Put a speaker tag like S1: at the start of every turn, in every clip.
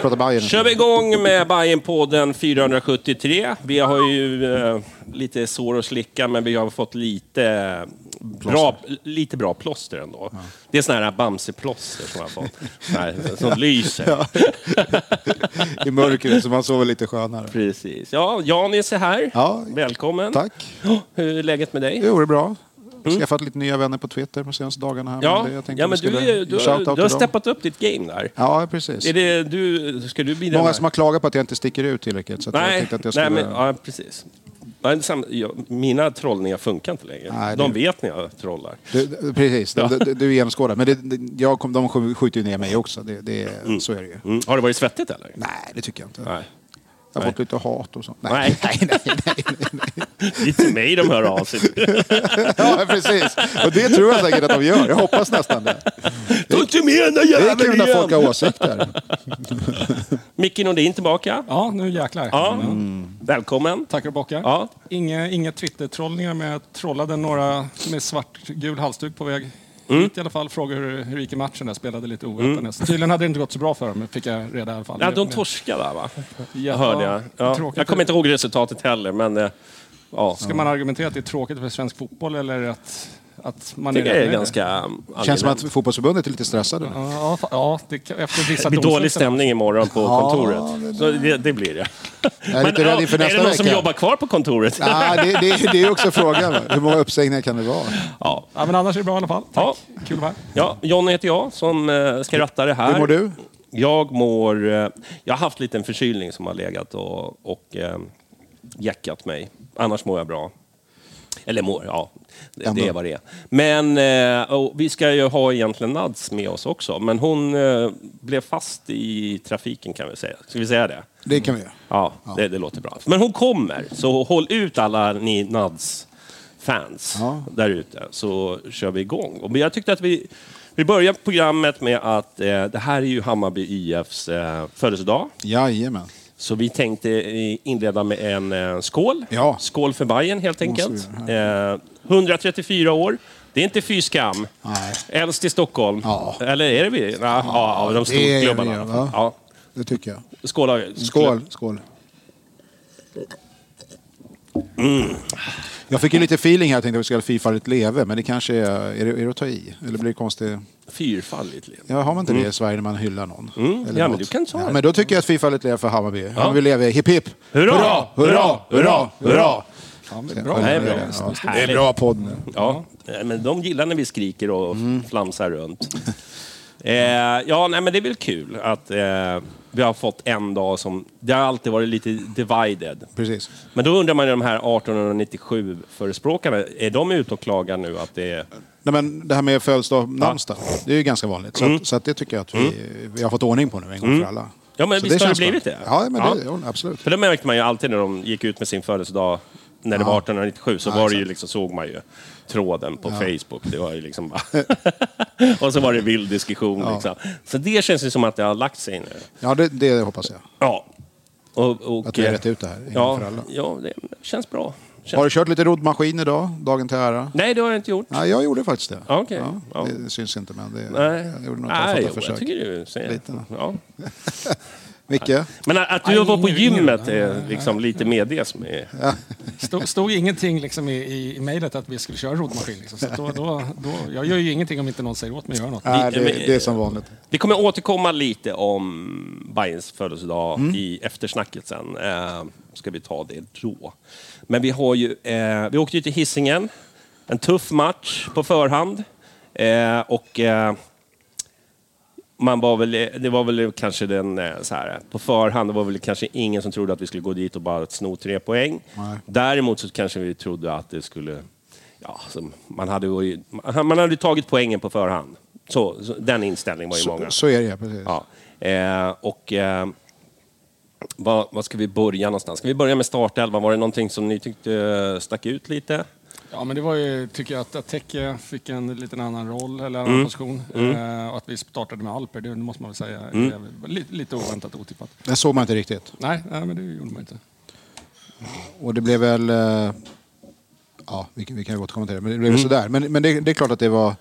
S1: Prata Bayern.
S2: kör vi igång med Bajenpodden 473. Vi har ju eh, lite sår att slicka, men vi har fått lite eh, bra, lite bra plåster ändå. Det är sådana här Bamse-plåster som man har fått, Såna här, som lyser.
S1: I mörkret, så man sover lite skönare.
S2: Precis. Ja, Janis är här.
S1: Ja.
S2: Välkommen.
S1: Tack.
S2: Ja, Hur är läget med dig?
S1: Jo, det är bra. Skaffat lite nya vänner på Twitter de senaste dagarna. Här,
S2: Mm. ja,
S1: det- jag tänkte
S2: ja,
S1: vi
S2: men du,
S1: skulle
S2: är, du,
S1: shout out
S2: har,
S1: till
S2: du har
S1: dem.
S2: steppat upp ditt game där.
S1: Ja, precis.
S2: Är det, du, ska du bli den
S1: Många
S2: här?
S1: som har klagat på att jag inte sticker ut tillräckligt. Så att jag
S2: Nej,
S1: tänkte att jag
S2: nej
S1: skulle...
S2: men, ja, precis. Nej, det är samma- ja, Mina trollningar funkar inte längre.
S1: Nej,
S2: De
S1: det-
S2: vet när jag trollar.
S1: Du- du, precis, du, du, du genomskådar. Men det, det, jag kom, de sk- skjuter ju ner mig också. Det, det, Så är det ju.
S2: Mm. Har det varit svettigt eller?
S1: Nej, det tycker jag inte.
S2: Nej.
S1: Jag har
S2: Nej.
S1: fått lite hat och sånt.
S2: Nej.
S1: nej, nej. nej,
S2: Det är till mig de hör av sig.
S1: Ja, precis. Och det tror jag säkert att de gör. Jag hoppas nästan det.
S2: Ta inte med den där
S1: Det är kul
S2: jäveln
S1: när folk
S2: igen!
S1: har åsikter.
S2: Micke Nordin tillbaka.
S3: Ja, nu jäklar.
S2: Ja.
S3: Ja.
S1: Mm.
S2: Välkommen.
S3: Tackar och bockar.
S2: Ja.
S3: Inge, inga Twitter-trollningar, men jag trollade några med svartgul halsduk på väg
S2: Mm.
S3: hit i alla fall. Frågade hur, hur det gick i matchen. Jag spelade lite ovetandes. Tydligen hade det inte gått så bra för dem, fick jag reda i alla fall.
S2: Ja, de torskade där va?
S3: ja,
S2: Hörde jag. Ja.
S3: tråkigt.
S2: Jag kommer inte ihåg resultatet heller, men... eh, Ja.
S3: Ska man argumentera att det är tråkigt för svensk fotboll eller att, att man
S2: Jag tycker det
S3: rädd
S2: är
S3: med
S2: ganska... um,
S1: Känns som
S2: allmänt.
S1: att fotbollsförbundet är lite stressade nu.
S3: Ja, fa- ja det, kan- efter vissa
S2: Det blir
S3: domslut-
S2: dålig stämning imorgon på kontoret. Så det, det blir det.
S1: Jag är lite
S2: Men,
S1: rädd
S2: ja,
S1: inför nästa
S2: är det någon som
S1: vecka.
S2: jobbar kvar på kontoret?
S1: Nej, Ah, det, det, det är också frågan. va? Hur många uppsägningar kan det vara?
S2: Ja.
S3: Ja, men annars är det bra i alla fall. Tack.
S2: Ja.
S3: Kul att vara här.
S2: Ja, Johnny heter jag som eh, ska ratta det här.
S1: Hur mår du?
S2: Jag mår... eh, Jag har haft lite en förkylning som har legat och, och eh, jäckat mig. Annars mår jag bra. Eller mår, ja. Det,
S1: Ändå.
S2: det är vad det är. Men eh, och vi ska ju ha egentligen Nads med oss också. Men hon eh, blev fast i trafiken kan vi säga. Ska vi säga det?
S1: Det kan vi göra.
S2: Ja, Det, det låter bra. Men hon kommer, så håll ut alla ni Nads fans
S1: Ja.
S2: där ute så kör vi igång. Och jag tyckte att vi, vi börjar programmet med att eh, det här är ju Hammarby IFs eh, födelsedag.
S1: Jajamän.
S2: Så vi tänkte eh, inleda med en eh, skål.
S1: Ja.
S2: Skål för Bayern helt enkelt. Eh, 134 år. Det är inte fy skam.
S1: Nej.
S2: Äldst i Stockholm.
S1: Ja.
S2: Eller är det vi? Nej, ja, ja, de
S1: det är vi,
S2: storklubbarna.
S1: va?
S2: Ja.
S1: Det tycker jag.
S2: Mm. Skål.
S1: Skål. Skål. Jag fick ju lite feeling här. Jag tänkte att vi skulle Fifa ett leve. Men det kanske är... Är det, är det att ta i? Eller blir det konstigt?
S2: Fyrfaldigt. Lena.
S1: Ja, har man inte det i Sverige när man hyllar någon? Eller
S2: Ja, men
S1: något?
S2: du kan ta det.
S1: Men då tycker jag att Fifa ett leve för Hammarby. Hammarby leve. Hipp hipp!
S2: Hurra!
S1: Hurra! Hurra! Hurra!
S3: Ja, men bra.
S2: Nej,
S1: Ja,
S2: bra.
S1: det är det. Ja. Det är
S2: Härligt.
S1: en bra podd nu.
S2: Ja, eh, men de gillar när vi skriker och
S1: Mm.
S2: flamsar runt. Eh, ja, nej, men det är väl kul att eh, vi har fått en dag som... Det har alltid varit lite divided.
S1: Precis.
S2: Men då undrar man ju de här 1897-förespråkarna, är de ute och klagar nu att det är...
S1: Nej, men det här med födelsedag namnsdag, det är ju ganska vanligt. Så,
S2: Mm.
S1: att, så att det tycker jag att vi, vi har fått ordning på nu en gång för alla.
S2: Ja, men
S1: så
S2: visst har det
S1: känns bra.
S2: blivit det?
S1: Ja, men
S2: Ja.
S1: Det, ja, absolut.
S2: För det märkte man ju alltid när de gick ut med sin födelsedag när det var 1897 så var det ju liksom, såg man ju tråden på Facebook. Det var ju liksom bara... och så var det vild diskussion. Liksom. Så det känns ju som att det har lagt sig nu.
S1: Ja, det, det hoppas jag.
S2: Ja. Och, och,
S1: Att vi har
S2: eh,
S1: rätt ut det här, en
S2: Ja,
S1: för alla.
S2: ja det känns bra. Känns...
S1: Har du kört lite roddmaskin idag, dagen till ära?
S2: Nej, det har jag inte gjort.
S1: Nej, jag gjorde faktiskt det.
S2: Ja, okej. Ja.
S1: Ja, det syns inte, men det,
S2: Nej,
S1: jag gjorde något
S2: Nej,
S1: tafatta
S2: jo, jag
S1: försök.
S2: tycker du säger...
S1: Lite.
S2: Ja.
S1: Micke?
S2: Men att, att du var på gymmet är liksom lite med det som är...
S3: Stod, stod ingenting liksom i, i, i mejlet att vi skulle köra roddmaskin. Liksom. Så att då, då, då, jag gör ju ingenting om inte någon säger åt mig att göra något.
S1: Nej,
S2: Vi-
S1: det,
S2: men-
S1: det är som vanligt.
S2: Vi kommer återkomma lite om Bajens födelsedag i eftersnacket sen. Eh, ska vi ta det då. Men vi har ju... Eh, vi åkte ju till Hisingen. En tuff match på förhand. Eh, och... Eh, man var väl, det var väl kanske den, eh, så här, på förhand, det var väl kanske ingen som trodde att vi skulle gå dit och bara sno tre poäng.
S1: Nej.
S2: Däremot så kanske vi trodde att det skulle, ja, som- man hade ju man hade ju tagit poängen på förhand. Så, så, den inställningen var ju
S1: Så,
S2: många.
S1: så är det, ja, precis.
S2: Ja. Eh, och eh, vad, vad ska vi börja någonstans? Ska vi börja med startelvan? Var det någonting som ni tyckte eh, stack ut lite?
S3: Ja, men det var ju, tycker jag, att Ateke fick en liten annan roll, eller annan
S2: Mm.
S3: position. Eh, och att vi startade med Alper, det måste man väl säga.
S2: Mm.
S3: är Lite, lite oväntat och otippat.
S1: Det såg man inte riktigt.
S3: Nej, nej, men det gjorde man inte.
S1: Och det blev väl... eh, Ja, vi, kan- vi kan ju återkomma till det. Men det blev väl sådär. Men, men det, det är klart att det var...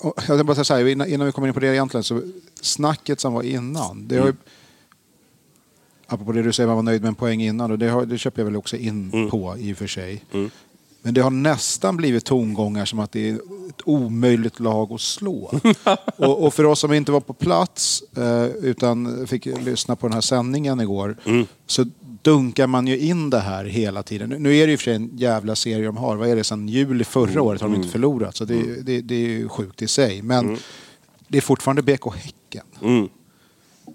S1: och Jag tänkte bara säga så här, innan, innan vi kommer in på det egentligen, så snacket som var innan. Det har ju, apropå det du säger, man var nöjd med en poäng innan. Och det, har, det köper jag väl också in på i och för sig. Men det har nästan blivit tongångar som att det är ett omöjligt lag att slå. och, och för oss som inte var på plats eh, utan fick lyssna på den här sändningen igår så dunkar man ju in det här hela tiden. Nu- Nu är det ju för sig en jävla serie de har. Vad är det, sen juli förra året har de inte förlorat. Så det, är- det, det är ju sjukt i sig. Men det är fortfarande BK Häcken.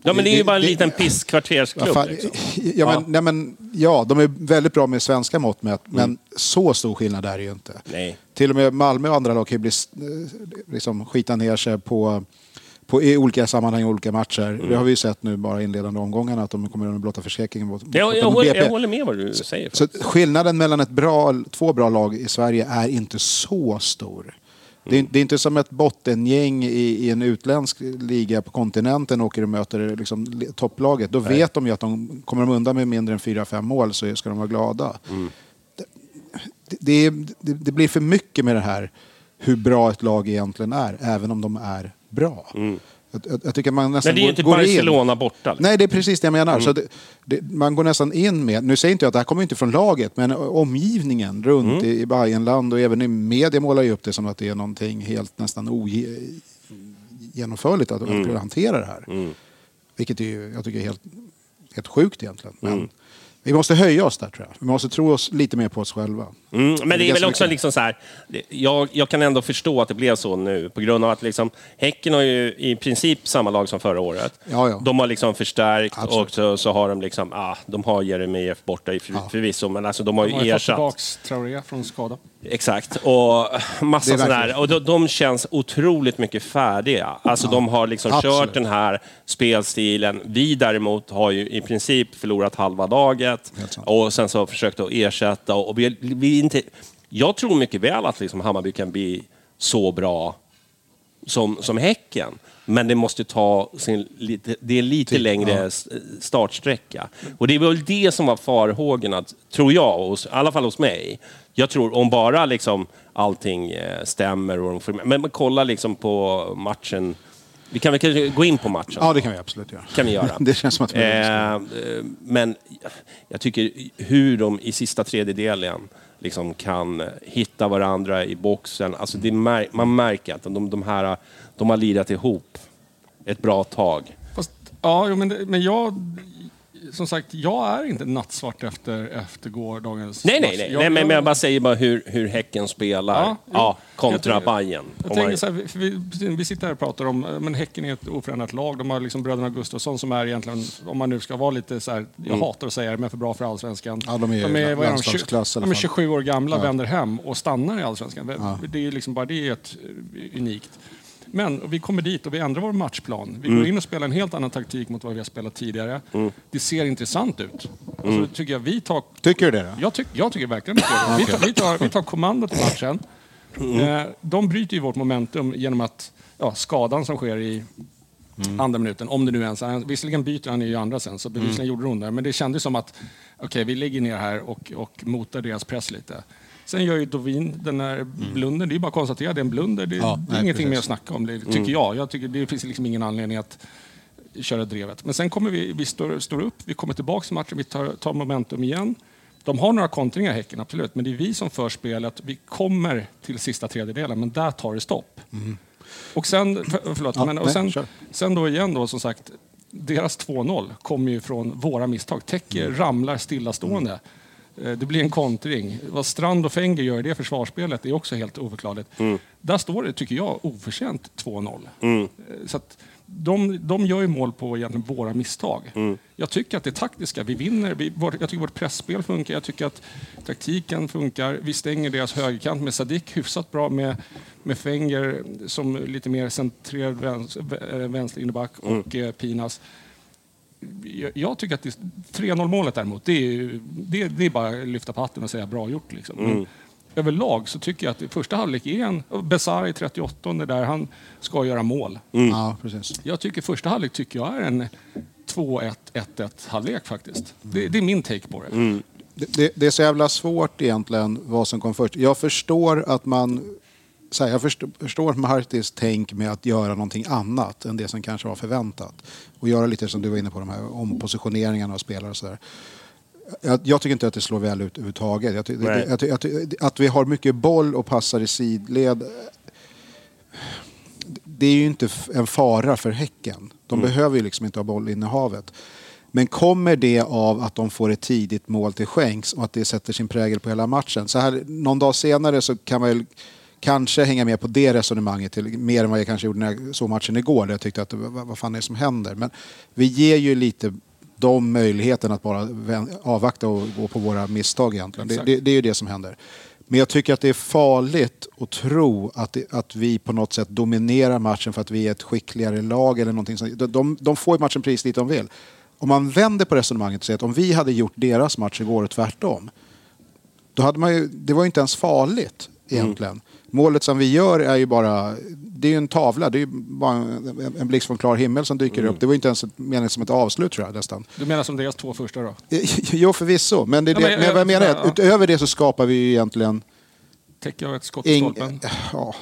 S2: Ja, men det är ju
S1: Det-
S2: bara en
S1: det-
S2: liten
S1: Ja,
S2: pisskvartersklubb.
S1: fan,
S2: liksom.
S1: ja, men,
S2: Ja. Mm.
S1: Nej, men, ja, de är väldigt bra med svenska mått mätt, men så stor skillnad är det ju inte.
S2: Nej.
S1: Till och med Malmö och andra lag kan ju bli, eh, liksom, skita ner sig på, på, i olika sammanhang i olika matcher.
S2: Mm.
S1: Det har vi ju sett nu bara i inledande omgångarna att de kommer under blotta förskräckningen mot, mot
S2: Jag, jag,
S1: mot
S2: håller,
S1: BP.
S2: jag håller med vad du säger.
S1: Så att skillnaden mellan ett bra, två bra lag i Sverige är inte så stor. Det är, det är inte som ett bottengäng i, i en utländsk liga på kontinenten åker och möter liksom le- topplaget. Då vet de ju att de kommer de undan med mindre än 4-5 mål så ska de vara glada. Det, det, är- det, det blir för mycket med det här hur bra ett lag egentligen är, även om de är bra. Jag, jag, jag tycker man nästan
S2: Mm. Men det är ju inte
S1: går, går in.
S2: Barcelona borta. liksom.
S1: Nej, det är precis det jag menar. Så det, det, man går nästan in med, nu säger inte jag att det här kommer inte från laget, men omgivningen runt
S2: Mm.
S1: i, i Bayernland och även i media målar ju upp det som att det är någonting helt nästan ogenomförligt att
S2: Mm.
S1: att hantera det här. Vilket är ju, jag tycker är helt, helt sjukt egentligen. Men
S2: Mm.
S1: vi måste höja oss där tror jag. Vi måste tro oss lite mer på oss själva.
S2: Mm, men det är väl
S1: ganska
S2: också
S1: mycket.
S2: liksom så här, det- jag, jag kan ändå förstå att det blev så nu på grund av att liksom, Häcken har ju i princip samma lag som förra året.
S1: Ja, ja.
S2: De har liksom förstärkt
S1: Absolut.
S2: och så, så har de liksom, ah, de har Jeremejeff borta i för, förvisso, men alltså de har
S3: Man har
S2: ju
S3: ju fått
S2: ersatt.
S3: tillbaka Traoré från skada.
S2: Exakt, och
S1: Det
S2: massa
S1: är
S2: sådana
S1: verkligen.
S2: här. Och de, de känns otroligt mycket färdiga. Alltså de har liksom
S1: absolut.
S2: kört den här spelstilen. Vi däremot har ju i princip förlorat halva laget
S1: Helt sant.
S2: och sen så har försökt att ersätta. Och vi, vi är inte, jag tror mycket väl att liksom Hammarby kan bli så bra som, som Häcken. Men det måste ta sin lite, det är lite längre s- startsträcka. Och det är väl det som var farhågorna, tror jag, hos, i alla fall hos mig. Jag tror om bara liksom allting eh, stämmer och de får, Men men kolla liksom på matchen. Vi kan väl kanske gå in på matchen?
S1: Ja, det kan vi absolut göra.
S2: kan vi göra.
S1: det känns som att vi
S2: Eh, eh, men jag tycker hur de i sista tredjedelen liksom kan hitta varandra i boxen. Alltså det mär man märker att de, de här de har lirat ihop ett bra tag.
S3: Fast, ja, jo, men, det- men jag... Som sagt, jag är inte nattsvart efter, efter gårdagens
S2: Nej, nej,
S3: match.
S2: nej.
S3: Jag-
S2: nej men, men jag
S3: jag-
S2: bara säger bara hur, hur Häcken spelar
S3: Ja,
S2: ja,
S3: jo.
S2: kontra
S3: Jag tänker-
S2: Bayern.
S3: Jag
S2: Om man-
S3: tänker så här, vi- för vi, vi sitter här och pratar om, eh, men Häcken är ett oförändrat lag. De har liksom bröderna Gustafsson som är egentligen, om man nu ska vara lite så här,
S2: Mm.
S3: jag hatar att säga det, men för bra för allsvenskan.
S1: Ja, de är ju
S3: vad de,
S1: landslagsklass i alla
S3: de är
S1: fall.
S3: 27 år gamla, vänder hem och stannar i allsvenskan. Det är ju liksom bara det är ett eh, unikt. Men och vi kommer dit och vi ändrar vår matchplan.
S2: Mm.
S3: Vi går in och spelar en helt annan taktik mot vad vi har spelat tidigare. Det ser intressant ut.
S2: Mm.
S3: Alltså, tycker jag, vi tar
S1: liksom- Tycker du det då?
S3: jag, tyck, jag tycker verkligen det. Vi tar, vi, tar, vi tar kommandot i matchen.
S1: Mm.
S3: Eh, De bryter ju vårt momentum genom att ja, skadan som sker i
S1: Mm.
S3: andra minuten, om det nu ens är... Visserligen byter han ju andra sen, så bevisligen gjorde hon det. Men det kändes som att, okej, vi ligger ner här och, och motar deras press lite. Sen gör ju Dovin den här blunden. Det är ju bara att konstatera att det är en blunder. Det,
S1: Mm. Ja,
S3: det är
S1: nej,
S3: ingenting mer att
S1: precis. Mm.
S3: snacka om, det, tycker jag. jag tycker, det finns liksom ingen anledning att köra drevet. Men sen kommer vi, vi står, står upp, vi kommer tillbaka till matchen, vi tar, tar momentum igen. De har några kontringar, Häcken, absolut, men det är vi som för spelet. Vi kommer till sista tredjedelen, men där tar det stopp. Och sen, för, förlåt,
S1: Mm. Ja,
S3: men, och
S1: nej,
S3: sen,
S1: kör.
S3: sen då igen då, som sagt, deras 2-0 kommer ju från våra misstag. Täcker
S1: Mm.
S3: ramlar stillastående. Eh, Det blir en kontring. Vad Strand och Fenger gör i det försvarsspelet är också helt oförklarligt.
S1: Mm.
S3: Där står det, tycker jag, oförtjänt 2-0. Eh, Så att de, de gör ju mål på egentligen våra misstag. Jag tycker att det taktiska, vi vinner. Vi, vår, jag tycker vårt pressspel funkar. Jag tycker att taktiken funkar. Vi stänger deras högerkant med Sadik hyfsat bra med, med Fenger som lite mer centrerad vänster, vänster innerback och eh, Pinas. Jag, jag tycker att det- 3-0 målet däremot, det är, ju- det, det är bara att lyfta på hatten och säga bra gjort. Liksom. Men Överlag så tycker jag att i första halvlek är en... Besara i 38 där, han ska göra mål.
S2: Mm.
S1: Ja, precis.
S3: Jag tycker första halvlek tycker jag är en 2-1, 1-1 halvlek faktiskt. Det, det är min take på det.
S1: Det, det, det är så jävla svårt egentligen vad som kom först. Jag förstår att man... Så här, jag förstår, förstår Martis tänk med att göra någonting annat än det som kanske var förväntat. Och göra lite som du var inne på, de här ompositioneringarna av spelare och sådär. Jag, jag tycker inte att det slår väl ut överhuvudtaget. Jag, ty- det-
S2: Nej.
S1: jag, ty- jag, ty- att vi har mycket boll och passar i sidled det är ju inte f- en fara för Häcken. De behöver ju liksom inte ha bollinnehavet. Men kommer det av att de får ett tidigt mål till skänks och att det sätter sin prägel på hela matchen? Så här någon dag senare så kan man ju kanske hänga med på det resonemanget till, mer än vad jag kanske gjorde när jag såg matchen igår. Där jag tyckte att det var- vad, vad fan är det som händer? Men vi ger ju lite de möjligheten att bara vän- avvakta och gå på våra misstag egentligen. Det,
S3: Exakt.
S1: det, det är ju det som händer. Men jag tycker att det är farligt att tro att, det, att vi på något sätt dominerar matchen för att vi är ett skickligare lag eller någonting sånt. De- De, de får ju matchen precis dit de vill. Om man vänder på resonemanget och säger att om vi hade gjort deras match igår och tvärtom, då hade man ju, det var ju inte ens farligt egentligen. Målet som vi gör är ju bara, det är ju en tavla, det är ju bara en, en blixt från klar himmel som dyker upp. Det var ju inte ens ett- menat som ett avslut tror jag nästan.
S3: Du menar som deras två första då?
S1: Eh, Jo förvisso, men, det är
S3: Ja,
S1: det,
S3: men-
S1: men, vad jag menar är att
S3: ja.
S1: utöver det så skapar vi ju egentligen
S3: Täcker jag ett skott i
S1: Ing, eh,
S3: stolpen?
S1: ja.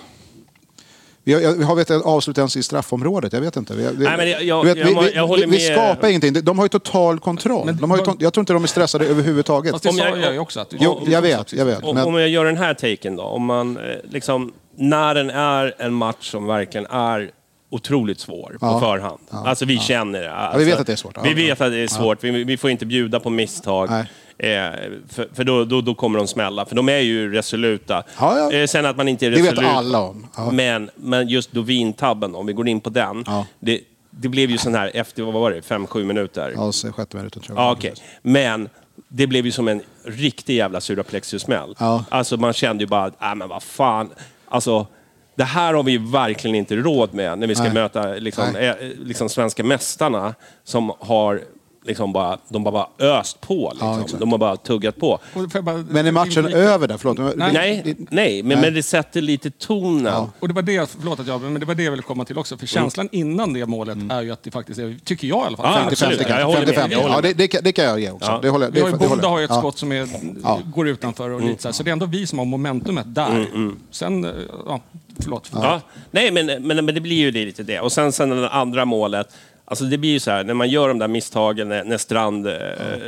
S1: Vi har, vi har vet, ett avslut ens i straffområdet, jag vet inte. Vi, vi-
S2: Nej, men jag- jag-
S1: du vet,
S2: jag
S1: vi,
S2: må-
S1: vi,
S2: jag håller
S1: vi, vi
S2: med.
S1: skapar ingenting, de har ju total kontroll.
S3: Men-
S1: de har ju ton- jag tror inte de är stressade överhuvudtaget.
S3: Fast det
S2: Om jag-
S3: sa jag ju också. Att
S1: Jo, jag vet, jag vet.
S2: Om,
S1: Men,
S2: om jag gör den här taken då, om man eh, liksom, när den är en match som verkligen är otroligt svår på
S1: Ja.
S2: förhand. Alltså vi känner det. Alltså,
S1: vi vet att det är svårt. Ja,
S2: vi
S1: ja.
S2: vet att det är svårt. Vi, vi får inte bjuda på misstag.
S1: Nej.
S2: Eh, för för då, då, då kommer de smälla, för de är ju resoluta.
S1: Ja, ja.
S2: Eh, sen att man inte är
S1: Det vet
S2: resolut.
S1: alla om. Ja.
S2: Men, men just Dovin-tabben, om vi går in på den.
S1: Ja.
S2: Det, det blev ju sån här efter, vad var det, fem sju minuter?
S1: ja, så sjätte minuten tror jag.
S2: Ja, okej. Men det blev ju som en riktig jävla suraplexusmäll.
S1: Ja.
S2: Alltså man kände ju bara, att, äh, men vad fan. Alltså, det här har vi ju verkligen inte råd med när vi ska
S1: Nej.
S2: möta liksom,
S1: Nej.
S2: eh, liksom svenska mästarna som har liksom bara, de bara öst på. Liksom.
S1: exakt.
S2: de har bara tuggat på.
S3: Och får jag bara-
S1: Men är matchen
S3: inflika?
S1: över där? Förlåt.
S3: Nej.
S2: Nej, nej, men, men det sätter lite tonen.
S3: Och det var det, förlåt att jag, men det var det jag ville komma till också.
S1: Mm.
S3: För känslan innan det målet är ju att det faktiskt är, tycker jag i alla fall,
S2: Ja,
S3: 50-50.
S2: absolut.
S1: kanske.
S2: jag håller med,
S1: 55.
S2: jag håller
S1: Mm. Ah, Ja,
S2: med.
S1: det, det, kan- det kan jag ge också. Det håller, det,
S3: Vi har ju
S1: det håller
S3: Bonda
S1: jag.
S3: har ju ett
S1: Ja.
S3: skott som är,
S1: Ja. Mm.
S3: går utanför och lite så här. Så det är ändå vi som har momentumet där. Sen, eh, ja, förlåt.
S2: Ja. Nej, men, men, men det blir ju det, lite det. Och sen, sen det andra målet. Alltså det blir ju så här, när man gör de där misstagen när, när Strand eh,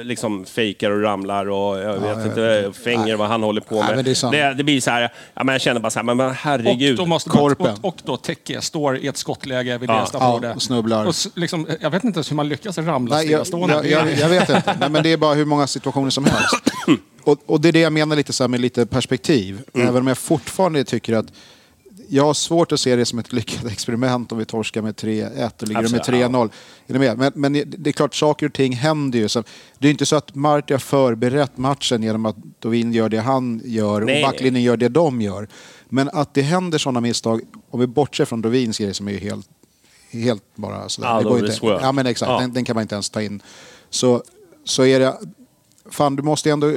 S2: liksom fejkar och ramlar och jag vet
S1: jag
S2: inte,
S1: vet
S2: fänger vad han håller på
S1: Nej,
S2: med.
S1: men det är sant.
S2: det, blir så här, ja, men jag känner bara så här, men, men
S3: Och
S2: herregud.
S3: då, måste
S1: Korpen.
S3: och, och då Teke står i ett skottläge vid deras
S1: Ja,
S3: straffområde.
S1: och snubblar.
S3: Och s- liksom, eh, jag vet inte ens hur man lyckas ramla
S1: Nej, jag,
S3: stillastående.
S1: jag, jag, jag vet inte. Nej, men det är bara hur många situationer som helst. Och, och det är det jag menar lite så här med lite perspektiv.
S2: Mm.
S1: Även om jag fortfarande tycker att jag har svårt att se det som ett lyckat experiment om vi torskar med 3-1 och ligger
S2: Absolut,
S1: med 3-0. Är ni med? Men, men det är klart, saker och ting händer ju. Så det är inte så att Marti har förberett matchen genom att Dovin gör det han gör
S2: Nej, nej.
S1: och backlinjen gör det de gör. Men att det händer sådana misstag, om vi bortser från Dovins grej som är helt, helt bara sådär.
S2: Out
S1: det
S2: of
S1: går inte.
S2: this world.
S1: Ja, men exakt.
S2: Ja.
S1: Den, den kan man inte ens ta in. Så, så är det... Fan, du måste ju ändå...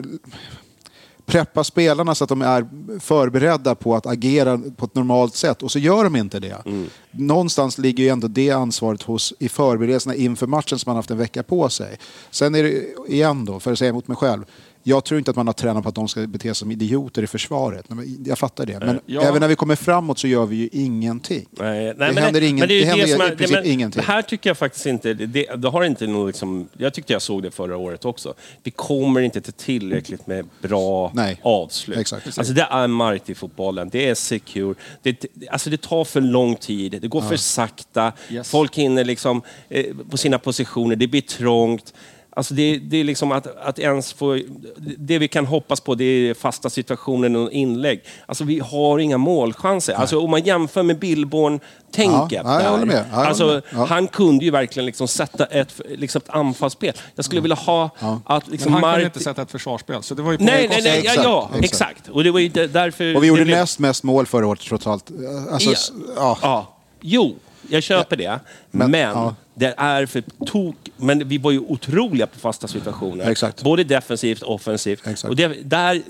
S1: preppa spelarna så att de är förberedda på att agera på ett normalt sätt och så gör de inte det.
S2: Mm.
S1: Någonstans ligger ju ändå det ansvaret hos, i förberedelserna inför matchen som man haft en vecka på sig. Sen är det, igen då, för att säga emot mig själv, jag tror inte att man har tränat på att de ska bete sig som idioter i försvaret. Men Jag fattar det. Men
S2: Eh, ja.
S1: även när vi kommer framåt så gör vi ju ingenting.
S2: Eh, Nej, nej,
S1: det händer, ingen,
S2: men
S1: det
S2: ju
S1: händer
S2: som
S1: i
S2: är-
S1: princip
S2: men
S1: ingenting.
S2: Här tycker jag faktiskt inte... Det, det har inte någon liksom, jag tyckte jag såg det förra året också. Vi kommer inte till tillräckligt med bra
S1: Nej,
S2: avslut.
S1: exakt.
S2: Alltså det är markt i fotbollen. Det är secure. Det, det- alltså det tar för lång tid. Det går för sakta.
S3: Yes.
S2: Folk hinner liksom eh, på sina positioner. Det blir trångt. Alltså det, det är liksom att, att ens få... Det vi kan hoppas på det är fasta situationer och inlägg. Alltså vi har inga målchanser. Alltså om man jämför med Billborn-tänket
S1: Ja, ja, jag
S2: där.
S1: håller med. Ja, jag
S2: alltså,
S1: håller med. Ja.
S2: Han kunde ju verkligen liksom sätta ett, liksom ett anfallsspel. Jag skulle vilja ha att liksom
S3: Men han kunde
S2: Marti-
S3: inte sätta ett försvarsspel, så det var ju
S2: Nej,
S3: poängkostnad.
S2: nej, nej, ja,
S1: Exakt,
S2: ja,
S1: exakt.
S2: exakt. Och det var ju där- därför...
S1: Och vi gjorde
S2: det blev-
S1: näst mest mål förra året trots allt. Alltså, s- ja.
S2: ja. ja. Jo, jag köper det. Men,
S1: ja.
S2: det är för tok... Men vi var ju otroliga på fasta situationer.
S1: Exakt.
S2: Både defensivt och offensivt.
S1: Exakt.
S2: Och det, där...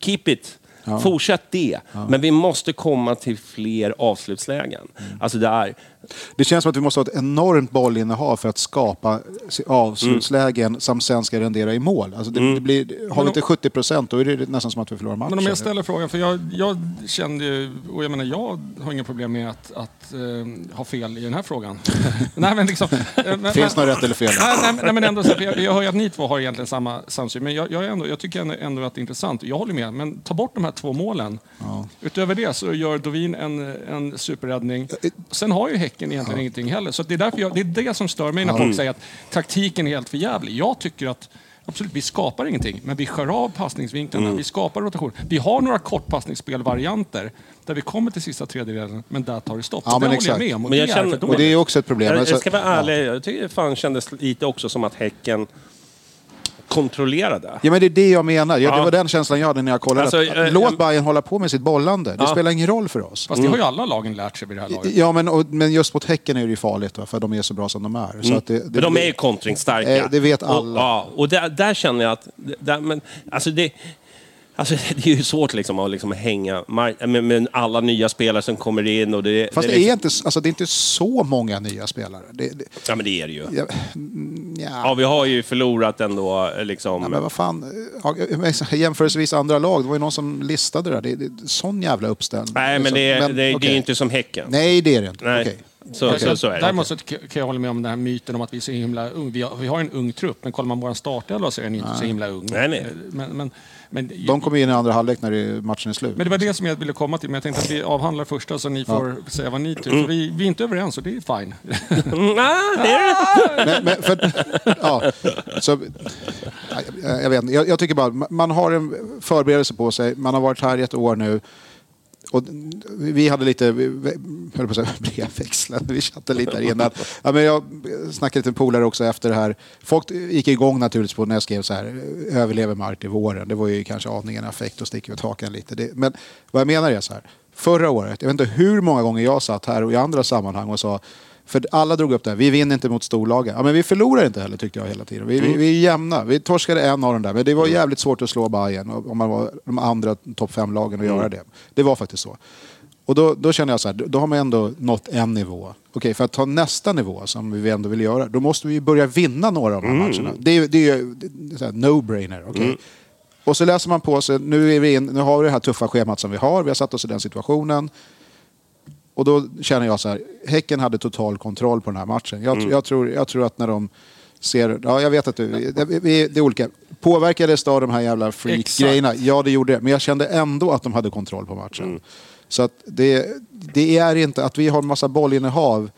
S2: Keep it. Fortsätt det. Men vi måste komma till fler avslutslägen.
S1: Mm.
S2: Alltså det är...
S1: Det känns som att vi måste ha ett enormt bollinnehav för att skapa se- avslutslägen
S2: Mm.
S1: som sen ska rendera i mål. Alltså det, det blir, har vi inte 70 procent då är det nästan som att vi förlorar matchen.
S3: Men om jag ställer frågan, för jag, jag kände ju, och jag menar jag har inga problem med att, att eh, ha fel i den här frågan. nej, men liksom, eh, men-
S1: Finns
S3: men-
S1: något rätt eller fel?
S3: Nej, nej, men- nej, men ändå, så här, för jag, jag hör ju att ni två har egentligen samma samsyn, men jag, jag, är ändå, jag tycker ändå, ändå att det är intressant. Jag håller med, men ta bort de här två målen. Utöver det så gör Dovin en, en superräddning. Sen har ju Häcken egentligen ingenting heller, så att det, är därför jag, det är det som stör mig när folk säger att taktiken är helt för jävlig. Jag tycker att Absolut, vi skapar ingenting, men vi skär av passningsvinklarna,
S1: Mm.
S3: vi skapar rotation. Vi har några kortpassningsspelvarianter där vi kommer till sista tredjedelen, men där tar det stopp.
S1: Ja,
S3: det
S1: men
S3: håller jag
S1: exakt.
S3: med om och
S2: Men
S3: det
S2: jag
S3: är
S2: känner- Mm.
S3: för
S1: Och
S3: dåligt.
S1: det är också ett problem.
S2: Jag,
S1: Alltså,
S2: jag ska vara
S1: ja.
S2: ärlig, jag tycker det fan kändes lite också som att Häcken kontrollerade.
S1: Ja, men det är det jag menar. Ja, Det
S2: Ja.
S1: var den känslan jag hade när jag kollade.
S2: Alltså,
S1: Att-
S2: eh,
S1: Låt
S2: eh,
S1: Bayern hålla på med sitt bollande. Det
S2: Ja.
S1: spelar ingen roll för oss.
S3: Fast det har ju alla lagen lärt sig vid det här laget.
S1: Ja, men, och, men just mot Häcken är det ju farligt, va? för de är så bra som de är. Så att det, det,
S2: Mm. Men de är ju
S1: blir-
S2: kontringstarka.
S1: Eh, det vet
S2: Och,
S1: alla.
S2: ja, och där, där känner jag att... Där, men, alltså det, alltså det är ju svårt liksom att liksom hänga mar- med, med alla nya spelare som kommer in. Och det,
S1: Fast
S2: det,
S1: det är,
S2: liksom,
S1: inte, alltså, det är inte så många nya spelare. Det, det,
S2: Ja, men det är det ju.
S1: ja, mm, nja.
S2: Ja, vi har ju förlorat ändå eh, liksom...
S1: Ja, men vad fan, ja, men jämförelsevis andra lag, det var ju någon som listade det där. Det, det, sån jävla uppställning.
S2: Nej, men
S1: Liksom.
S2: det, det, det är
S1: okej.
S2: ju inte som Häcken.
S1: Nej, det är det inte.
S2: Nej.
S1: Okej.
S2: Så, så, så är det.
S3: Däremot så kan jag hålla med om den här myten om att vi är så himla ung. Vi har, vi har en ung trupp, men kollar man vår startelva så är den inte så himla ung.
S2: Nej, nej.
S3: Men, men, men,
S1: De kommer in i andra halvlek när det, matchen är slut.
S3: men det var det som jag ville komma till, men jag tänkte att vi avhandlar första så ni får säga vad ni tycker. För Vi, vi är inte överens och det är fine.
S2: Mm, ah, det är det.
S1: men, men för, ja, så, ja, jag, jag vet inte. Jag, jag tycker bara, man har en förberedelse på sig. Man har varit här i ett år nu. Och vi hade lite, vi- vi- höll på att säga brevväxlande, vi chattade lite här innan. Ja, men jag snackade lite med polare också efter det här. Folk gick igång naturligtvis på när jag skrev så här, överlever Mart i våren. Det var ju kanske aningen affekt och sticker ut hakan lite. Det, men vad jag menar är så här, förra året, jag vet inte hur många gånger jag satt här och i andra sammanhang och sa, för alla drog upp det här, vi vinner inte mot storlagen. Ja, men vi förlorar inte heller tyckte jag hela tiden. Vi, vi, vi är jämna, vi torskade en av dem där. Men det var jävligt svårt att slå Bayern och- om man var de andra topp fem-lagen och göra det. Det var faktiskt så. Och då, då känner jag så här, då har man ändå nått en nivå. Okej, för att ta nästa nivå som vi ändå vill göra, då måste vi ju börja vinna några av de här matcherna. Det är ju det är ju det är så här no-brainer. okej? Och så läser man på sig, nu, är vi in, nu har vi det här tuffa schemat som vi har, vi har satt oss i den situationen. Och då känner jag så här, Häcken hade total kontroll på den här matchen. Jag, jag, tror, jag tror att när de ser, ja jag vet att du, det, vi- det är olika. Påverkades det av de här jävla freak-grejerna? Ja det gjorde det, men jag kände ändå att de hade kontroll på matchen. Så att det, det är inte att vi har en massa bollinnehav.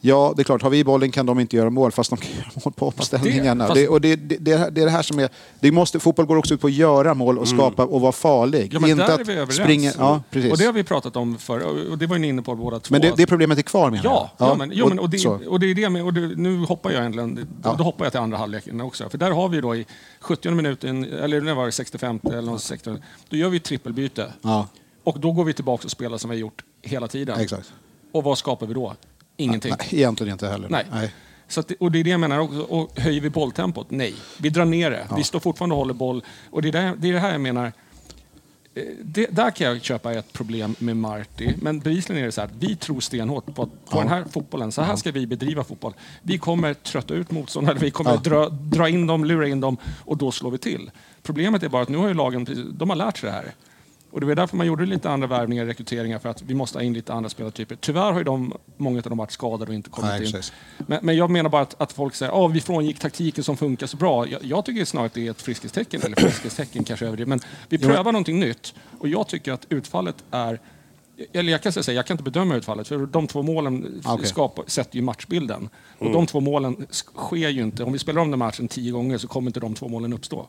S1: Ja, det är klart, har vi bollen kan de inte göra mål, fast de kan göra mål på omställningarna.
S3: fast-
S1: Det, och det, det, det, är här- det är det här som är... Det måste, fotboll går också ut på att göra mål och skapa och vara farlig.
S3: Mm. Ja, men
S1: inte
S3: där
S1: att
S3: är vi överens.
S1: springa... Ja, precis.
S3: Och det har vi pratat om förra, och det var ju ni inne på båda två.
S1: Men det, det problemet är kvar menar
S3: Ja, ja, men, jo, men, och, det,
S1: så.
S3: och det är det med, och det, nu hoppar jag äntligen, då, då hoppar jag till andra halvleken också. För där har vi då i 70 minuten, eller när var det 65 eller någon 60, då gör vi ett trippelbyte.
S1: Ja.
S3: Och då går vi tillbaka och spelar som vi har gjort hela tiden.
S1: Exakt. Ah,
S3: Och vad skapar vi då? Ingenting.
S1: Nej, egentligen inte heller.
S3: Nej. Så att, det- och det är det jag menar också. Och höjer vi bolltempot? Nej. Vi drar ner det. Vi står fortfarande och håller boll. Och det är det, det, är det här jag menar. Eh, Det, där kan jag köpa ett problem med Marty. Men bevisligen är det så här att vi tror stenhårt på, att, på den här fotbollen. Så här ska vi bedriva fotboll. Vi kommer trötta ut motståndare. Vi kommer dra, dra in dem, lura in dem och då slår vi till. Problemet är bara att nu har ju lagen precis- de har lärt sig det här. Och det var därför man gjorde lite andra värvningar och rekryteringar för att vi måste ha in lite andra spelartyper. Tyvärr har ju de, många av dem varit skadade och inte kommit
S1: Nej,
S3: in.
S1: precis.
S3: Men, men jag menar bara att, att folk säger att vi frångick taktiken som funkar så bra. Jag, jag tycker snarare att det är ett friskhetstecken, eller friskhetstecken kanske är överdrivet. Men vi prövar någonting nytt och jag tycker att utfallet är... Eller jag kan säga, så här, jag kan inte bedöma utfallet för de två målen
S1: Ah, Okej. Mm.
S3: skapar, sätter ju matchbilden. Och de två målen sk- sker ju inte. Om vi spelar om den matchen tio gånger så kommer inte de två målen uppstå.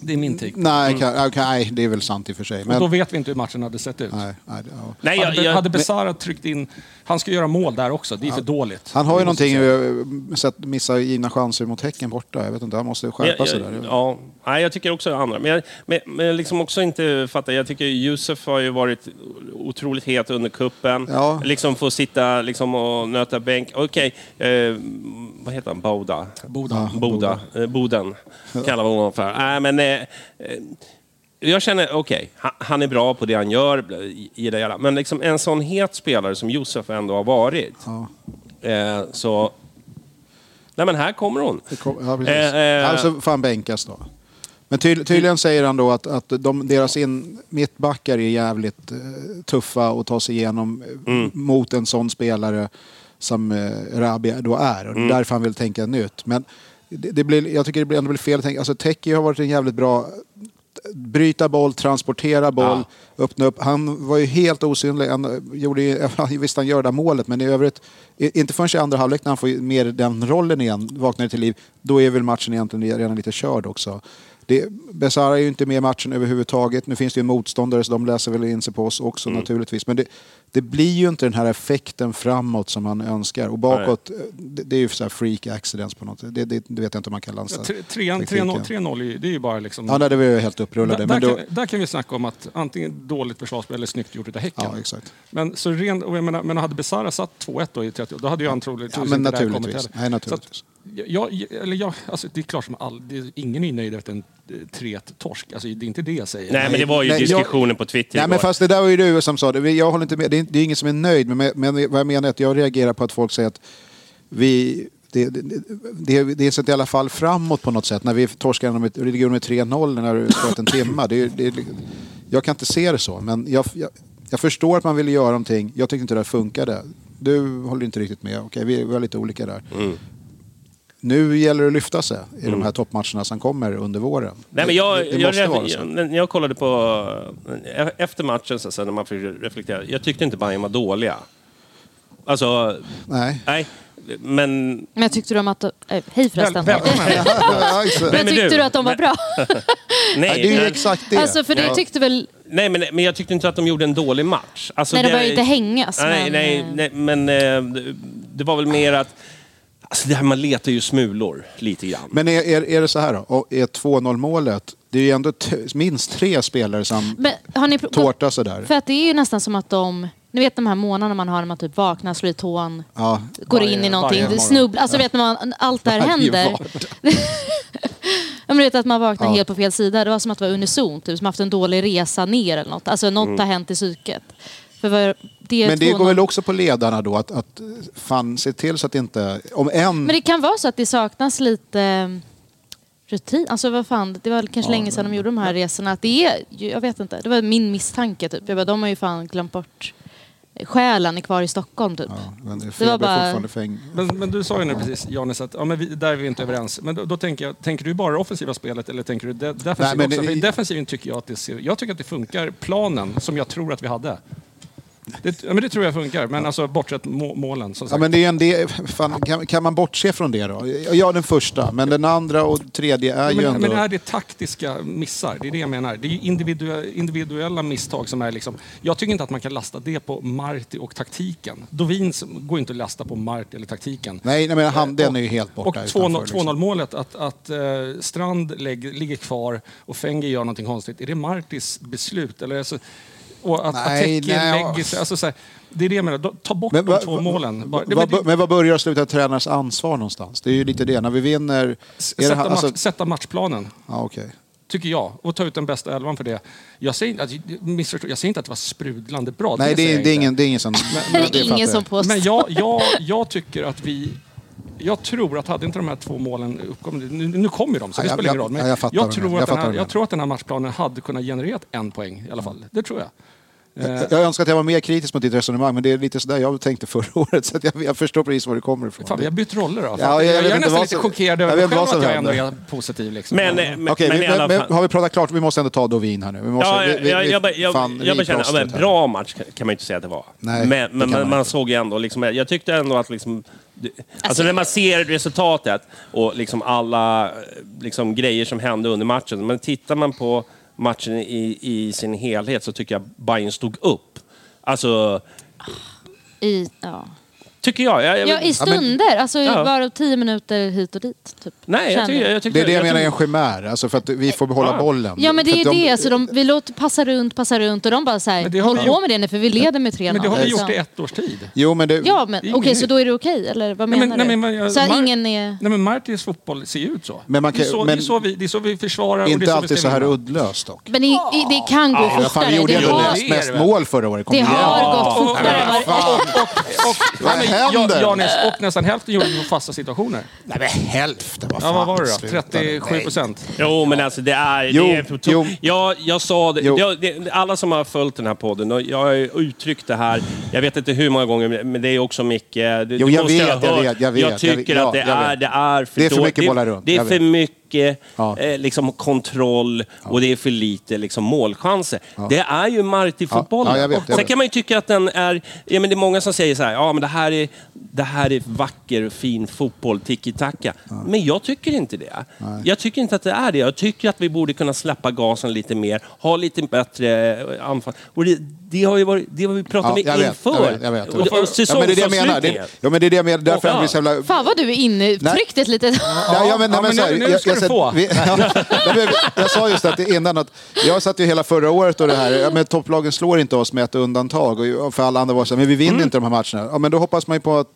S3: Det är min take.
S1: Nej, kan, okay, nej, det är väl sant i och för sig. Men,
S3: Och Mm. då vet vi inte hur matchen hade sett ut.
S1: nej, nej, det- ja.
S2: Nej, jag,
S3: hade,
S2: jag,
S3: hade Besara tryckt in... Han ska göra mål där också. Det är för dåligt.
S1: Han har ju
S3: Det måste
S1: någonting,
S3: jag
S1: eh, sett missa givna chanser mot Häcken borta. Jag vet inte, han måste
S2: men
S1: skärpa
S2: jag,
S1: sig
S2: jag,
S1: där.
S2: ja, nej, jag tycker också det andra. Men jag, men, men jag liksom också inte fattar. Jag tycker Yusuf har ju varit otroligt het under kuppen.
S1: Ja.
S2: Liksom få sitta liksom, och nöta bänk. Okej, eh, vad heter han? Boda? Boda. Boda. Eh, Boden kallar vi honom för. Nej, men... Eh, eh, jag känner, okej, han, han är bra på det han gör, bla- i, i det hela. men liksom en sån het spelare som Josef ändå har varit, eh, så... Nej men här kommer hon.
S1: Det kom- Ja, precis.
S2: Eh, eh,
S1: alltså, fan bänkas då. Men tyd, tydligen säger han då att, att de, deras in, mittbackar är jävligt eh, tuffa att ta sig igenom eh,
S2: Mm.
S1: mot en sån spelare som eh, Rabia då är. Och mm. därför han vill tänka nytt. Men det, det blir, jag tycker det blir, ändå blir fel att tänka. Alltså, Teki har varit en jävligt bra bryta boll, transportera boll, öppna upp. Han var ju helt osynlig. Han eh, gjorde ju, visst, han gör det där målet, men i övrigt, i- inte förrän i andra halvlek när han får ju mer den rollen igen, vaknar till liv, då är väl matchen egentligen redan lite körd också. Det, Besara är ju inte med i matchen överhuvudtaget. Nu finns det ju motståndare så de läser väl in sig på oss också
S3: Mm.
S1: naturligtvis. Men det, det blir ju inte den här effekten framåt som han önskar. Och bakåt, eh, det, det är ju så här freak accidents på något sätt. Det, det, det vet jag inte om man kan
S3: säga.
S1: lansa.
S3: Tre- trean-
S1: taktiken.
S3: 3-0, 3-0 är ju- det är ju bara liksom...
S1: Ja, nej, det var ju helt upprullade.
S3: där,
S1: men
S3: där,
S1: då,
S3: kan, där kan vi snacka om att antingen dåligt försvarsspel eller snyggt gjort utav Häcken.
S1: ja, exakt.
S3: Men, så ren, och jag menar, men hade Besara satt 2-1 då i 30 då hade ju han troligtvis
S1: Ja, men
S3: inte det här
S1: naturligtvis.
S3: kommit heller.
S1: Nej, naturligtvis.
S3: Så att, jag, eller jag, alltså, det är klart som all, det är, ingen är ju nöjd efter en eh, 3-1-torsk. Alltså, det är inte det jag säger.
S2: Nej, men det var ju
S1: Nej, jag-
S2: diskussionen på Twitter
S1: Nej, men
S2: igår.
S1: fast det där var ju du som sa det. Jag håller inte med. Det är, det är ingen som är nöjd. Men, men vad jag menar är att jag reagerar på att folk säger att vi... Det, det, det, det är sett i alla fall framåt på något sätt. När vi torskar med, det ligger med 3-0 när du spelat en timme. Det, är- det, är- jag kan inte se det så. Men jag, jag, jag förstår att man ville göra någonting. Jag tyckte inte det där funkade. Du håller inte riktigt med. Okej, vi, vi var lite olika där. Nu gäller det att lyfta sig i de här toppmatcherna som kommer under våren.
S2: Nej, men jag,
S1: det, det
S2: jag,
S1: måste
S2: jag,
S1: vara så.
S2: jag, jag kollade på... eh, Efter matchen, så, så när man fick reflektera, jag tyckte inte Bayern var dåliga. Alltså,
S1: Nej.
S2: nej. Men
S4: Men jag tyckte de att... eh, hej förresten.
S3: Väl, välkommen.
S1: Ja, exakt.
S4: Men
S2: men
S4: tyckte
S2: du?
S4: du att de var bra?
S2: nej,
S1: Nej, det är ju
S2: nej,
S1: exakt det.
S4: Alltså, för du
S1: Ja.
S4: tyckte väl...
S2: nej men, men jag tyckte inte att de gjorde en dålig match. Alltså,
S4: Nej, de behöver inte hängas,
S2: Nej,
S4: men-
S2: nej, nej, men eh, det- det var väl mer att... Alltså det här, man letar ju smulor lite grann.
S1: Men är, är, är det så här då? Och är 2-0 målet, det är ju ändå t- minst tre spelare som
S4: Men, har ni pro-
S1: tårta sådär.
S4: För att det är ju nästan som att de... Ni vet de här månaderna man har när man typ vaknar, slår i tån,
S1: Ja.
S4: går
S3: Varje-
S4: in i någonting,
S3: varje morgon.
S4: snubblar. Alltså vet när man, allt det här
S1: Varje
S4: händer.
S1: vardag.
S4: Ja, men du vet att man vaknar
S1: Ja.
S4: helt på fel sida. Det var som att det var unisont. Typ, som haft en dålig resa ner eller något. Alltså något har hänt i psyket. För vad, det är
S1: Men det
S4: 2-0.
S1: går väl också på ledarna då att, att fan se till så att inte, om en...
S4: Men det kan vara så att det saknas lite eh, rutin. Alltså vad fan, det var kanske länge sedan de gjorde de här resorna. Att det är, ju- jag vet inte, det var min misstanke typ. Jag bara, de har ju fan glömt bort själen är kvar i Stockholm typ.
S1: ja, men det
S4: Det var bara-
S1: fortfarande fäng...
S3: Men, men du sa ju nu precis, Janis, att ja, men vi, där är vi inte överens. Men då, då tänker jag, tänker du bara det offensiva spelet eller tänker du de,
S1: Nej,
S3: defensiv
S1: men
S3: också?
S1: det-
S3: För i defensiven tycker jag att det ser, jag tycker att det funkar, planen som jag tror att vi hade. Det, ja, men det tror jag funkar, men alltså bortsett må, målen som sagt.
S1: Ja, men det är en del, fan, kan, kan man bortse från det då? Ja, den första, men den andra och tredje är ju
S3: men,
S1: ändå...
S3: men är det taktiska missar? Det är det jag menar. Det är ju individue- individuella misstag som är liksom... Jag tycker inte att man kan lasta det på Marti och taktiken. Dovins går inte att lasta på Marti eller taktiken.
S1: Nej, nej, men han, den är ju helt borta
S3: Och
S1: utanför, liksom.
S3: 2-0 2-0-målet, att, att eh, Strand lägger, ligger kvar och Fenger gör någonting konstigt. Är det Martis beslut? Eller alltså, Och att
S1: Nej,
S3: Ateki
S1: nej,
S3: lägger sig. Alltså, så här, det är det jag menar. Då- Ta bort
S1: Men
S3: de
S1: vad-
S3: två
S1: vad-
S3: målen. Bara- det-
S1: vad-
S3: det-
S1: Men vad börjar och slutar tränarens ansvar någonstans? Det är ju lite det. När vi vinner... är det
S3: Sätta,
S1: han- alltså-
S3: match, sätta matchplanen,
S1: Ja, okej.
S3: tycker jag. Och ta ut den bästa elvan för det. Jag säger, inte att- missförstå, jag säger inte att det var sprudlande bra.
S1: Nej,
S3: säger
S1: det är, det
S3: jag
S1: är
S3: inte.
S1: ingen, det är ingen som...
S4: Det
S1: det
S4: är
S1: fattar
S4: ingen
S1: jag.
S4: som påstår.
S3: Men jag, jag, jag tycker att vi... Jag tror att hade inte de här två målen uppkommit... Nu, nu kommer ju de, så
S1: Ja,
S3: det
S1: jag-
S3: spelar ingen
S1: jag-
S3: roll. Men
S1: ja, jag fattar vad du
S3: tror,
S1: menar. Jag
S3: att den
S1: fattar vad
S3: här,
S1: du
S3: jag
S1: menar.
S3: tror att den här matchplanen hade kunnat genererat en poäng i alla fall. Det tror jag. Eh.
S1: Jag, jag önskar att jag var mer kritisk mot ditt resonemang, men det är lite sådär jag tänkte förra året. Så att jag, jag förstår precis var det kommer ifrån.
S3: Fan, vi har bytt roller då. Fan,
S1: jag vet
S3: jag, är
S1: inte
S3: nästan
S1: vad
S3: lite
S1: som-
S3: chockerad
S1: jag
S3: över
S1: vet
S3: mig själv
S1: vad som
S3: att jag ändå
S1: händer.
S3: är positiv. Liksom.
S2: Men, eh, men,
S1: Okej,
S2: men
S1: vi,
S2: i alla
S1: men,
S2: fall.
S1: har vi pratat klart? Vi måste ändå ta Dovin här nu. Vi måste,
S2: Ja,
S1: vi,
S2: jag,
S1: vi,
S2: jag,
S1: vi,
S2: jag, bara- jag,
S1: fan,
S2: jag
S1: vi
S2: bara känner, ja,
S1: plåstret
S2: men
S1: här.
S2: bra match kan- kan man ju inte säga att det var.
S1: Nej, det
S2: men men
S1: kan
S2: man,
S1: man
S2: man
S1: inte.
S2: såg ju ändå, liksom, jag tyckte ändå att liksom, det- alltså när man ser resultatet och liksom alla eh, liksom, grejer som hände under matchen, men tittar man på matchen i, i sin helhet så tycker jag Bayern stod upp. Alltså,
S4: I, ja.
S2: tycker jag. jag, jag
S4: Ja, i stunder. Alltså
S2: Ja.
S4: bara tio minuter hit och dit. Typ.
S2: nej, jag
S4: Känner
S2: tycker, jag
S1: Det
S2: tycker,
S1: är det jag
S2: jag
S1: menar är
S2: tycker-
S1: en chimär, alltså för att vi får behålla bollen.
S4: Ja men det
S1: För
S4: är ju
S1: att de-
S4: det, alltså de, vi låter passa runt, passa runt och de bara så
S3: Men det
S4: här,
S3: har vi
S4: håll på
S3: gjort-
S4: med det nu för vi leder med 3-0.
S3: men det har vi
S4: liksom.
S3: gjort i ett års tid.
S1: Jo, men det...
S4: Ja men
S3: Det är
S4: Eh, okej
S3: inget
S4: så
S3: nytt.
S4: då är det okej eller vad
S3: Nej,
S4: menar
S3: men- nej, men
S4: du?
S3: jag-
S4: så här,
S3: Mar-
S4: ingen är...
S3: Nej, men Martins fotboll ser ju ut så.
S1: Men man kan-
S3: det, är så
S1: men-
S3: det, är så vi, det är så vi försvarar. och det är
S1: Inte
S3: vi
S1: alltid så
S3: ska
S1: här
S3: vinna.
S1: uddlöst dock.
S4: Men i, i, det kan gå
S1: Ja, fan,
S4: fortare.
S1: vi gjorde
S4: det
S1: ju ändå
S4: har,
S1: näst mest
S3: det är det.
S1: mål förra året. Kom
S4: det
S1: igen.
S4: har gått
S3: Och- och- och-
S4: fortare.
S3: och-
S4: var-
S3: och- och-
S1: Vad
S3: nej, men
S1: händer?
S3: Ja, Janis, och nästan hälften gjorde vi på fasta situationer.
S1: Nej, men hälften. Vad
S3: Ja,
S1: fan.
S3: vad var det då?
S1: sluta nu.
S3: 37 procent?
S2: Jo, men alltså det är...
S1: Jo,
S2: det är på tok-
S1: jo.
S2: Jag, jag sa det,
S1: Jo.
S2: jag, det. Alla som har följt den här podden, och jag har ju uttryckt det här, jag vet inte hur många gånger, men det är också Micke... Du,
S1: Jo,
S2: du
S1: jag
S2: måste
S1: vet,
S2: ha
S1: jag
S2: hört.
S1: vet, jag vet, jag
S2: Jag tycker
S1: vet. Ja,
S2: att det,
S1: jag
S2: är,
S1: vet.
S2: det är för
S1: Det är för
S2: dåligt.
S1: mycket bollar runt,
S2: Det är
S1: jag
S2: för
S1: vet.
S2: mycket
S1: Ja.
S2: eh, liksom, kontroll och det är för lite liksom, målchanser. Det är ju Marti-fotbollen.
S1: Ja, ja, jag vet, jag
S2: Sen
S1: vet.
S2: kan man ju tycka att den är... Ja, men det är många som säger så här, ja men det här är, det här är vacker, fin fotboll, tiki-taka. Men jag tycker inte det. Jag tycker inte att det är det. Jag tycker att vi borde kunna släppa gasen lite mer, ha lite bättre eh, anfall. Och det, det har ju varit, det har vi pratat
S1: Ja,
S2: om
S1: jag vet,
S2: inför.
S1: jag vet, jag vet.
S2: Och, och
S1: Ja, men det är det jag menar.
S2: säsongsavslutningen.
S1: Det, ja, men det är det jag menar. Därför
S2: Ja.
S1: är vi så jävla...
S4: Fan vad du är intryckt ett litet...
S1: Nej, jag men, nej, men
S3: Ja, men
S1: så här,
S3: nu- nu
S1: jag-
S3: ska
S1: jag
S3: du
S1: satt-
S3: få.
S1: vi- ja, nej, men Jag sa just att det innan att jag satt ju hela förra året och det här, ja, men topplagen slår inte oss med ett undantag. Och för alla andra var det så här, men vi vinner
S3: Mm.
S1: inte de här matcherna. Ja, men då hoppas man ju på att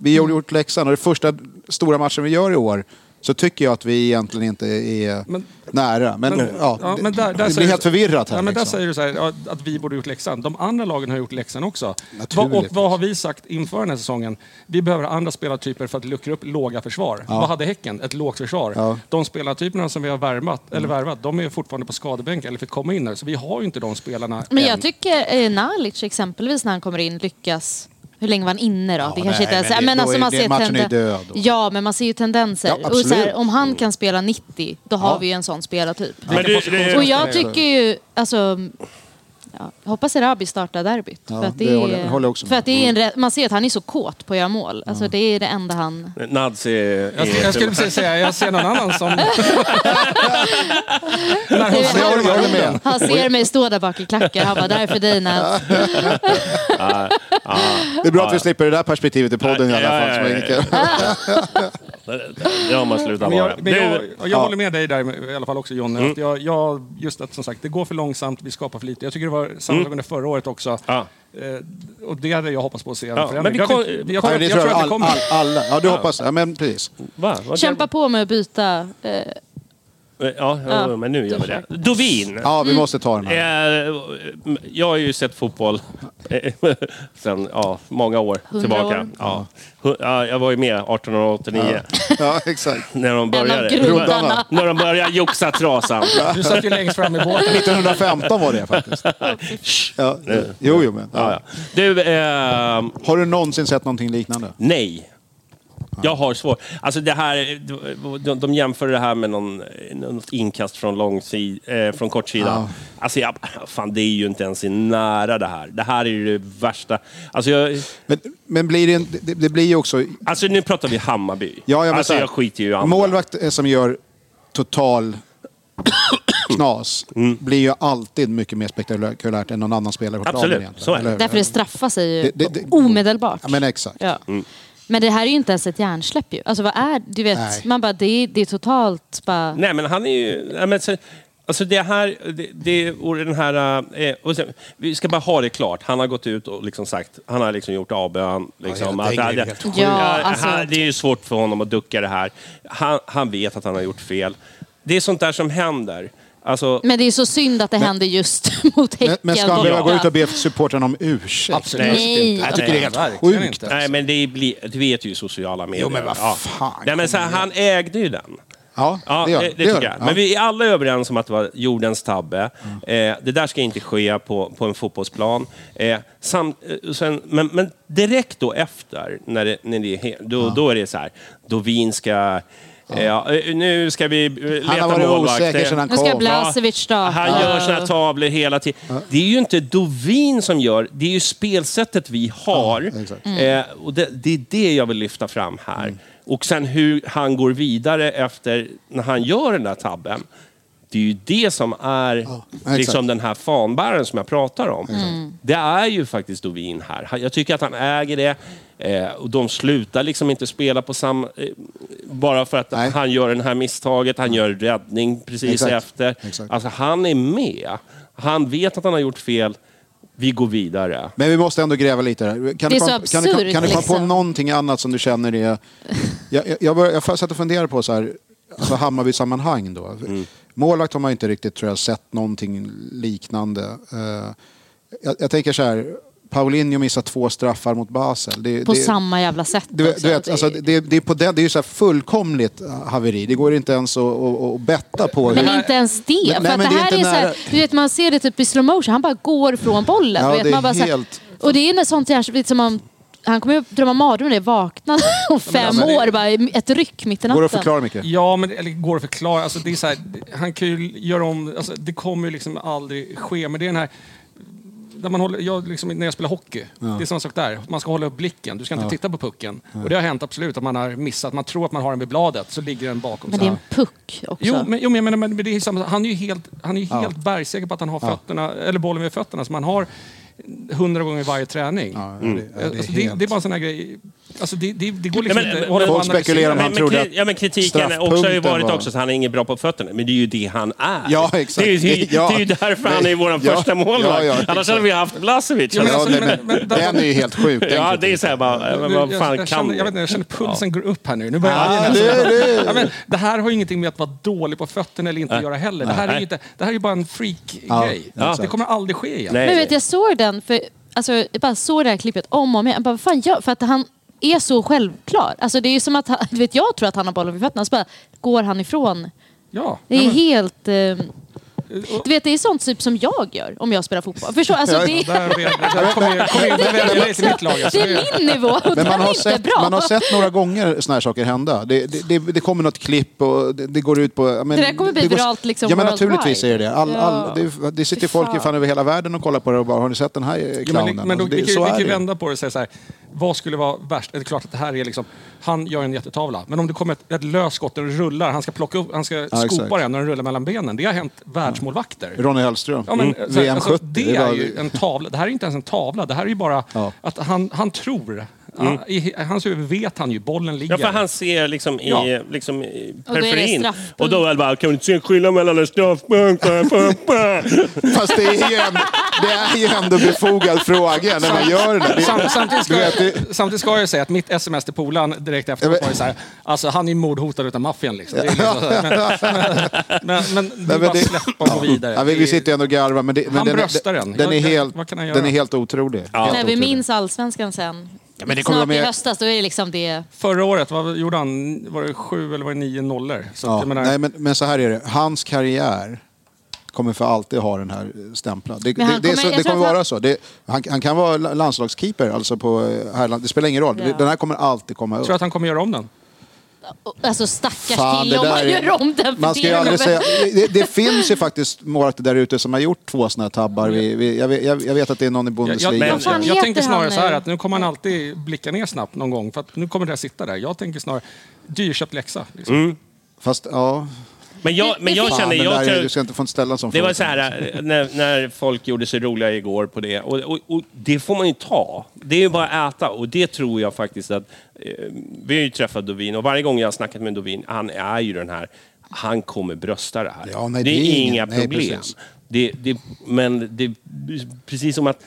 S1: vi har gjort läxan och det första stora matchen vi gör i år så tycker jag att vi egentligen inte är
S3: Men-
S1: nära. Men, ja,
S3: Ja, men
S1: det-
S3: där, där
S1: det blir
S3: säger-
S1: helt förvirrat här.
S3: Ja, men där
S1: liksom.
S3: säger du så här, ja, att vi borde gjort läxan. De andra lagen har gjort läxan också. Vad, och
S1: Naturligtvis.
S3: vad har vi sagt inför den här säsongen? Vi behöver andra spelartyper för att luckra upp låga försvar. Vad hade Häcken? Ett lågt försvar.
S1: Ja. Mm.
S3: De spelartyperna som vi har värvat, eller värvat, de är fortfarande på skadebänken eller fick komma in där. Så vi har ju inte de spelarna
S4: Men
S3: än.
S1: Ehm.
S4: jag tycker eh, Nalic exempelvis när han kommer in lyckas Hur länge var han inne då? det kanske inte
S1: nej,
S4: ens...
S1: men det-
S4: men
S1: då
S4: alltså
S1: är
S4: man
S1: det-
S4: ser
S1: matchen är
S4: tenden-
S1: död då.
S4: Ja, men man ser ju tendenser.
S1: Ja,
S4: och så
S1: absolut. Mm.
S4: här, om han kan spela 90, då har vi ju en sån spelartyp.
S2: Men du, det,
S4: Och jag tycker ju, alltså... Ja, hoppas Erabi startar derbyt.
S1: Ja,
S4: för att det,
S1: det håller jag-
S4: är,
S1: håller jag också med.
S4: för att det är en, rä- man ser att han är så kåt på att göra mål. Alltså, Det är det enda han...
S2: Nads är...
S3: Jag, skulle- jag skulle precis säga, jag ser någon annan som... När hon
S1: jag håller- jag håller med.
S4: Han ser mig stå där bak i klackar. Han bara, där är för dig Nat.
S1: Det är bra att vi slipper det där perspektivet i podden i alla fall. som är lika-
S2: Det har man slutat
S3: Men
S2: vara.
S3: jag, men jag,
S2: Du-
S3: jag håller med dig där i alla fall också Jonny. Att jag, jag, just att som sagt, det går för långsamt, vi skapar för lite. Jag tycker det var samma mm. förra året också.
S2: Ja.
S3: Eh, och det hade jag hoppats på att se en
S2: Ja,
S3: förändring.
S2: men vi
S3: Jag
S2: kom-
S3: vet- jag tror
S1: Nej,
S3: att-
S1: det
S3: jag tror att det
S1: all,
S3: kommer.
S1: all, alla. Ja, du hoppas. Ja, men precis.
S2: Va? Vad-
S4: Kämpa på med att byta. Eh,
S2: Ja, ja,
S4: Ja.
S2: men nu gör vi det. Dovin!
S1: Ja,
S3: Mm.
S1: vi måste ta den här.
S2: Eh, jag har ju sett fotboll eh, sen ja, många år
S4: 100
S2: tillbaka.
S4: år.
S2: Ja. Hu- ja, jag var ju med 1889
S1: Ja, exakt.
S2: när de
S4: en av
S2: började.
S4: grundarna.
S2: När de började joxa trasan.
S3: Du satt ju längst fram i båten.
S1: 1915 var det faktiskt. Ja, jo, jo, men.
S2: Ja, ja. Du, ehm,
S1: Har du någonsin sett någonting liknande?
S2: Nej. Jag har svårt. Alltså det här, de, de jämför det här med någon, något inkast från, lång si, eh, från kortsida. Alltså jag, fan, det är ju inte ens i nära det här. Det här är ju det värsta. Alltså, jag,
S1: Men, men blir det, en, det, det blir ju också...
S2: alltså nu pratar vi Hammarby.
S1: Ja, men
S2: alltså
S1: så här,
S2: jag skiter ju i andra.
S1: Målvakt är som gör total knas
S2: Mm.
S1: blir ju alltid mycket mer spektakulärt än någon annan spelare på planen.
S2: Absolut,
S1: egentligen,
S2: så är det.
S1: eller hur?
S4: Därför det straffar sig ju
S1: Det- det- det-
S4: omedelbart.
S1: Ja, men exakt.
S4: Ja. Men det här är ju inte ens ett hjärnsläpp ju. Alltså vad är Du vet,
S1: Nej.
S4: man bara, det är, det är totalt bara...
S2: Nej men han är ju... Nej, men, så, Alltså det här, det, det, och den här, eh, och sen, vi ska bara ha det klart. Han har gått ut och liksom sagt, han har liksom gjort avbön. Liksom,
S1: hela
S2: att,
S1: den grejen är
S2: det,
S1: helt
S4: sjuk. Ja, alltså.
S2: han, det är ju svårt för honom att ducka det här. Han, han vet att han har gjort fel. Det är sånt där som händer. Alltså,
S4: Men det är så synd att det händer just mot
S1: Men,
S4: Häcken.
S1: men ska han behöva gå
S4: borta.
S1: ut och be supporten om ursäkt?
S3: Absolut
S4: Nej.
S3: inte.
S1: Jag tycker det är helt
S3: Verkligen
S1: sjukt.
S3: inte.
S2: nej men det blir, du vet ju hur sociala medier.
S1: Jo, men vad
S2: Ja.
S1: fan.
S2: Nej, men så här, han ägde ju den.
S1: Ja,
S2: Ja,
S1: det gör
S2: det,
S1: det. gör
S2: tycker jag.
S1: det.
S2: Men
S1: Ja. Mm.
S2: vi är alla överens om att det var jordens tabbe. Eh, det där ska inte ske på, på en fotbollsplan. Eh, sam, eh, sen, men, men direkt då efter, när det, när det är, he- då, då är det så här, då vin ska... Eh, ja, eh, nu ska vi eh, leta
S1: Han har varit
S2: målvakter.
S1: osäker sedan han
S4: Nu ska
S1: kom.
S4: Blasevic starta.
S2: Han gör sina tavlor hela tiden. Det är ju inte Dovin som gör, det är ju spelsättet vi har.
S1: Ja, exakt. Mm.
S2: eh, och det, det är det jag vill lyfta fram här. Och sen hur han går vidare efter, när han gör den där tabben. Det är ju det som är
S1: exakt.
S2: liksom den här fanbäraren som jag pratar om. Det är ju faktiskt Dovin här. Han- Jag tycker att han äger det. Eh, och de slutar liksom inte spela på samma... Eh, bara för att
S1: Nej.
S2: han gör det här misstaget, han gör räddning precis
S1: Exakt.
S2: efter.
S1: Exakt.
S2: Alltså han är med. Han vet att han har gjort fel. Vi går vidare.
S1: Men vi måste ändå gräva lite här. Kan
S4: Det
S1: du
S4: är
S1: komma,
S4: så
S1: kan du, komma-
S4: absurt,
S1: kan du komma på
S4: liksom.
S1: någonting annat som du känner är... Jag, jag, jag, bör, jag satt och funderade på så här, alltså Hammarby-sammanhang då. Målvakt har man inte riktigt tror jag, sett någonting liknande. Eh, jag, jag tänker så här, Paulinho missar två straffar mot Basel. Det,
S4: På
S1: det,
S4: samma jävla sätt.
S1: Du, vet-
S4: också.
S1: du vet, alltså, det, det, är på den, det är ju så här fullkomligt haveri. Det går inte ens att, att, att betta på.
S4: Men
S1: hur-
S4: inte ens det.
S1: Men-
S4: för
S1: nej,
S4: att
S1: men
S4: det
S1: det är
S4: här är,
S1: inte
S4: så här,
S1: nära.
S4: du vet, man ser det typ i slow motion. Han bara går från bollen.
S1: Ja,
S4: du vet,
S1: det är
S4: man bara så här-
S1: helt-
S4: Och det är när sånt här, lite som om, han kommer ju drömma mardrömmar när det vaknar om fem
S1: alltså, det-
S4: år. Bara ett ryck mitt i natten.
S1: Går det att förklara mycket?
S3: Ja, men det- eller går att förklara. Alltså, det är så här, han kan ju göra om... Alltså, det kommer ju liksom aldrig ske. Men det är den här... När, man håller, jag, liksom, när jag spelar hockey, det är samma sak där. Man ska hålla upp blicken, du ska inte titta på pucken. Och det har hänt absolut att man har missat, man tror att man har den vid bladet, så ligger den bakom.
S4: Men
S3: Så
S4: det är
S3: här.
S4: en puck också.
S3: Jo, men, jo, men, men, men det är samma, han är ju helt, han är ju helt bergsäker på att han har fötterna, eller bollen vid fötterna som han har hundra gånger i varje träning.
S1: det- ja, det är
S3: alltså, det,
S1: helt-
S3: det är bara en sån här grej. Alltså, det, det, det går liksom
S2: Nej, men-
S3: inte att
S2: men-
S3: hålla på och
S1: Folk spekulerar om
S3: analysera.
S1: han trodde
S2: kri-
S1: att
S2: ja, men kritiken är också har ju
S1: straffpunkten
S2: varit
S1: var-
S2: också att han är ingen bra på fötterna. Men det är ju det han är.
S1: Ja, exakt.
S2: Det är ju, det är ju-
S1: Ja.
S2: det är ju därför han är vår
S1: Ja.
S2: första
S1: Ja,
S2: målvakt.
S1: ja,
S2: Annars
S1: exakt.
S2: hade vi haft Blasevic.
S3: Ja, men
S2: Alltså,
S1: Ja,
S3: alltså,
S1: nej,
S3: men-
S1: men,
S3: men-
S1: den är ju helt sjuk. den
S2: ja, det är
S1: kritiken.
S2: så här bara, eh, men vad
S3: Nu-
S2: fan
S3: jag, jag
S2: kan
S3: känner,
S2: vi?
S3: jag, vet inte, jag känner pulsen går upp här nu. nu börjar
S1: Ja,
S3: jag-
S1: det är det.
S3: alltså, ja, men, det här har ju ingenting med att vara dålig på fötterna eller inte göra heller. Det här, är
S2: Nej.
S3: ju inte, det här är ju bara en freak-grej.
S1: Ja,
S3: Det
S1: exakt.
S3: kommer aldrig ske igen.
S2: Nej.
S4: Men vet, jag såg den, för, alltså, jag bara såg det här klippet om och om igen. Jag bara, vad fan gör, för att han är så självklar. Alltså, det är ju som att han, du vet, jag tror att han har bollen vid fötterna, så bara går han ifrån.
S3: Ja,
S4: Det är
S3: ja, men-
S4: helt... Eh, du vet, det är sånt typ som jag gör om jag spelar fotboll. Förstår, alltså, det,
S3: Där vet- där kommer jag- kommer jag- där vet jag dig till mitt lag. alltså.
S4: det är min nivå och
S1: Men
S4: den
S1: man
S4: är
S1: har,
S4: inte
S1: sett,
S4: bra.
S1: man har sett några gånger såna här saker hända. Det, det, det, det kommer något klipp och det, det går ut på... ja, Men,
S4: Det där kommer bli
S1: går-
S4: viralt liksom
S1: Ja, men
S4: worldwide.
S1: naturligtvis är det det. all,
S4: Ja.
S1: all, det. Det sitter
S4: Fy
S1: folk
S4: fan.
S1: fan. över hela världen och kollar på det och bara, har ni sett den här eh,
S3: Ja, men,
S1: clownen?
S3: men då,
S1: Alltså, det-
S3: vi,
S1: så
S3: kan- vi kan
S1: är
S3: ju
S1: det.
S3: vända på det och säga så här. Vad skulle vara värst? Det är klart att det här är liksom, han gör en jättetavla. Men om det kommer ett, ett löst skott och den rullar, han ska plocka upp, han ska
S1: Ja,
S3: skopa
S1: exakt.
S3: den och den rullar mellan benen. Det har hänt världsmålvakter.
S1: Ronny Hellström,
S3: Ja, men,
S1: Mm.
S3: så, här,
S1: VM 70.
S3: alltså, det är ju en tavla. Det här är inte ens en tavla. Det här är ju bara
S1: Ja.
S3: att han, han tror. Han, I hans huvud vet han ju. Bollen ligger.
S2: Mm. Ja, för han ser liksom i,
S3: Ja.
S2: liksom i
S4: Och då är det
S2: periferin.
S4: straffpunkt.
S2: Och då är det bara, kan du inte se en skillnad mellan en straffpunkt och en pumpa?
S1: Fast det är, ju en, det är ju ändå befogad fråga när man gör det. där.
S3: Sam,
S1: det
S3: samtidigt, ska
S1: du
S3: jag,
S1: vet, det,
S3: samtidigt ska jag säga att mitt sms till polaren direkt efteråt
S1: Ja, men-
S3: var ju så här, alltså han är mordhotad utav maffian liksom. Det är liksom så här, men, men, men, det
S1: Nej,
S3: är bara
S1: men
S3: att
S1: det-
S3: släppa och gå
S2: Eh,
S3: vidare.
S1: Ja, vi,
S3: Det
S1: vi
S3: är-
S1: sitter ju ändå och garvar, men, det, men
S3: Han
S1: den,
S3: bröstar
S1: den,
S3: den.
S1: den, är
S3: Jag-
S1: helt,
S3: vad kan han göra?
S1: den är helt otrolig. Helt
S4: När vi
S1: otrolig.
S4: minns allsvenskan sen.
S1: men det kommer
S4: Snart
S1: vara
S4: i
S1: med-
S4: höstas, då är det liksom det.
S3: Förra året, vad gjorde han? Var det sju eller var det nio nollor? Så att
S1: Ja,
S3: jag menar,
S1: nej, men, men så här är det. Hans karriär kommer för alltid ha den här eh, stämpeln. Det, det,
S4: Men han
S1: det, är
S4: kommer-
S1: så,
S4: jag
S1: det
S4: tror
S1: kommer
S4: att han-
S1: vara så. Det, han, han kan vara la- landslagskeeper alltså på eh, herrland. Det spelar ingen roll.
S4: Ja.
S1: Den här kommer alltid komma
S3: tror du
S1: upp.
S3: att han kommer göra om den?
S4: Alltså stackars kille om
S1: där
S4: man
S1: är-
S4: gör om den. för
S1: man ska
S4: det.
S1: ju aldrig säga, det, det finns ju faktiskt målvakter där ute som har gjort två sådana här tabbar. Vi, vi, jag, vet, jag jag vet att det är någon i Bundesliga.
S2: men-
S3: jag,
S2: Vad fan
S3: jag, jag
S4: heter
S3: tänker snarare
S4: han
S3: så här
S4: nu?
S3: att nu kommer han alltid blicka ner snabbt någon gång för att nu kommer det här sitta där. Jag tänker snarare dyrköpt läxa. Liksom.
S1: Fast ja,
S2: Men jag, men jag
S1: fan,
S2: känner,
S1: den
S2: jag
S1: där, är-
S2: tror,
S1: du ska inte få ställa en sån
S2: det
S1: fråga.
S2: var så här eh, när, när folk gjorde sig roliga igår på det. Och, och, och det får man ju ta. Det är ju bara att äta. Och det tror jag faktiskt att... Eh, vi har ju träffat Dovin och varje gång jag har snackat med Dovin, han är ju den här... han kommer brösta det här.
S1: Ja, nej,
S2: det,
S1: det
S2: är
S1: är
S2: inga
S1: ingen- nej,
S2: problem.
S1: precis.
S2: det, det, men det precis som att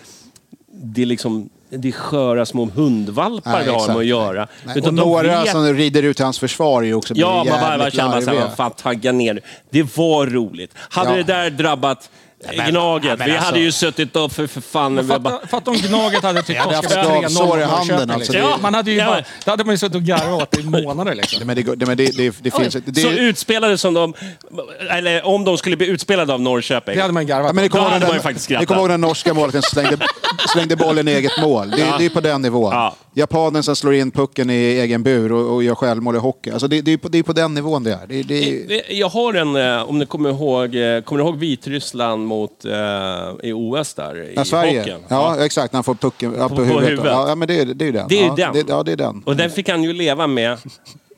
S2: det är liksom det är sköra små hundvalpar
S1: Nej,
S2: vi har med
S1: exakt.
S2: att göra.
S1: Nej. Och
S2: Utan de
S1: några
S2: vet-
S1: som rider ut till hans försvar är ju också
S2: Ja, man bara,
S1: jävligt
S2: bara känner så här,
S1: larviga.
S2: vad fan, tagga ner nu. Det var roligt. Hade
S1: Ja.
S2: det där drabbat
S5: men-
S2: Gnaget,
S5: ja, men
S2: vi
S5: alltså-
S2: hade ju suttit och för, för fan... vi bara-
S3: Fatta, fatta om Gnaget hade tyckt
S5: Ja, det
S3: att
S5: är
S3: Oskar
S1: alltså
S3: var 3-0
S1: sår i
S3: mot
S1: handen,
S3: Norrköping,
S1: alltså.
S3: liksom.
S2: Det-
S3: Man hade ju
S2: Ja,
S3: bara,
S2: men-
S3: då hade man ju suttit och garvat åt det i månader. Liksom.
S1: Nej, Men det, går- nej, men det, det, det finns... Det,
S2: Så utspelade som de... Eller om de skulle bli utspelade av Norrköping.
S3: Det hade man garvat
S1: Ja, men ni
S3: åt.
S1: kommer
S2: Då
S1: ihåg
S2: hade
S1: den-
S2: man ju faktiskt skrattat.
S1: Ni kommer ihåg den norska målvakten som slängde, slängde bollen i eget mål. Det, det är på den nivån.
S2: Ja.
S1: Japanen som slår in pucken i egen bur och, och gör självmål i hockey. Alltså det, det, är på, det är på den nivån det är. Det, det,
S2: Jag har en, eh, om ni kommer ihåg, eh, kommer ni ihåg Vitryssland mot, eh, i OS där? I
S1: ja, Sverige.
S2: hockeyn?
S1: Ja, exakt. När han får pucken ja, på,
S2: på
S1: huvudet.
S2: huvudet.
S1: Ja, men det, är- det är ju den.
S2: Det är ju
S1: ja,
S2: den.
S1: Det, ja, det är den.
S2: Och den fick han ju leva med.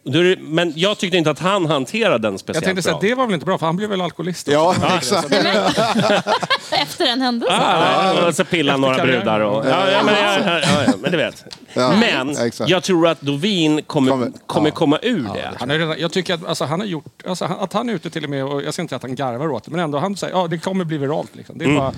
S2: Då är det- Men jag tyckte inte att han hanterade den
S3: Jag
S2: speciellt
S3: tänkte säga,
S2: bra.
S3: det var väl inte bra, för han blev väl alkoholist? också.
S1: Ja, exakt.
S4: Efter den händelsen.
S2: Ah, ja, och så pillar några
S3: karriären.
S2: brudar och... Ja, ja, men, ja, ja, ja, ja, men du vet.
S1: Ja,
S2: men
S1: exakt.
S2: jag tror att Dovin kommer,
S1: Kommer-
S2: kommer
S1: ja.
S2: komma ur det.
S3: Han är redan, jag tycker att alltså, han har gjort, alltså, han, att han är ute till och med, och jag ska inte säga att han garvar åt det, men ändå, han säger ja det kommer bli viralt. Liksom. Det är bara,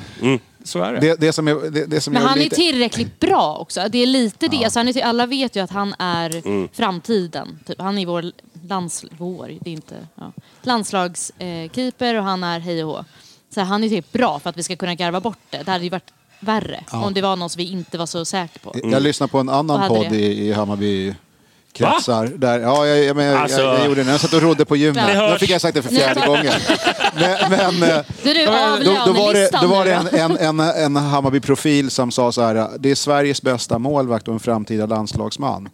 S3: Så är det.
S1: Mm. Det, det som är... Det, det som
S4: Men
S1: gör
S4: han är
S1: lite-
S4: tillräckligt bra också. Det är lite det. Alltså han är till, alla vet ju att han är framtiden. Typ. Han är vår, lands, vår det är inte, ja. landslagskeeper eh, keeper och han är hej och hå. Så han är tillräckligt bra för att vi ska kunna garva bort det. Det hade ju varit värre om det var någon som vi inte var så säkra på.
S1: Jag lyssnade på en annan
S4: Vad hade
S1: podd
S4: det?
S1: i, i Hammarby kretsar. Där, ja, jag, jag, men jag,
S2: Alltså.
S1: jag, jag gjorde det. Jag satt och rodde på gymmet.
S4: Det
S1: Nu
S2: hörs.
S1: fick jag sagt det för
S4: Nu-
S1: fjärde gången. Men, men, eh,
S4: Du är du av
S1: då, då var det,
S4: lönelistan
S1: då var
S4: nu
S1: det
S4: då?
S1: en, en, en, en Hammarby-profil som sa så här, det är Sveriges bästa målvakt och en framtida landslagsman.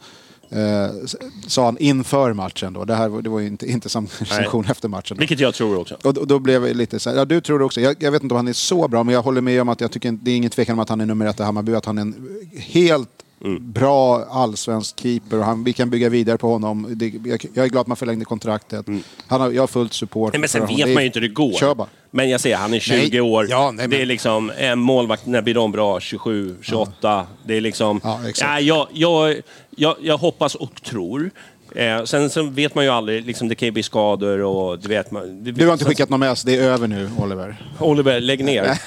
S1: Eh, s- sa han inför matchen då. Det, här, var- det var ju inte, inte som recension efter matchen. Då.
S2: Vilket jag tror också.
S1: Och då- då blev jag lite så här, ja du tror det också. Jag, jag vet inte om han är så bra, men jag håller med om att jag tycker, det är ingen tvekan om att han är nummer ett i Hammarby. Att han är en helt bra allsvensk keeper och han, vi kan bygga vidare på honom. Det, jag, jag är glad att man förlängde kontraktet. Han har, jag har fullt support.
S2: Nej, men sen
S1: för honom.
S2: vet man ju inte hur det går.
S1: Kör bara.
S2: Men jag säger, han är 20
S1: Nej.
S2: år.
S1: Ja, nej, men-
S2: Det är liksom, en målvakt, när blir de bra? 27, 28? Det är liksom...
S1: Ja, exakt.
S2: Nej, jag, jag, jag, jag hoppas och tror. Eh, sen så vet man ju aldrig, liksom, det kan ju bli skador och du vet... Man,
S1: Du har inte skickat någon mess, det är över nu Oliver.
S2: Oliver, lägg ner.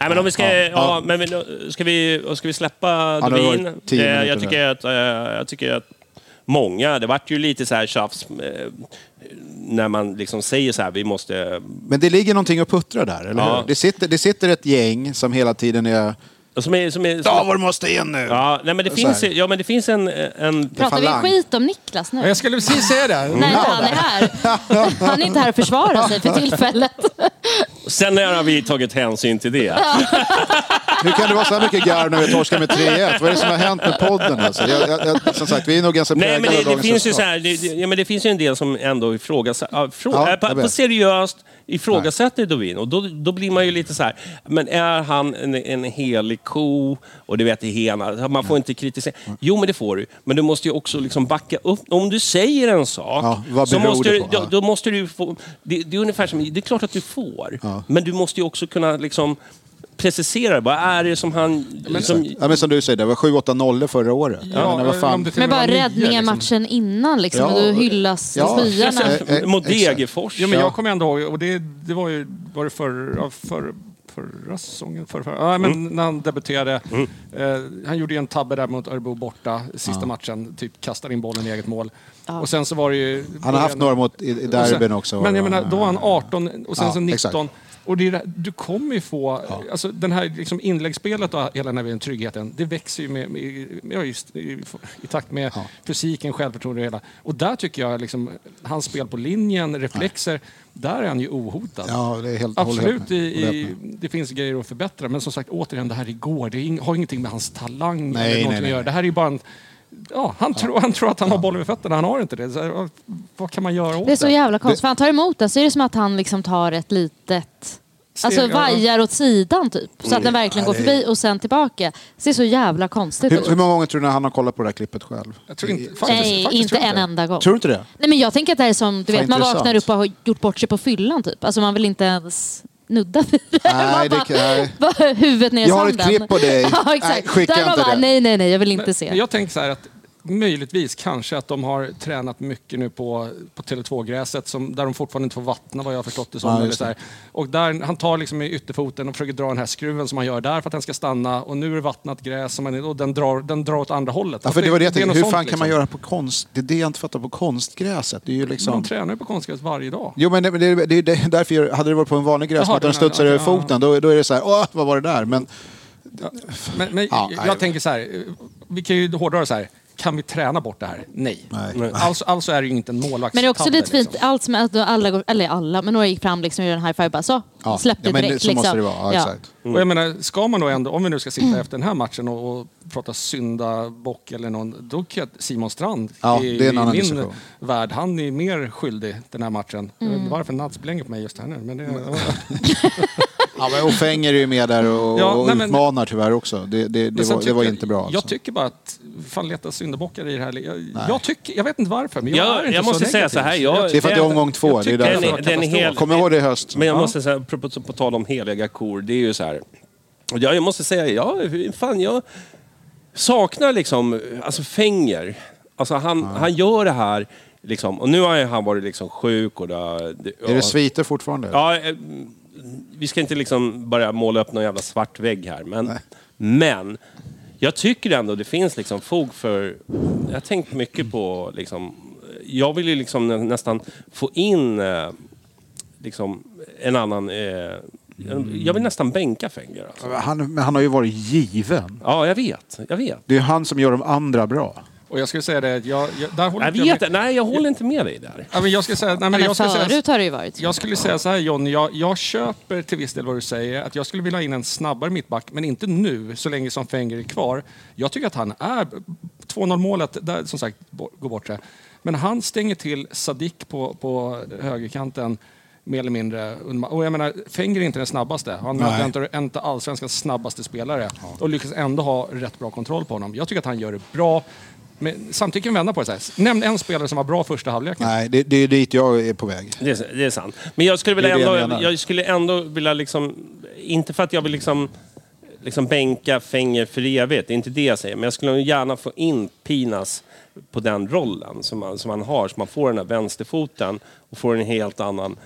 S2: Nej, men om vi ska, ja,
S1: Ja, ja.
S2: men vi, ska, vi, ska vi släppa
S1: Ja, det har
S2: Dovin?
S1: varit tio
S2: Eh, jag,
S1: minuter
S2: tycker att, eh, jag tycker att många, det vart ju lite så här tjafs eh, när man liksom säger så här, vi måste... eh,
S1: Men det ligger någonting och puttrar där, eller
S2: Ja.
S1: hur? Det sitter, det sitter ett gäng som hela tiden är...
S2: Som är, som är, som,
S1: Davor måste in nu!
S2: ja, nej, men det
S1: Så
S2: finns,
S1: här.
S2: ja, men det finns en... en
S4: Pratar
S1: falang.
S4: vi skit om Niklas nu?
S3: Jag skulle precis säga det.
S1: Mm.
S4: Nej, han är här. Han är inte här att försvara sig för tillfället.
S2: sen när har vi tagit hänsyn till det.
S1: Hur kan det vara så här mycket garv när vi torskar med 3-1? Vad är det som har hänt med podden? Alltså? Jag, jag, jag, som sagt, vi är nog ganska
S2: Nej,
S1: präglade
S2: men
S1: av
S2: det, det,
S1: dagens
S2: finns ju så
S1: sällskap.
S2: här, det, det- ja, men det finns ju en del som ändå ifrågasätter, ja, frå,
S1: Ja,
S2: äh,
S1: jag
S2: på, på
S1: vet.
S2: seriöst ifrågasätter Dovin. Och då, då blir man ju lite så här, men är han en, en helig ko? Och du vet, i hena, man
S1: Mm.
S2: får inte kritisera. Jo, men det får du. Men du måste ju också liksom backa upp. Om du säger en sak,
S1: Ja, vad
S2: så
S1: beror
S2: måste
S1: det
S2: du,
S1: på?
S2: då,
S1: Ja.
S2: då måste du få... Det, det är ungefär som, det är klart att du får,
S1: Ja.
S2: men du måste ju också kunna liksom precisera, vad är det som han... som,
S1: Ja, men som du säger, det var 7-8 nollor förra året. Ja, jag menar, vad
S3: om
S1: fan.
S3: det till
S4: Men
S3: och
S4: bara
S3: med var nio,
S4: räddningen
S3: liksom.
S4: matchen innan liksom.
S1: Ja.
S4: och du hyllas i
S1: Ja.
S4: skyarna.
S1: Eh, eh,
S2: mot
S1: exakt.
S2: Degerfors.
S3: Jo, men
S1: Ja.
S3: jag kommer ändå ihåg, och det, det var ju var det förra, förra, förra säsongen? Förra, förra, ja, men
S1: Mm.
S3: när han debuterade. Eh, han gjorde ju en tabbe där mot Örebro borta, sista matchen. Typ kastar in bollen i eget mål. Och sen så var det ju...
S1: Han har haft några mot i, i
S3: Och sen-
S1: derbyn också.
S3: Men jag menar, då var han 18 och sen
S1: Ja,
S3: så 19.
S1: exakt.
S3: Och det är, det- du kommer ju få, alltså den här liksom inläggsspelet och hela den här tryggheten, det växer ju med, med, med, ja, just, i, i takt med fysiken, självförtroende och hela. Och där tycker jag liksom, hans spel på linjen, reflexer, där är han ju ohotad.
S1: Ja, det är helt- håller helt
S3: Absolut,
S1: med.
S3: i,
S1: Håller
S3: i,
S1: helt
S3: det finns grejer att förbättra, men som sagt återigen, det här är igår, det är ing, har ingenting med hans talang
S1: Nej,
S3: eller
S1: nej,
S3: någonting
S1: nej,
S3: att göra.
S1: nej.
S3: Det här är ju bara en Ja, han, Tror, han tror att han har bollen vid fötterna, han har inte det. Så, här, vad- vad kan man göra åt
S4: Det är så jävla konstigt.
S1: Det-
S4: För han tar emot den så är det som att han liksom tar ett litet... Alltså
S3: Steg, ja.
S4: vajar åt sidan typ. Så att den
S1: Mm.
S4: verkligen går förbi och sen tillbaka. Det ser så jävla konstigt
S1: hur,
S4: ut.
S1: hur många gånger tror du han har kollat på det här klippet själv?
S3: Jag tror inte, faktiskt,
S4: Nej,
S3: faktiskt
S4: inte
S3: tror jag
S4: en enda gång.
S1: Tror du inte det?
S4: Nej men jag tänker att det här är som, du
S1: Fan,
S4: vet man
S1: intressant.
S4: vaknar upp och har gjort bort sig på fyllan typ. Alltså man vill inte ens nudda vid det.
S1: Nej,
S4: Man
S1: det kan- nej.
S4: bara, huvudet ner i
S1: Jag har ett
S4: sanden.
S1: klipp på dig.
S4: ja, exakt.
S1: Nej, skicka
S4: Där man
S1: inte
S4: bara,
S1: det.
S4: nej nej nej jag vill inte se.
S3: Men jag tänker så här att möjligtvis kanske att de har tränat mycket nu på, på Tele2-gräset som, där de fortfarande inte får vattna vad jag har förstått det som.
S1: Ja,
S3: eller
S1: just
S3: så här. Och där, han tar liksom i ytterfoten och försöker dra den här skruven som han gör där för att den ska stanna och nu är det vattnat gräs som han, och den drar, den drar åt andra hållet.
S1: Ja, för det var det jag tänkte.
S3: något
S1: Hur
S3: sånt,
S1: fan kan
S3: liksom.
S1: man göra på konst? Det är det jag inte fattar på konstgräset. Det är ju
S3: Men De
S1: liksom...
S3: tränar ju på konstgräs varje dag.
S1: Jo, men det, det, det, det är därför jag, hade det varit på en vanlig
S3: Jaha,
S1: gräsmatta och
S3: den
S1: den
S3: här-
S1: studsar över
S3: ja, ja.
S1: foten, då, då är det så här, åh, vad var det där? Men
S3: Men, men
S1: Ja,
S3: jag
S1: nej.
S3: tänker så här, eh, vi kan ju hårdra det så här. Kan vi träna bort det här? Nej.
S1: Nej.
S3: Alltså, alltså är det ju inte en målvaktstabbel.
S4: Men det är också lite fint,
S3: liksom.
S4: allt som att då alla, går, eller alla, men några gick fram liksom och gjorde en high five bara så.
S1: ja,
S4: Släppte
S1: ja, men
S4: direkt
S1: så
S4: liksom.
S1: måste det vara. Ja, Exakt.
S3: Och jag menar, ska man då ändå, om vi nu ska sitta efter den här matchen och, och prata syndabock eller någon, då kan jag, Simon Strand
S1: Ja, det är en annan
S3: i min
S1: diskussion.
S3: värld, han är mer skyldig den här matchen. Jag vet inte Varför Nats blänger på mig just här nu? Men det,
S1: Mm. Ja, men Ofenger är ju med där och,
S3: Ja,
S1: och
S3: nej, men-
S1: utmanar tyvärr också. Det, det, det,
S3: Men sen
S1: var, det
S3: tycker
S1: var
S3: jag-
S1: inte bra.
S3: Jag
S1: Alltså.
S3: tycker bara att, fan leta syndabockar i det här. Jag, jag, tycker, jag vet inte varför, men jag,
S2: Jag-
S3: är inte
S2: jag
S3: så
S2: måste säga
S3: negativ.
S2: så här, jag-
S1: Det är för att det är omgång två.
S3: jag
S1: Det är
S3: tycker
S2: Den,
S1: därför.
S2: är- den är hel,
S1: Kom ihåg det i höst.
S2: Men jag måste säga, på, på, på tal om heliga kor, det är ju så här. Ja, jag måste säga, ja, fan jag saknar liksom, alltså Fenger. Alltså han, han gör det här, liksom, och nu har ju han varit liksom sjuk och det, har- det,
S1: Är det sviter fortfarande?
S2: Ja, eh, vi ska inte liksom börja måla upp någon jävla svart vägg här, men, men jag tycker ändå det finns liksom fog för... Jag har tänkt mycket på... Liksom, jag vill ju liksom nä- nästan få in eh, liksom, en annan... Eh, jag vill nästan bänka Fenger. Alltså.
S1: Han, men han har ju varit given.
S2: Ja, jag vet. Jag vet.
S1: Det är ju han som gör de andra bra.
S3: Och jag skulle säga det, jag, jag, där håller
S2: Jag
S3: inte
S2: vet
S3: med.
S2: Nej, jag håller inte med dig där.
S3: Ja, men jag skulle säga, nej, men
S4: Men
S3: jag skulle säga
S4: förut har det ju varit.
S3: Jag skulle säga så här Johnny, jag, jag köper till viss del vad du säger. Att jag skulle vilja ha in en snabbare mittback, men inte nu, så länge som Fenger är kvar. Jag tycker att han är... 2-0 målet, där, som sagt, bo- går bort det. Men han stänger till Sadik på, på högerkanten, mer eller mindre. under ma- Och jag menar, Fenger är inte den snabbaste. Han är inte- inte allsvenskans snabbaste spelare. Och lyckas ändå ha rätt bra kontroll på honom. Jag tycker att han gör det bra. Men samtidigt kan vi vända på det så här. Nämn en spelare som var bra första halvleken.
S1: Nej, det, det är dit jag är på väg.
S2: Det är, det är sant. Men jag skulle,
S1: Det är
S2: vilja
S1: det jag
S2: ändå,
S1: menar.
S2: jag skulle ändå vilja liksom... Inte för att jag vill liksom, liksom bänka Fenger för evigt, det är inte det jag säger. Men jag skulle nog gärna få in Pinas på den rollen som man, som man har. Så man får den här vänsterfoten och får en helt annan...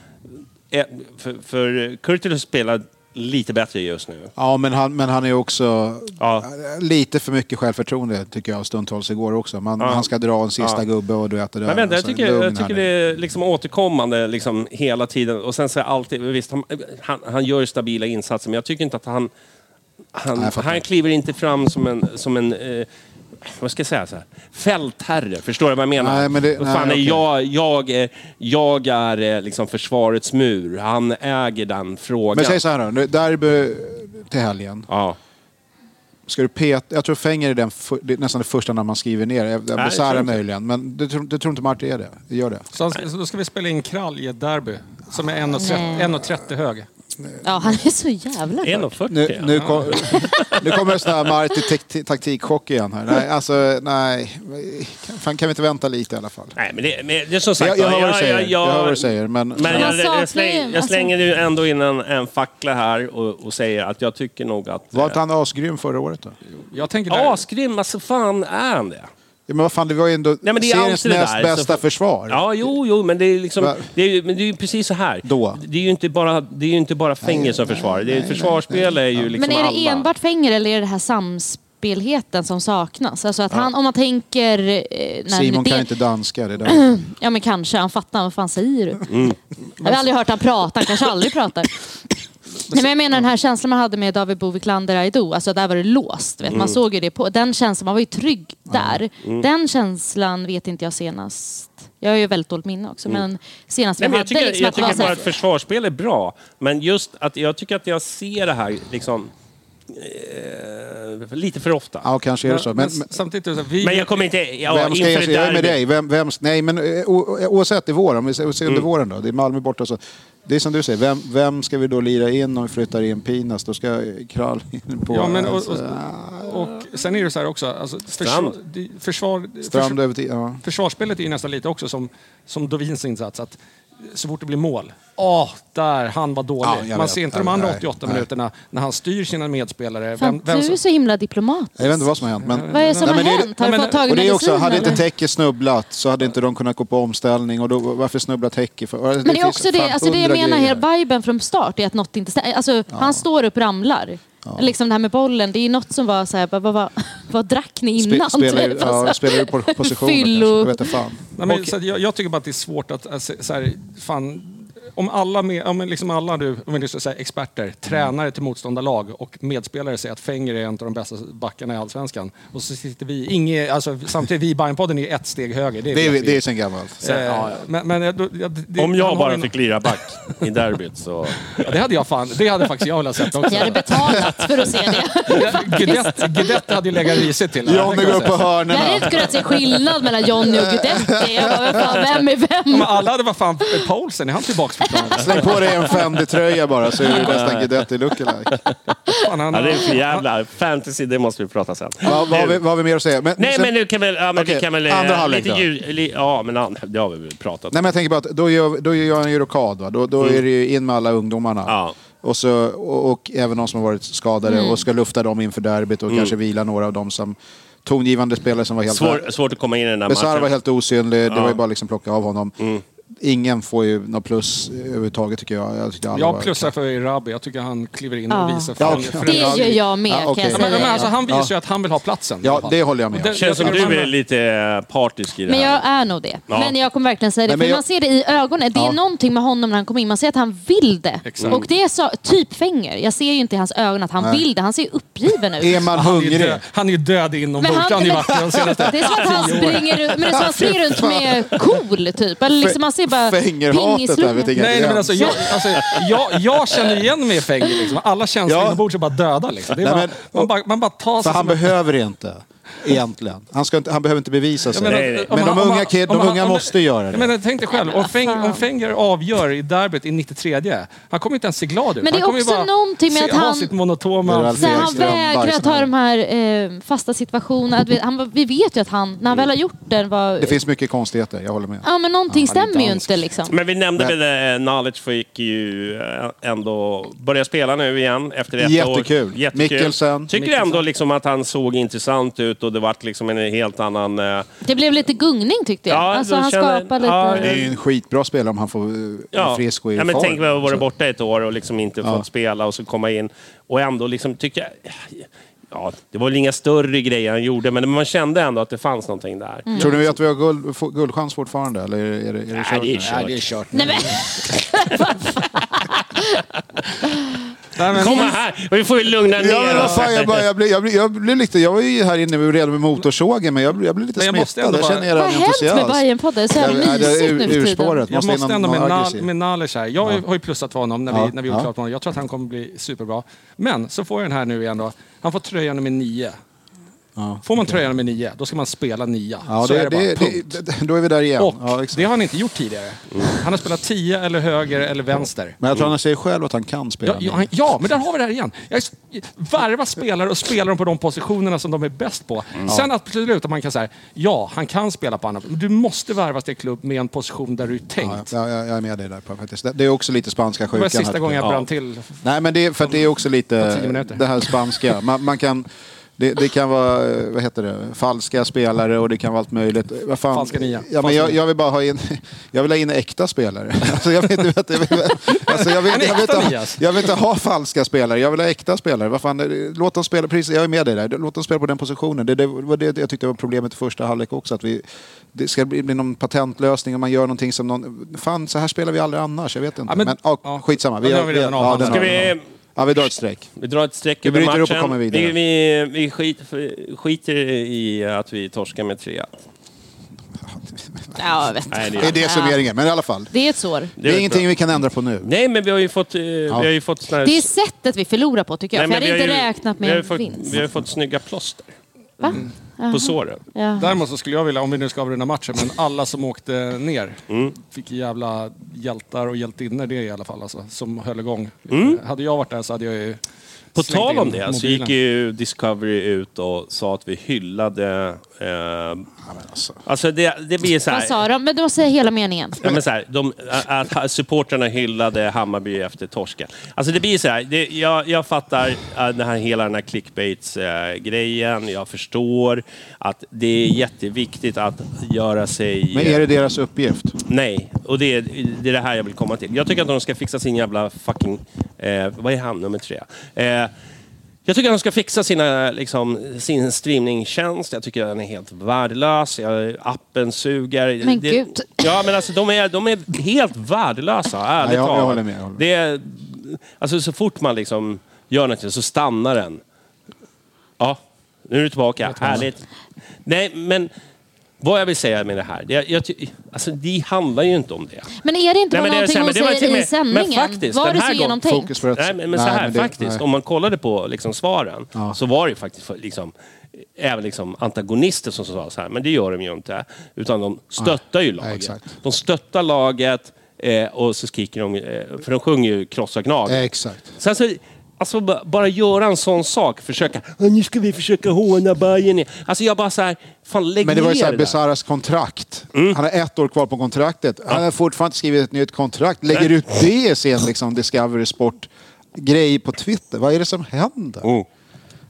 S2: eh, För, för Kurtulus spelar lite bättre just nu.
S1: Ja, men han, men han är också
S2: Ja.
S1: lite för mycket självförtroende tycker jag stundtals igår också. Man, Han ska dra en sista gubbe och du vet det där.
S2: Men vänta, jag
S1: Alltså,
S2: tycker,
S1: lugn
S2: jag
S1: här
S2: tycker
S1: nu.
S2: det är liksom återkommande liksom hela tiden. Och sen så är alltid, visst, han, han, han gör stabila insatser, men jag tycker inte att han... Han,
S1: Nej, jag fattar.
S2: han kliver inte fram som en... Som en eh, vad ska jag säga? Så här, fältherre, förstår du vad jag menar?
S1: Nej, men det-
S2: vad fan
S1: nej,
S2: är
S1: okej.
S2: jag, jag, är, jag är eh, liksom försvarets mur. Han äger den frågan.
S1: Men säg så här då, derby till helgen.
S2: Ja.
S1: Ska du peta, jag tror Fenger är den fu- det är nästan det första namn man skriver ner.
S2: tror
S1: Besara
S2: inte.
S1: möjligen, men det tror, det tror inte Marti är det. Det Gör det.
S3: Så, han, så då ska vi spela in Krall i ett derby som är 1,30
S4: Nej.
S3: 1,30 hög.
S4: Ja, han är så jävla bra.
S2: 1,40.
S1: Nu, nu, kom, nu kommer en sån här Marti taktikchock igen här. Nej, alltså nej. Kan, fan, kan vi inte vänta lite i alla fall?
S2: Nej, men det, men det är som
S1: Jag,
S2: sagt...
S1: jag hör vad du
S2: ja,
S1: säger.
S2: ja,
S1: Jag
S2: ja,
S1: hör vad du säger, men...
S2: Men
S4: man
S2: jag,
S4: saknar ju-
S2: jag, släng, jag
S4: alltså-
S2: slänger ju ändå in en, en fackla här och, och säger att jag tycker nog att...
S1: Var inte
S2: eh,
S1: han asgrym förra året då?
S3: Jag tänker där,
S2: Asgrym, alltså fan är han det?
S1: Ja, men vad fan, det var ju ändå
S2: Nej, men det är
S1: seriens
S2: alltid det
S1: näst
S2: där,
S1: bästa
S2: så-
S1: försvar.
S2: Ja, jo, jo, men det är liksom...
S1: Va?
S2: Det är, ju- men det är ju precis så här.
S1: Då.
S2: Det är ju inte bara, det är ju inte bara Fenger som försvarar. Det är, försvarsspel är ju liksom
S4: Men är det
S2: alla.
S4: enbart Fenger eller är det här samspelheten som saknas? Alltså att han, om man tänker... eh, när
S1: Simon
S4: det,
S1: kan ju inte danska. Det där.
S4: Ja men kanske, han fattar, vad fan säger du?
S1: Mm.
S4: Jag har aldrig hört han prata, han kanske aldrig pratar. Nej, men jag menar den här känslan man hade med David Bowie, Klander, Aido, alltså där var det låst. Vet?
S1: Mm.
S4: Man såg ju det på, den känslan, man var ju trygg där. Den känslan vet inte jag senast, jag har ju väldigt dåligt minne också,
S1: Mm.
S4: men senast vi
S2: Nej, men
S4: hade
S2: jag tycker,
S4: liksom
S2: jag
S4: att det var
S2: tycker
S4: så
S2: bara
S4: här,
S2: att försvarsspel är bra. Men just att jag tycker att jag ser det här liksom... Eh, lite för ofta.
S1: Ja, kanske är det så.
S3: men,
S1: Men,
S3: s- samtidigt, är det så här, vi,
S2: Men jag kommer inte... Ja,
S1: vem ska jag
S2: inför ett
S1: Jag är med
S2: derby.
S1: dig. Vem, vem, nej, men eh, o- o- oavsett i vår, om vi ser ser
S2: Mm.
S1: under våren då. Det är Malmö borta. Så. Det är som du säger, vem, vem ska vi då lira in om vi flyttar in Pinas? Då ska Krall in på...
S3: ja, men, och,
S1: alltså,
S3: och, och sen är det så här också, alltså, försvar,
S2: Strand.
S3: det- försvar,
S1: Strand
S3: försvar,
S1: över till... Ja.
S3: försvarsspelet är ju nästan lite också som, som Dovins insats. Att så fort det blir mål. Åh, där, han var
S1: Ja,
S3: dålig.
S1: jag
S3: Man
S1: vet.
S3: ser inte
S1: Jag
S3: de
S1: vet.
S3: andra
S1: Nej,
S3: 88
S1: nej.
S3: minuterna när han styr sina medspelare.
S4: Fan, du är
S3: som-
S4: så himla diplomat.
S1: Jag vet inte vad som har hänt. Men...
S4: Vad är det som
S1: Nej,
S4: har
S1: men det är-
S4: hänt? Har
S3: Nej,
S4: du
S3: men-
S4: fått tag i
S1: Och det är också,
S4: medicin,
S1: hade inte
S4: eller?
S1: Teke snubblat så hade inte de kunnat gå på omställning. Och då, varför snubblar Teke? För, det
S4: Men det är
S1: finns
S4: också det,
S1: fan
S4: alltså det jag
S1: hundra
S4: menar,
S1: grejer.
S4: hela viben från start är att något inte stämmer. Alltså, han står upp, ramlar. Liksom det här med bollen, det är något som var så här, vad, vad, vad, vad drack ni
S1: Spe,
S4: innan?
S1: spelar, ju-
S4: Typ, alltså.
S1: ja, spelar ju på positioner kanske.
S4: Fyllo.
S1: Jag vet inte fan.
S3: Nej, men, så att jag, jag tycker bara att det är svårt att... Alltså, så här, fan, om alla, med, om liksom alla du, om vi ska säga experter, tränare till motståndarlag och medspelare säger att Fenger är en av de bästa backarna i Allsvenskan. Och så sitter vi, inge, alltså, samtidigt vi i Bajenpodden är ju ett steg högre. Det,
S1: Det
S3: vet
S1: är,
S3: vi.
S1: det är sen gammalt.
S3: Så, ja, Eh, men, men, jag- då- jag- det-
S2: Om
S3: han
S2: jag
S3: har
S2: bara
S3: en-
S2: fick lira back i derbyt så...
S3: Ja, det hade jag fan, det hade faktiskt jag velat sett också.
S4: Jag hade betalat för att se det.
S3: Guidette, Guidette hade ju legat risigt till.
S1: Johnny går upp på
S4: Jag hade
S1: hörnorna.
S4: inte kunnat se skillnad mellan Johnny och Guidetti. Jag bara, vad fan, vem är
S3: Ja,
S4: vem?
S3: men alla hade, vad fan, Paulsen, är han tillbaks för planen?
S1: Släng på dig en Fendi-tröja bara så är du nästan Guidetti lookalike.
S3: Fan, han-
S2: Ja, det är för jävla fantasy, det måste vi prata sen.
S1: Vad vad har vi, vad har vi mer att säga? Men,
S2: Nej,
S1: sen-
S2: men nu kan väl... Ja, men vi
S1: Okej,
S2: kan väl eh,
S1: andra halvlek
S2: lite
S1: då.
S2: ljud, li, Ja, men an, det har vi väl pratat om.
S1: Nej, men jag tänker bara att då gör, då gör jag en Eurocard. Va? Då, då är det ju in med alla ungdomarna.
S2: Ja.
S1: Och, så, och, och även de som har varit skadade
S4: Mm.
S1: och ska lufta dem inför derbyt och kanske vila några av dem som tongivande spelare som var helt...
S2: Svår, svårt att komma in i den där
S1: Besara var
S2: matchen.
S1: helt osynlig. Det var ju bara liksom plocka av honom. Ingen får ju något plus överhuvudtaget tycker jag. Jag, tyckte alla var-
S3: Jag plussar för Rabi. Jag tycker han kliver in och
S4: Ja.
S3: visar
S1: Ja,
S3: för
S1: okej.
S3: för
S4: Det
S3: en-
S4: gör jag med,
S1: Ja,
S4: kan jag
S1: okej.
S3: Ja,
S4: säga.
S3: men, men alltså, han visar ju
S1: Ja.
S3: att han vill ha platsen. i alla
S1: Ja,
S3: fall.
S1: det håller jag med om.
S3: Det-
S2: Känns som
S3: jag- jag-
S2: du är lite eh, partisk i det
S4: Men
S2: här.
S4: jag är nog det.
S2: Ja.
S4: Men jag kommer verkligen säga det.
S1: Nej, men
S4: för
S1: jag-
S4: man ser det i ögonen. Det är
S1: Ja.
S4: någonting med honom när han kommer in. Man ser att han vill det.
S3: Exakt.
S4: Och det är så, typ Fenger. Jag ser ju inte i hans ögon att han vill det. Han ser ju uppgiven ut.
S1: Är man
S3: Han är ju
S1: hungrig?
S3: död, han är ju död inombords.
S4: Men han-
S3: Han är ju vacker de senaste
S4: Det är som att han springer runt, men det är som att han springer runt med cool typ. Eller liksom man ser bara
S1: Fängerhatet där vet
S4: pingisluven.
S1: inga
S3: Nej,
S1: gräns.
S3: men alltså, jag, alltså, jag, jag känner igen mig i Fenger. Liksom. Alla känslor
S1: Ja.
S3: inombords är bara döda. Liksom. Det är
S1: Nej,
S3: bara,
S1: men-
S3: man, bara, man bara tar
S1: För
S3: sig
S1: han
S3: som en-
S1: behöver inte, egentligen. Han, ska inte, han behöver inte bevisa sig.
S3: Jag menar,
S2: Nej, nej.
S3: om
S1: Men
S3: han-
S1: de
S3: om
S1: unga
S3: han-
S1: kid-
S3: om
S1: de
S3: han-
S1: unga
S3: om-
S1: måste göra det.
S3: Jag menar, tänk dig själv, om, Feng,
S4: fan.
S3: om Fenger avgör i derbyt i 93 han kommer inte ens se glad ut.
S4: Men det är
S3: han kommer ju
S4: också
S3: bara
S4: någonting med
S3: se-
S4: att
S3: Ha
S4: han-
S3: sitt
S1: Det är
S3: monotoma...
S1: väl
S4: Så han
S1: Ekström,
S4: vägrar
S1: Bajsen
S4: ta
S1: här.
S4: de här eh, fasta situationerna. Att vi, han, vi vet ju att han, när han väl har gjort den, var...
S1: Mm. Det finns mycket konstigheter, jag håller med.
S4: Ja men någonting
S1: Ja, det är
S4: stämmer ju
S1: dansk.
S4: inte liksom.
S2: Men vi nämnde
S1: Men-
S2: väl det, eh, Knowledge fick ju eh, ändå börja spela nu igen efter ett
S1: Jättekul.
S2: år. Jättekul.
S1: Mikkelsen.
S2: Tycker ändå liksom att han såg intressant ut och det vart liksom en helt annan... eh,
S4: Det blev lite gungning tyckte jag.
S2: Ja,
S4: alltså
S2: då
S4: han
S2: känner-
S4: skapar
S2: ja,
S1: Det är ju
S4: lite...
S1: en skitbra spelare om han får eh, är frisk och i
S2: ja, men
S1: form.
S2: Tänk mig att vara
S1: Så-
S2: borta ett år och liksom inte
S1: Ja.
S2: fått spela och så komma in och ändå liksom tycker jag... Ja, det var väl inga större grejer han gjorde, men man kände ändå att det fanns någonting där.
S4: Mm.
S1: Tror ni att vi har guld, få- guldchans fortfarande? Eller är det, är det, är det
S2: Nej,
S1: kört
S2: det är
S1: nu?
S2: kört. Nej, det är
S4: Nej, men,
S3: Nej, men-
S2: Kom här! Vi får ju lugna ner
S1: Ja, men vad
S2: oss.
S1: fan, jag, bara, jag, blev, jag, blev, jag blev lite... Jag var ju här inne och redo med motorsågen, men jag, blev- jag blev lite
S3: Men jag måste
S1: smittad.
S3: ändå
S1: Jag
S3: bara-
S1: känner er
S4: vad har hänt med Bajenpodden? Det är så
S1: Jag-
S4: jävla
S1: nej, det är
S4: mysigt
S1: ur-
S4: nu för tiden.
S1: urspåret.
S3: Jag
S1: Måste in
S3: måste
S1: någon-
S3: ändå med,
S1: någon
S3: Nal-
S1: aggressiv.
S3: med Nalic här. Jag har ju pröstat för honom när vi,
S1: Ja,
S3: när vi
S1: ja.
S3: gjorde klart honom. Jag tror att han kommer bli superbra. Men så får jag den här nu igen då. Han får tröja nummer nio. får man tröja nummer nio, då ska man spela nia.
S1: Ja,
S3: så
S1: det,
S3: är det,
S1: det,
S3: bara. Punkt.
S1: det, det, då är vi där igen.
S3: Och
S1: ja,
S3: det
S1: exakt. Mm.
S3: har han inte gjort tidigare. Han har spelat tio eller höger eller vänster.
S1: Men jag tror han säger själv att han kan spela.
S3: Ja, ja, han- ja, men där har vi det här igen. Jag är så- Värva spelare och spela dem på de positionerna som de är bäst på.
S1: Mm.
S3: Sen absolut att man kan säga, ja, han kan spela på andra. Men du måste värvas till en klubb med en position där du är
S1: Ja,
S3: tänkt.
S1: ja, jag jag är med dig där på, faktiskt. Det- Det är också lite spanska
S3: Det
S1: sjukan.
S3: var sista
S1: här.
S3: gången jag
S1: Ja.
S3: brann till.
S1: Nej, men det, är- för att det är också
S3: På
S1: lite
S3: tio minuter.
S1: det här spanska. Man, man kan, det, det kan vara eh, vad heter det, falska spelare och det kan vara allt möjligt. Vad fan?
S3: Falska nia.
S1: Ja, men
S3: Falska
S1: jag,
S3: nia.
S1: jag vill bara ha in, jag vill ha in äkta spelare. Alltså, jag, vill, inte- jag, vill, alltså, jag, vill,
S3: En
S1: jag, vill
S3: äkta
S1: inte, ha-
S3: Nias.
S1: jag vill inte ha falska spelare, jag vill ha äkta spelare. Vad fan, är det- låt dem spela, precis, jag är med dig där, låt dem spela på den positionen. Det, det var det jag tyckte var problemet i första halvlek också. Att vi, det ska bli bli någon patentlösning om man gör någonting som någon... Fan, så här spelar vi aldrig annars. Jag vet inte.
S3: Ja, men-
S1: men, ja,
S3: ja.
S1: skitsamma.
S3: Ja, den har vi redan avhandlat.
S1: den
S2: Ska
S1: har
S2: vi-
S1: den. Ja, vi drar ett streck.
S2: Vi drar ett streck
S1: Vi
S2: över
S1: bryter
S2: matchen.
S1: upp och kommer vidare.
S2: Vi, vi, vi skit, skiter i att vi torskar med 3
S4: ja, jag vet.
S2: Nej, det
S1: Det är
S2: är...
S1: det summeringen, men i alla fall.
S4: Det är ett sår.
S1: Det är ingenting vi kan ändra på nu.
S2: Nej, men vi har ju fått... eh, Vi har ju fått såna här...
S4: Det är sättet vi förlorar på tycker jag.
S2: Nej,
S4: för jag
S2: men
S4: hade
S2: vi
S4: inte
S2: har ju-
S4: räknat
S2: vi har
S4: med
S2: ju
S4: en
S2: fått,
S4: vinst.
S1: Mm.
S2: Vi har ju fått snygga plåster.
S4: Va? Aha.
S2: på såren.
S4: Ja.
S3: Däremot så skulle jag vilja, om vi nu ska avrunda matchen, men alla som åkte ner
S2: Mm.
S3: fick jävla hjältar och hjältinnor det i alla fall, alltså, som höll igång.
S2: Mm.
S3: Eh, Hade jag varit där så hade jag ju
S2: På
S3: slängt
S2: tal om
S3: in
S2: det så
S3: mobilen.
S2: gick ju Discovery ut och sa att vi hyllade... Eh,
S1: Alltså.
S2: alltså det, det blir så
S4: Vad
S2: här...
S4: sa de? Men du måste säga hela meningen.
S2: Ja, men så här, de, att supporterna hyllade Hammarby efter torsken. Alltså det blir så här, det, jag, jag fattar eh, den här, hela den här clickbaits-grejen. Jag förstår att det är jätteviktigt att göra sig...
S1: Men är det deras uppgift?
S2: Nej, och det är, det är det här jag vill komma till. Jag tycker att de ska fixa sin jävla fucking... Eh, vad är han, nummer tre? Eh, jag tycker att de ska fixa sina, liksom, sin streamingtjänst. Jag tycker att den är helt värdelös. Jag, appen suger.
S4: Men
S2: Det-
S4: gud.
S2: Ja, men alltså de är, de är helt värdelösa, ärligt
S1: Ja, jag- jag
S2: talat.
S1: håller med, jag håller med.
S2: Det är, alltså så fort man liksom gör någonting så stannar den. Ja, nu är du tillbaka. Härligt. Nej, men vad jag vill säga med det här. Det, jag, ty- alltså, det handlar ju inte om det.
S4: Men är det inte
S2: Nej,
S4: bara
S2: men
S4: någonting
S2: det är så här,
S4: hon
S2: men det var till och
S4: säger i
S2: med-
S4: sändningen?
S2: men faktiskt,
S4: var
S2: den
S4: det
S2: här
S4: så
S2: gången-
S4: genomtänkt?
S1: Fokus för att...
S2: Nej, men, men så
S1: Nej,
S2: här
S1: det-
S2: faktiskt.
S1: nej.
S2: Om man kollade på liksom, svaren
S1: Ja.
S2: så var det ju faktiskt för- liksom, även liksom, antagonister som sa så här. Men det gör de ju inte. Utan de stöttar ju laget.
S1: exakt.
S2: De stöttar laget eh, och så skriker de... Eh, för de sjunger ju Krossa Gnaget.
S1: Exakt.
S2: Sen så, alltså b- bara göra en sån sak, försöka, "Ah, nu ska vi försöka håna Bayern. Alltså jag bara så här, fan lägg
S1: Men det var ju
S2: ner
S1: så här
S2: där.
S1: Besaras kontrakt. Han har ett år kvar på kontraktet. Han har fortfarande inte skrivit ett nytt kontrakt. Lägger ut det i sin liksom, Discovery Sport-grej på Twitter. Vad är det som händer?
S2: Mm.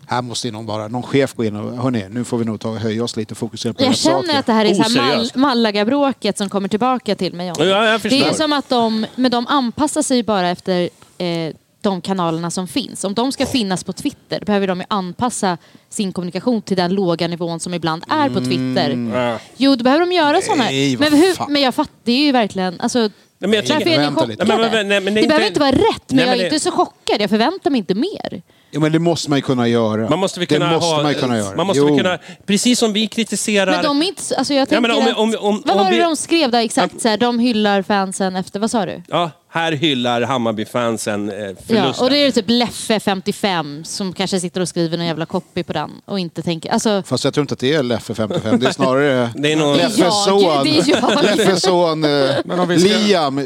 S1: Här måste ju någon, bara, någon chef gå in och hörni, nu får vi nog ta, höja oss lite och fokusera på
S4: Jag
S1: rätt
S4: känner
S1: saker.
S4: att det här är så här Mal
S2: Oseriöst.
S4: Malaga-bråket som kommer tillbaka till mig. Jonny.
S2: Ja, jag förstår.
S4: det är som att de, men de anpassar sig ju bara efter eh, de kanalerna som finns. Om de ska finnas på Twitter behöver de ju anpassa sin kommunikation till den låga nivån som ibland är
S2: Mm.
S4: på Twitter. Jo, då behöver de göra sådana.
S1: Nej, vad
S4: Men, hur,
S1: fan.
S4: men jag fattar, det är ju verkligen... Alltså,
S2: Nej, men jag tycker-
S4: Därför är ni
S1: Vänta
S4: chockade.
S1: lite.
S2: Nej, men- men- nej, men det
S4: det
S2: är
S4: behöver inte
S2: inte-
S4: vara rätt, men
S2: Nej,
S4: jag
S2: men
S4: är
S2: det-
S4: inte så chockad. Jag förväntar mig inte mer.
S1: Jo, men det måste man ju kunna göra.
S2: Man måste väl kunna
S1: det måste
S2: ha,
S1: man ju kunna göra.
S2: Man måste
S1: Jo.
S2: väl kunna, precis som vi kritiserar...
S4: Men de är inte... så- Alltså jag
S2: Ja, men
S4: tänker
S2: om-
S4: att,
S2: om- om-
S4: vad
S2: om
S4: var det
S2: vi-
S4: de skrev där exakt? Så här, de hyllar fansen efter... Vad sa du?
S2: Ja, här hyllar Hammarby-fansen eh, förlusten.
S4: Ja, och det är typ Leffe, 55, som kanske sitter och skriver en jävla copy på den och inte tänker... Alltså,
S1: Fast jag tror inte att det är Leffe 55. Det är snarare
S2: Det är någon-
S4: det är
S1: Leffes
S4: jag.
S1: son.
S4: Det är jag.
S1: Leffes son eh,
S3: Men om vi ska-
S1: Liam, eh,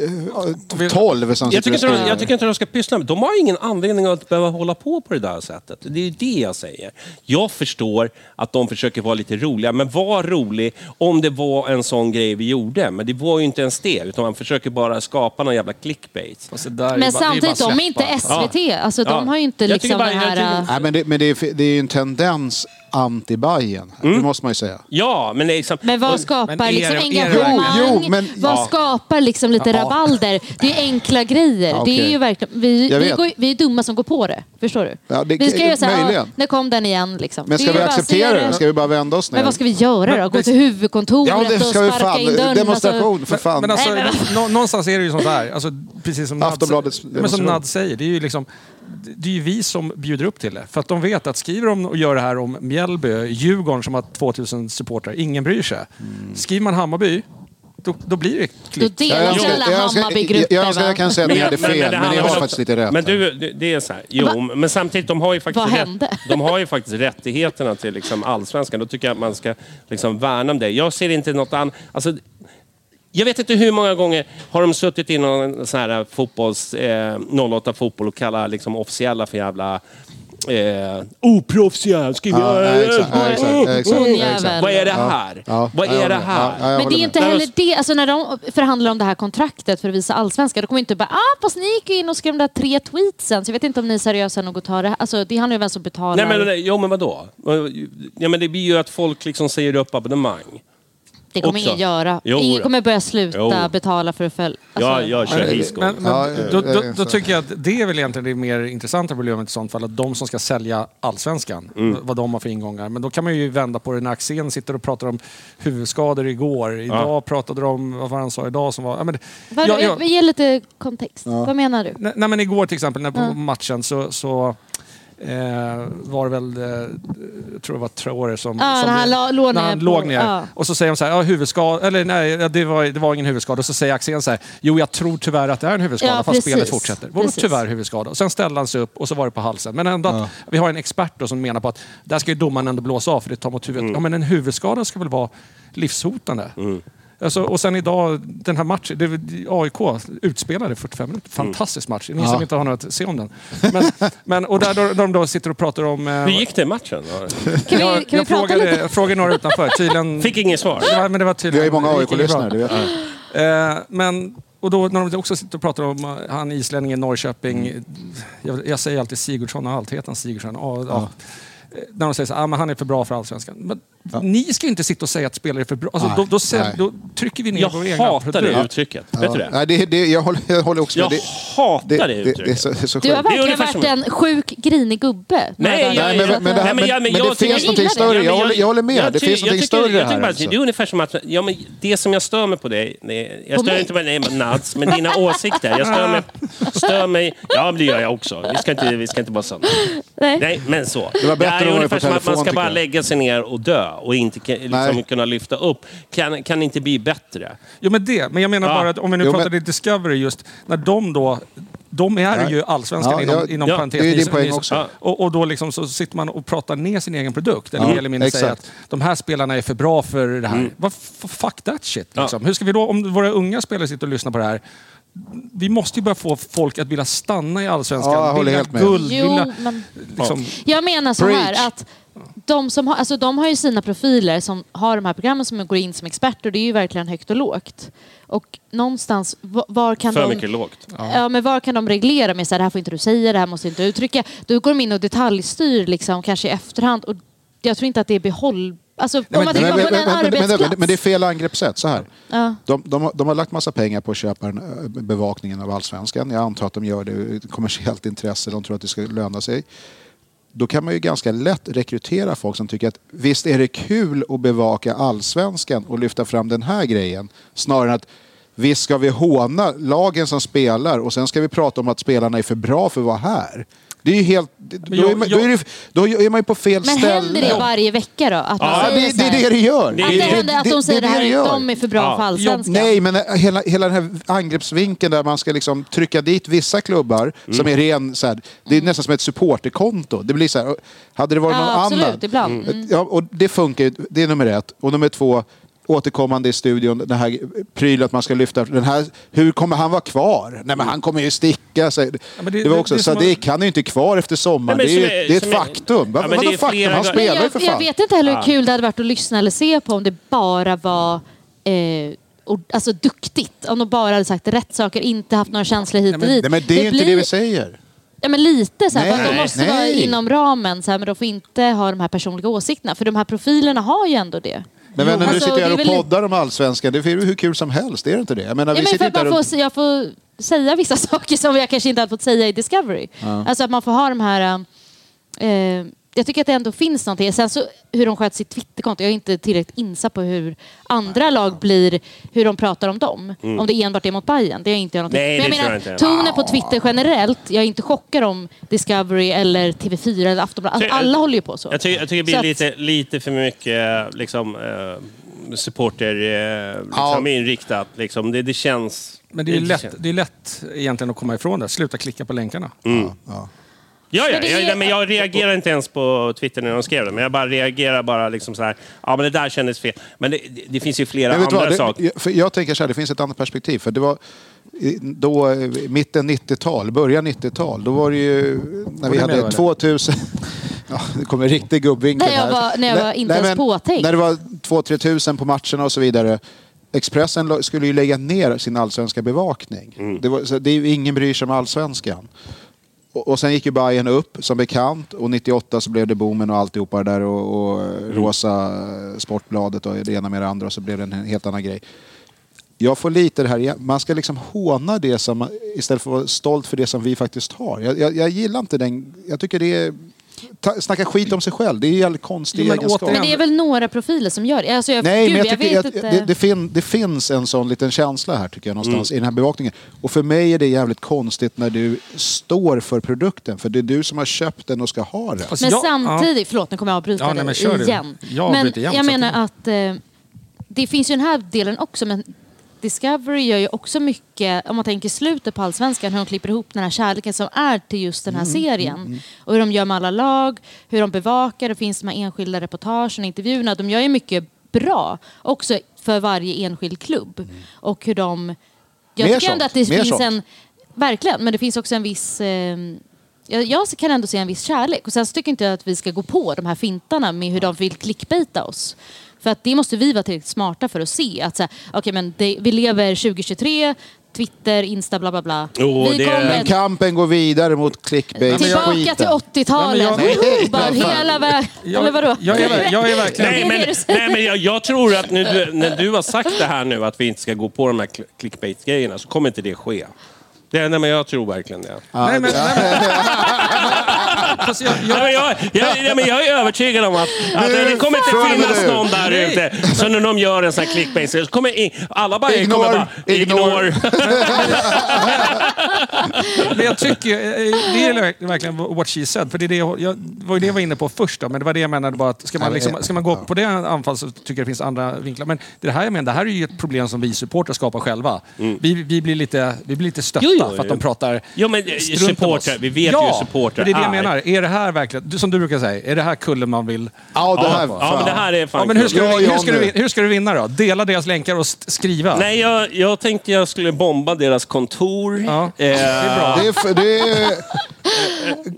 S3: vi-
S1: 12, som
S2: Jag
S1: sitter
S2: tycker,
S1: och
S2: inte de,
S1: skriver.
S2: jag tycker inte de ska pyssla med De har ingen anledning att behöva hålla på på det där sättet. Det är ju det jag säger. Jag förstår att de försöker vara lite roliga, men var rolig om det var en sån grej vi gjorde. Men det var ju inte ens det, utan man försöker bara skapa någon jävla clickbait.
S3: Fast det där är ju bara- det är
S4: Men samtidigt,
S3: bara
S4: de är inte
S3: släppa.
S4: SVT. Alltså,
S2: Ja.
S4: de har ju inte
S2: Jag
S4: liksom
S2: tycker bara-
S4: den
S2: jag
S4: här...
S2: tycker-
S1: Nej, men det, men det, är, det är ju en tendens anti Bayern.
S2: Mm.
S1: Det måste man ju säga.
S2: Ja, men det är liksom...
S4: Men vad
S3: men
S4: skapar
S3: är det-
S4: liksom
S3: är det
S4: engagemang?
S1: verkligen? Jo, men-
S4: vad
S1: Ja.
S4: skapar liksom lite rabalder? Det är enkla grejer.
S1: Ja,
S4: Det är
S1: okej.
S4: ju verkligen, vi,
S1: Jag
S4: vi,
S1: vet.
S4: går, vi är dumma som går på det. Förstår du?
S1: Ja, det- eh,
S4: vi ska göra så här,
S1: möjligen.
S4: "Ah, när kom den igen? Liksom.
S1: Men
S4: Det
S1: ska
S4: är
S1: vi
S4: bara att
S1: acceptera
S4: säga
S1: det? Ska vi bara vända oss ner?
S4: Men vad ska vi göra då? Gå till huvudkontoret
S1: Ja, det ska vi
S4: och sparka
S1: fan.
S4: in dörren?
S1: Demonstration, för
S3: Men-
S1: fan.
S3: Men alltså,
S4: Nej, men-
S3: nå- någonstans är det ju som så här, alltså, precis som Nad,
S1: Aftonbladets
S3: men som
S1: demonstration.
S3: Nad säger, det är ju liksom det är ju vi som bjuder upp till det. För att de vet att skriver de och gör det här om Mjällby, Djurgården som har 2000 supportrar, ingen bryr sig.
S1: Mm.
S3: Skriver man Hammarby, då, då blir
S4: Då
S3: det klick.
S1: jag,
S4: delar
S1: önskar,
S4: hela
S1: jag, önskar, jag, jag
S4: Hammarbygruppen.
S1: önskar jag
S4: va?
S1: kan säga att ni hade fel, men, ni
S2: handlar
S1: har
S2: också-
S1: faktiskt lite rätt.
S2: Men du, det det är så här. Jo,
S4: Va?
S2: men samtidigt, de har ju faktiskt,
S4: Vad
S2: rätt-
S4: hände?
S2: de har ju faktiskt rättigheterna till liksom allsvenskan. Då tycker jag att man ska liksom värna om det. Jag ser inte något annat... Alltså, jag vet inte hur många gånger har de suttit i någon sån här fotbolls, eh, 08 fotboll och kallar liksom officiella för jävla eh, oproffsiga. Skriver
S1: Ja,
S2: jag-
S1: nej, exakt, nej, exakt,
S2: Oh,
S1: exakt,
S2: oh.
S4: exakt.
S2: Vad är det här?
S1: Ja,
S2: Vad
S1: ja, jag
S2: är det
S1: håller med. Ja, ja,
S2: här?
S4: Men
S1: jag
S4: det
S1: håller
S4: är
S1: med.
S4: inte heller det. Alltså när de förhandlar om det här kontraktet för att visa allsvenskan, då kommer inte bara ah, fast ni gick ju in och skrev de där tre tweetsen, så jag vet inte om ni är seriösa nog att ta det här. Alltså det handlar ju om vem som betalar.
S2: Nej, men, nej, jo, men vadå? Ja, men det blir ju att folk liksom säger upp abonnemang.
S4: det kommer
S2: också.
S4: ingen göra.
S2: Jo,
S4: ingen
S2: då.
S4: kommer börja sluta
S2: Jo.
S4: betala för att följa.
S2: Ja, jag kör disco.
S3: Men, men,
S1: Ja,
S3: då,
S1: ja,
S3: då,
S1: ja,
S3: då
S1: så.
S3: tycker jag att det är väl egentligen det mer intressanta problemet i sånt fall, att de som ska sälja allsvenskan, vad de har för ingångar. Men då kan man ju vända på det när Axén sitter och pratar om huvudskador igår. Idag pratade de om, vad var han sa idag som var... Ja, men,
S4: Vad,
S3: ja, ja.
S4: Ge lite kontext. Vad menar du?
S3: Nej, nej men igår till exempel, när på matchen så, så eh, var väl, eh, jag tror det var Traore som...
S4: Ja,
S3: som
S4: Ah, när han la- låg
S3: när
S4: ner
S3: han
S4: på- ah.
S3: låg ner.
S4: ja.
S3: Och så säger de så här, ja, huvudskada, eller nej, ja, det var, det var ingen huvudskada. Och så säger Axén så här, jo jag tror tyvärr att det är en huvudskada
S4: Ja,
S3: fast
S4: precis.
S3: spelet fortsätter. Var
S4: Precis.
S3: tyvärr huvudskada. Och sen ställde han sig upp och så var det på halsen. Men ändå att, vi har en expert då som menar på att där ska ju domaren ändå blåsa av för det tar mot huvudet. Ja men en huvudskada ska väl vara livshotande? Alltså, och sen idag, den här matchen, det, är väl- AIK utspelade 45 minuter. Fantastisk match. Ni som inte har något att se om den. Men, men, och där då, de då sitter och pratar om... eh,
S2: Hur gick det i matchen?
S4: Kan vi,
S3: jag,
S4: kan vi
S3: jag,
S4: prata
S3: frågade,
S4: lite?
S3: jag frågade några utanför. Tydligen...
S2: Fick inget svar.
S3: Det var, men det var
S1: Vi
S3: tydligen,
S1: har ju många
S3: det gick inget bra.
S1: AIK-lyssnare, det vet jag.
S3: Eh, men, och då när de också sitter och pratar om eh, han islänningen Norrköping.
S1: Mm.
S3: Jag, jag säger alltid Sigurdsson och allt. Heter han Sigurdsson? Ja, ja. Eh, När de säger så här, ah, men han är för bra för allsvenskan. Men ni ska ju inte sitta och säga att spelare är för bra. Alltså,
S1: Nej,
S3: då, då, sä-
S1: nej.
S3: då trycker vi ner
S2: Jag
S3: vår egna
S2: hatar det
S3: produkt.
S2: uttrycket. Vet du det?
S1: Nej, det, det, jag, håller, jag håller också
S2: Jag
S1: med. Det,
S2: hatar det
S1: det är
S2: uttrycket.
S1: så, det är så
S4: Du har
S1: skönt.
S2: Det är
S4: verkligen
S2: ungefär
S4: varit en sjuk, grinig gubbe.
S2: Nej,
S4: några dagar.
S2: jag-
S1: Nej, men, men, det, här-
S2: Nej, men jag-
S1: men,
S2: men
S1: men det
S2: jag tycker-
S1: finns
S4: jag gillar
S1: någonting
S4: det.
S1: större.
S2: Ja,
S1: Jag
S2: men
S1: håller, jag håller med.
S2: jag
S1: det
S2: ty-
S1: finns
S2: jag
S1: någonting
S2: tycker-
S1: större
S2: jag
S1: här.
S2: tycker bara att
S1: alltså.
S2: Det är ungefär som att... Ja, men det som jag stör mig på dig... Nej, jag
S4: På
S2: stör
S4: mig?
S2: inte på dig, men Nats, men dina åsikter. Jag stör mig... Stör mig ja, men det gör jag också. Vi ska inte, vi ska inte vara såna.
S4: Nej.
S2: Nej, men så.
S1: Det var bättre att
S2: är
S1: vara
S2: ungefär
S1: på
S2: som att man
S1: telefon,
S2: ska
S1: tycker
S2: bara
S1: jag.
S2: lägga sig ner och dö och inte ka- liksom
S1: Nej.
S2: kunna lyfta upp. Kan, kan inte bli bättre.
S3: Jo, men det. Men jag menar
S2: Ja.
S3: bara att om vi nu
S1: Jo,
S3: pratar
S1: men-
S3: i Discovery just, när de då de är
S1: Ja.
S3: ju allsvenskan
S1: Ja,
S3: inom,
S1: ja,
S3: inom
S2: ja,
S3: parentes.
S1: det är din
S3: Ni-
S1: poäng
S3: ni-
S1: också.
S3: Och, och då liksom så sitter man och pratar ner sin egen produkt. Eller
S1: Ja,
S3: mer eller mindre säger
S1: exakt.
S3: att de här spelarna är för bra för det här. Vad f- fuck that shit. Liksom. Hur ska vi då, om våra unga spelare sitter och lyssnar på det här. Vi måste ju börja få folk att vilja stanna i Allsvenskan.
S1: Ja, jag håller
S3: vilja
S1: helt med.
S3: guld, vilja...
S4: Jo, men...
S3: Liksom,
S4: Jag menar så
S1: Preach.
S4: här att de, som har, alltså de har ju sina profiler som har de här programmen som går in som experter. Det är ju verkligen högt och lågt. Och någonstans, va- var kan
S2: För
S4: de...
S2: mycket lågt.
S4: Ja, men var kan de reglera med så här, det här får inte du säga, det här måste inte du uttrycka. Då går de in och detaljstyr liksom, kanske i efterhand. Och jag tror inte att det är behåll... Alltså, om man
S1: Nej,
S4: tittar
S1: men-
S4: på en
S1: men- men- men-
S4: arbetsplats.
S1: men- Men det är fel angreppssätt. Så här. De, de, har, de har lagt massa pengar på att köpa den, eh, bevakningen av allsvenskan. Jag antar att de gör det ur ett kommersiellt intresse. De tror att det ska löna sig. Då kan man ju ganska lätt rekrytera folk som tycker att visst är det kul att bevaka allsvenskan och lyfta fram den här grejen. Snarare än att visst ska vi håna lagen som spelar och sen ska vi prata om att spelarna är för bra för att vara här. Det är ju helt... Då
S3: jag-
S1: är man, då är det, då är man ju på fel
S4: men
S1: ställe.
S4: händer det varje vecka då? Att man
S1: Ja,
S4: säger
S1: det,
S4: Alltså, så
S1: det
S4: här,
S1: är det det gör.
S4: Att det händer att de säger det,
S1: är
S4: här,
S1: gör.
S4: de är för bra för allsvenskan.
S1: Nej, men hela, hela den här angreppsvinkeln där man ska liksom trycka dit vissa klubbar
S2: Mm.
S1: som är ren... Så här, det är nästan som ett supporterkonto. Det blir så här, hade det varit
S4: Mm. Ja,
S1: någon
S4: absolut,
S1: annan...
S4: ibland. Mm.
S1: Ja, och det funkar ju. Det är nummer ett. Och nummer två, återkommande i studion, den här prylen att man ska lyfta... Den här, hur kommer han vara kvar? Nej, men han kommer ju sticka. Så,
S3: men
S1: det,
S3: det-
S1: var
S3: det-
S1: också,
S3: det är
S1: så
S3: som
S1: det
S3: att-
S1: kan ju inte kvar efter sommaren.
S2: Nej, men
S1: det, är,
S2: som är-
S1: ju- det är ett
S2: som är-
S1: faktum.
S2: Ja,
S1: Vad-
S2: men
S1: Vadå
S2: det är
S1: faktum?
S2: flera
S1: Han
S2: gånger-
S4: Men
S1: spelar ju
S4: jag,
S1: för
S4: jag
S1: fan.
S4: vet inte heller hur kul det hade varit att lyssna eller se på om det bara var eh, ord- alltså duktigt. Om de bara hade sagt rätt saker, inte haft några känslor hit och dit.
S1: Nej, men det är ju inte
S4: blir-
S1: det vi säger.
S4: Ja, men lite så här,
S1: Nej,
S4: för att de
S1: nej,
S4: måste vara
S1: nej.
S4: inom ramen så här, men de får inte ha de här personliga åsikterna. För de här profilerna har ju ändå det.
S1: Men vänner,
S4: Alltså,
S1: du sitter
S4: det
S1: här
S4: är
S1: och
S4: väl-
S1: poddar om allsvenskan. Det är ju hur kul som helst, är det inte det? Jag menar,
S4: Ja,
S1: vi
S4: men för
S1: sitter
S4: att
S1: inte här
S4: man får,
S1: och...
S4: se- jag får säga vissa saker som jag kanske inte hade fått säga i Discovery. Alltså att man får ha de här... eh, eh, jag tycker att det ändå finns någonting. Sen så hur de sköter sitt Twitterkonto. Jag är inte tillräckligt insatt på hur andra lag blir, hur de pratar om dem. Om det enbart är mot Bayern. Det är inte jag någonting.
S2: Mm. Nej,
S4: Men jag
S2: det tror
S4: menar,
S2: jag inte.
S4: tonen på Twitter generellt. Jag är inte chockad om Discovery eller TV4 eller Aftonbladet. Alltså,
S2: Jag-
S4: alla håller ju på så.
S2: Jag tycker, jag tycker det
S4: Så
S2: blir
S4: att-
S2: lite, lite för mycket liksom, eh, supporter eh,
S1: Ja.
S2: liksom, inriktat. Liksom. Det, det känns...
S3: men det är ju
S2: det
S3: lätt,
S2: känns-
S3: det är lätt egentligen att komma ifrån det. Sluta klicka på länkarna.
S2: Ja, ja,
S4: Men det är-
S2: jag, men jag reagerar inte ens på Twitter när de skrev det. Men jag bara reagerar bara liksom så här. Ja, men det där kändes fel. Men det, det- det finns ju flera
S1: Men vet du
S2: andra
S1: vad,
S2: saker.
S1: det, för jag tänker så här, det finns ett annat perspektiv. För det var i- då eh, mitten 90-tal, början 90-tal, då var det ju när vi
S3: du med,
S1: hade
S3: eller?
S1: 2000... Ja, det kommer en riktig gubbvinkel
S4: När jag
S1: här.
S4: var- när jag var inte ens
S1: men
S4: påtänkt.
S1: När det var 2-3 tusen på matcherna och så vidare. Expressen la- skulle ju lägga ner sin allsvenska bevakning. Det var, så det är ju ingen bryr sig om allsvenskan. Och, och sen gick ju Bayern upp som bekant och 98 så blev det boomen och alltihopa det där och, och rosa Sportbladet och det ena med det andra och så blev det en helt annan grej. Jag får lite det här igen. Man ska liksom håna det som, istället för att vara stolt för det som vi faktiskt har. Jag, jag, jag gillar inte den, jag tycker det är ta, snacka skit om sig själv. Det är ju en jävligt konstig
S3: Jo, men
S1: egenskap.
S3: återigen-
S4: Men det är väl några profiler som gör det? Alltså jag,
S1: Nej,
S4: gud,
S1: men jag
S4: jag,
S1: tycker
S4: vet
S1: att
S4: inte.
S1: det, det, fin, det finns en sån liten känsla här tycker jag någonstans i den här bevakningen. Och för mig är det jävligt konstigt när du står för produkten. För det är du som har köpt den och ska ha den.
S3: Alltså,
S4: Men
S3: jag-
S4: samtidigt, förlåt nu kommer jag avbryta
S3: Ja, nej,
S4: dig
S3: men kör du.
S4: igen.
S3: Jag
S4: men
S3: avbryter igen,
S4: jag
S3: så
S4: menar
S3: att
S4: att eh, det finns ju den här delen också men Discovery gör ju också mycket, om man tänker slutet på Allsvenskan, hur de klipper ihop den här kärleken som är till just den här
S3: Mm,
S4: serien. Och hur de gör med alla lag, hur de bevakar, det finns de här enskilda reportagen, intervjuerna. De gör ju mycket bra också för varje enskild klubb.
S3: Mm.
S4: Och hur de... Jag
S1: Mer
S4: tycker ändå
S1: sånt,
S4: att det
S1: mer
S4: finns
S1: sånt.
S4: en... Verkligen, men det finns också en viss... Eh, jag, jag kan ändå se en viss kärlek. Och sen så tycker inte jag att vi ska gå på de här fintarna med hur de vill clickbaita oss. För att det måste vi vara tillräckligt smarta för att se. Att så här, okej, men det, vi lever 2023, Twitter, Insta, bla bla bla.
S2: Jo,
S4: vi
S2: det-
S4: kommer
S1: Men kampen går vidare mot
S4: tillbaka till
S1: clickbait-skiten.
S4: 80-talet.
S3: Nej, men jag-
S4: Woho, bara hela vägen.
S3: Jag-
S4: Eller vadå?
S3: jag är- jag är verkligen-
S4: Det
S2: Nej,
S4: är det
S2: men,
S4: du säger.
S2: nej, men jag, jag tror att nu, du- när du har sagt det här nu att vi inte ska gå på de här cl- clickbait-grejerna så kommer inte det ske. Det, nej, men jag tror verkligen det.
S3: Nej, men, nej, men. Fast jag,
S2: Nej,
S3: jag,
S2: men jag, jag, nej, men jag är övertygad om att, att
S1: Nu
S2: det kommer
S1: följer
S2: inte finnas
S1: du.
S2: någon där ute. Så när de gör en sån här clickbait så kommer in, alla bara...
S1: Ignore,
S2: kommer bara
S1: ignore.
S3: men jag tycker, eh, det är verkligen what she said. För det, är det, jag, jag- det var ju det jag var inne på först, då, men det var det jag menade bara att ska man, liksom, ska man gå på det anfall så tycker jag det finns andra vinklar. Men det här jag menar, det här är ju ett problem som vi supportrar skapar själva. Vi, vi, blir lite, vi blir lite stötta
S2: Mm. Jo, jo,
S3: för att de
S2: jo.
S3: pratar
S2: Jo, men, eh,
S3: strunt om
S2: supportrar,
S3: oss.
S2: vi vet ju
S3: ja,
S2: hur supportrar
S3: men det är
S2: är.
S3: det jag menar. Är det här verkligen, du- som du brukar säga, är det här kullen man vill
S1: Ja, det här,
S2: Ja, men det här är fan
S3: Ja, men hur
S2: kul.
S3: ska,
S1: Ja,
S3: du,
S1: ja,
S3: hur, ska
S1: nu.
S3: du, vin- hur ska du vinna då? Dela deras länkar och st- skriva?
S2: Nej, jag, jag tänkte jag skulle bomba deras kontor.
S3: Ja.
S2: Eh,
S1: Det är, f- det är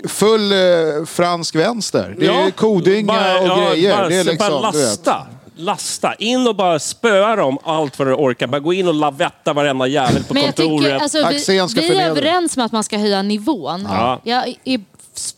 S1: full eh, fransk vänster. Det är
S2: ja.
S1: kodinga
S2: Bara-
S1: och
S2: ja,
S1: grejer.
S2: Bara,
S1: det är liksom,
S2: bara
S1: du vet.
S2: lasta. Lasta. In och bara spöa dem allt vad du orkar. Bara gå in och lavetta varenda jävel på
S4: Men jag
S2: kontoret.
S4: tycker, alltså, vi,
S1: Axén ska
S4: vi är
S1: förnedra.
S4: överens om att man ska höja nivån.
S2: Ja.
S4: Jag är,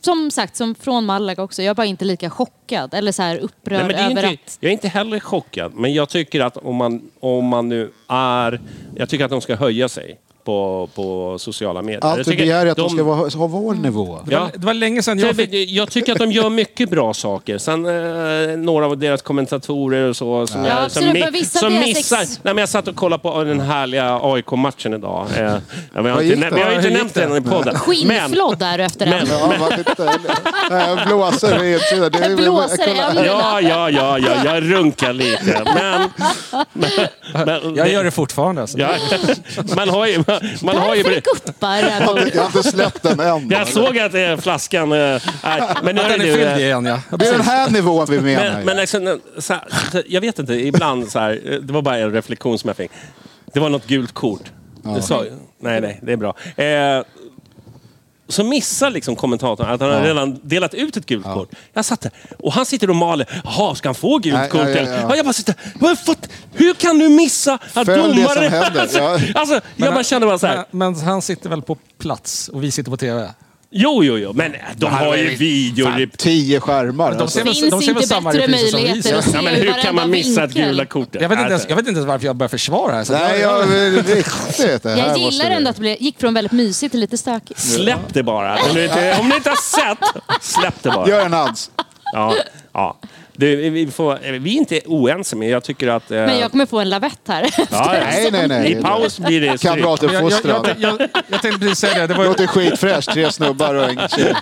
S4: som sagt, som från Malaga också, jag är bara inte lika chockad eller så här upprörd
S2: Nej, men det är
S4: över
S2: inte,
S4: att...
S2: jag är inte heller chockad, men jag tycker att om man, om man nu är... Jag tycker att de ska höja sig på, på sociala medier. jag
S1: Allt vi
S2: tycker
S1: begär är att de, ska vara, ha vår nivå.
S2: Ja.
S3: Det var länge sedan jag
S2: Jag,
S3: fick...
S2: jag tycker att de gör mycket bra saker. Sen eh, några av deras kommentatorer och så som,
S4: Ja,
S2: jag, som,
S4: absolut, men vissa
S2: som
S4: deras
S2: missar.
S4: ex-
S2: Nej, men jag satt och kollade på den härliga AIK-matchen idag. Eh, ja, men jag har
S1: Vad
S2: inte,
S1: gick det?
S2: nä- men jag har
S3: Ja,
S2: inte
S3: hur gick
S2: nämnt den i podden. Men,
S4: Skinnflådd där efter
S2: men,
S4: en.
S1: Ja, vad lite- Nej, Blåser i insidan. Det är-
S4: Blåser i ögonen.
S2: ja, ja, ja, ja, jag runkar lite. Men, men, men,
S3: Jag gör det fortfarande. Alltså.
S2: Ja. Man har ju... Man har ju
S4: Därför guppar det här bordet.
S1: Jag har inte släppt den än.
S2: jag såg att eh, flaskan... eh, Nej, men nu är
S3: Den
S2: det
S3: är
S2: du. eh,
S3: fylld igen, ja.
S1: Det är den här nivån vi menar.
S2: Men, men liksom, så här, så- jag vet inte, ibland så här, eh, det var bara en reflektion som jag fick. Det var något gult kort. Det sa, nej, nej, det är bra. Eh, så missar liksom kommentatorn att han har redan delat ut ett gult kort. Jag satt där och han sitter och maler. Jaha, ska han få gult
S1: Nej,
S2: kort?
S1: ja, ja,
S2: eller?
S1: ja.
S2: Och jag bara sitter "Vad fatt- Hur kan du missa att
S1: Följ det som
S2: domare...
S1: händer,
S2: alltså,
S1: ja.
S2: alltså, jag
S3: eh,
S2: bara kände bara så här.
S3: Men, men han sitter väl på plats och vi sitter på TV?
S2: Jo, jo, jo, men de har ju videorep...
S1: Tio skärmar.
S3: De
S1: alltså.
S3: ser väl,
S4: Finns
S3: de ser väl
S4: inte
S3: samma
S4: bättre
S3: repriser som
S4: möjligheter att se
S3: vi ser.
S2: Ja, men
S4: ur
S2: hur kan man
S4: varenda
S2: missa ett
S4: vinkel?
S2: gula kortet?
S3: Jag vet, inte ens,
S2: Alltså.
S3: jag vet inte ens varför jag börjar försvara här. Så
S1: Nej, jag vill riktigt. det här
S4: Jag
S1: måste
S4: gillar
S1: vi-
S4: ändå att det blev- gick från väldigt mysigt till lite stökigt.
S2: Släpp det bara. Om ni inte, om ni inte har sett, släpp det bara.
S1: Gör en dans.
S2: Ja, ja. Du, vi, får, vi är inte oense, men jag tycker att... eh,
S4: Men jag kommer få en lavett här.
S2: ja, ja.
S1: Nej, nej, nej.
S2: I paus blir det stryk.
S3: jag, jag,
S1: Kamratuppfostran.
S3: jag, jag, jag tänkte precis säga det. Det var, ju-
S1: Låter skitfräscht. Tre snubbar och en tjej.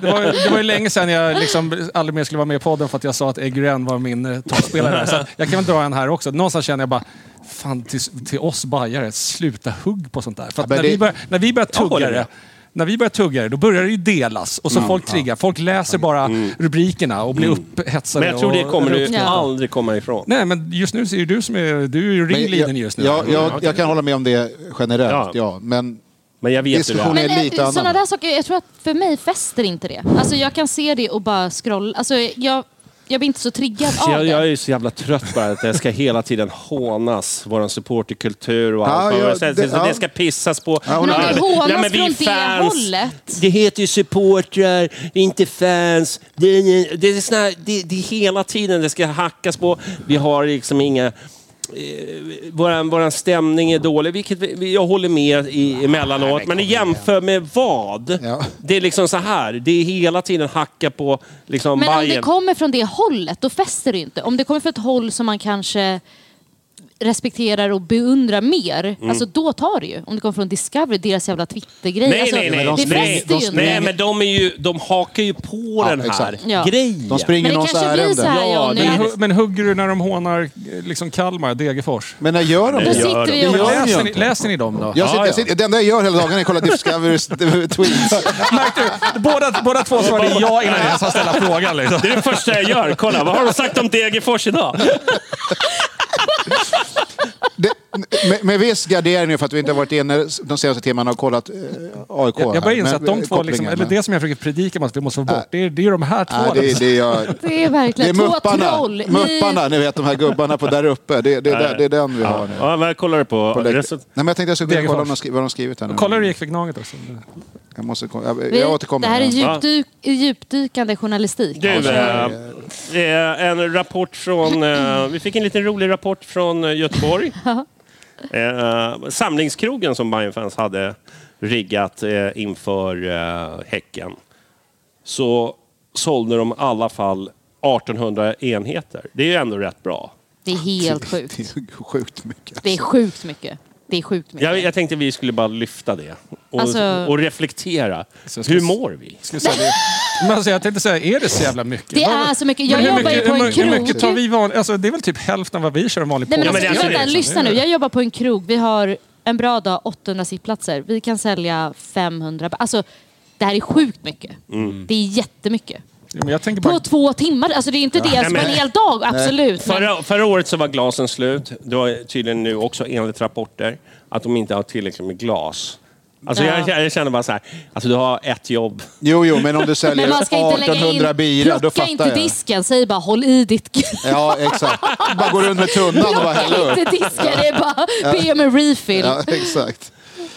S3: det var, ju- det var ju länge sedan jag liksom aldrig mer skulle vara med i podden för att jag sa att Eggren var min eh, toppspelare. här. Så att jag kan väl dra en här också. Någonstans känner jag bara, fan till, till oss bajare, sluta hugg på sånt där. För att
S1: men
S3: när,
S1: det-
S3: vi börjar, när vi börjar tugga
S2: håller med. Mm.
S3: det, när vi börjar tugga det, då börjar det ju delas och så folk triggar. Folk läser bara rubrikerna och blir upphetsade.
S2: Men jag tror det
S3: och-
S2: kommer du
S4: Ja.
S2: aldrig komma ifrån.
S3: Nej, men just nu så är det du som är... Du är ju
S1: Men
S3: ringliden just nu.
S1: Jag, jag, jag kan hålla med om det
S2: Ja.
S1: generellt, ja. Men
S2: Men jag vet hur det
S1: Diskussion
S2: är.
S1: är-
S4: Men
S1: lite annan.
S4: sådana där saker, jag tror att för mig fäster inte det. Alltså jag kan se det och bara scrolla. Alltså jag, jag blir inte så triggad av
S2: Jag,
S4: det.
S2: jag är ju så jävla trött bara att jag ska hela tiden hånas, vår supporterkultur och allt.
S1: Ja,
S2: vad
S1: ja,
S2: jag säger.
S1: det-
S2: Så det,
S1: ja.
S2: ska pissas på.
S1: hon
S4: Men
S1: har-
S4: att
S2: Ja,
S4: hånas
S2: men vi
S4: från det
S2: fans.
S4: hållet.
S2: Det heter ju supportrar, inte fans. Det är, det är, såna här, det, det är hela tiden det ska hackas på. Vi har liksom inga... eh, våran, våran stämning är dålig, vilket vi- vi, jag håller med i, emellanåt. Men jämför med vad?
S1: Ja.
S2: Det är liksom så här, det är hela tiden hacka på liksom
S4: Men om det
S2: Bayern.
S4: kommer från det hållet, då fäster det ju inte. Om det kommer från ett håll som man kanske respekterar och beundrar mer,
S2: Mm.
S4: alltså då tar det ju. Om det kommer från Discovery, deras jävla Twitter-grej.
S2: Nej,
S4: alltså,
S2: nej, nej.
S4: Det
S2: nej,
S4: fäster ju inte.
S2: nej, men de, är ju, de hakar ju på den här
S1: exakt.
S4: Ja.
S2: grejen.
S1: De springer
S4: Men det
S1: någons
S4: kanske blir
S1: ärende.
S4: så här,
S2: Ja,
S4: Johnny,
S2: det är
S4: att-
S3: Men, hu- men hugger du när de hånar eh, liksom Kalmar, Degerfors?
S1: Men när gör de
S4: Då
S1: det?
S4: sitter vi
S1: Det gör
S4: och...
S1: de ju
S3: Läser ni,
S1: inte.
S3: läser ni dem då?
S1: Jag sitter,
S2: Ja, ja.
S1: jag sitter, det enda jag gör hela dagen är att kolla Discoverys tweets.
S3: Märkte du? Båda, båda två svarade ja innan jag ens har ställt frågan. Liksom.
S2: Det är det första jag gör. Kolla, vad har de sagt om Degerfors idag?
S1: Det, med, med viss gardering för att vi inte har varit inne de senaste timmarna och kollat eh, AIK.
S3: Jag, jag
S1: här.
S3: börjar inse att
S1: Men-
S3: de två, liksom,
S1: kopplingen,
S3: eller
S1: men-
S3: det som jag försöker predika om att vi måste få bort, det är, det är ju de här två. liksom.
S1: Nej, det, det, är jag,
S4: Det är
S1: det är
S4: verkligen två
S1: mupparna.
S4: troll.
S1: Mupparna, ni vet de här gubbarna på där uppe. Det, det, det, det är den vi har nu.
S2: Ja, vad kollar du på?
S1: På läkt- Nej,
S2: Result-
S1: men jag tänkte jag skulle gå in och kolla om de
S3: Degerfors.
S1: skri- vad de skrivit här nu.
S3: Kolla hur det gick för Gnaget också.
S1: Jag, måste, ko- jag,
S4: Vi,
S1: jag återkommer.
S4: det här är
S1: med den.
S4: djupdyk, djupdykande journalistik.
S2: Du, eh, eh, en rapport från... Eh, vi fick en liten rolig rapport från eh, Göteborg. eh, samlingskrogen som Bayern-fans hade riggat eh, inför eh, Häcken. Så sålde de i alla fall 1800 enheter. Det är ju ändå rätt bra.
S4: Det är helt sjukt.
S1: Det är ju sjukt mycket.
S4: Det är sjukt mycket. Det är sjukt mycket.
S2: Jag, jag tänkte vi skulle bara lyfta det och,
S4: Alltså-
S2: och reflektera.
S3: Så Alltså, jag ska-
S2: Hur mår vi?
S3: Skulle säga det. Men alltså, jag tänkte säga, är det så jävla mycket?
S4: Det är så mycket. Jag
S3: Men hur
S4: jobbar ju
S3: mycket-
S4: på en
S3: hur mycket- Hur
S4: krog.
S3: mycket tar vi van... alltså, det är väl typ hälften av vad vi kör en vanlig
S4: Nej, men
S2: Ja,
S3: podd.
S2: men
S4: alltså,
S2: det är
S4: vänta,
S2: alltså det.
S4: lyssna nu. Jag jobbar på en krog. Vi har en bra dag 800 sittplatser. Vi kan sälja 500. ba- Alltså, det här är sjukt mycket. Det är jättemycket.
S3: Jo, men jag tänker
S4: På
S3: bara...
S4: två timmar. Alltså det är inte det som
S2: men-
S4: en hel dag, absolut. Men,
S2: Förra, förra året så var glasen slut. Det var tydligen nu också enligt rapporter att de inte har tillräckligt med glas. Alltså
S4: Ja.
S2: jag, jag känner bara så här, alltså du har ett jobb.
S1: Jo, jo, men om du säljer
S4: men man ska inte lägga
S1: 1800
S4: in...
S1: bira, då
S4: plocka
S1: fattar
S4: inte
S1: jag.
S4: disken. Säg bara håll i ditt...
S1: Ja, exakt. Bara går runt med tunnan och bara häller
S4: Plocka
S1: upp.
S4: inte disken. Det är bara be om en refill.
S1: Ja, exakt.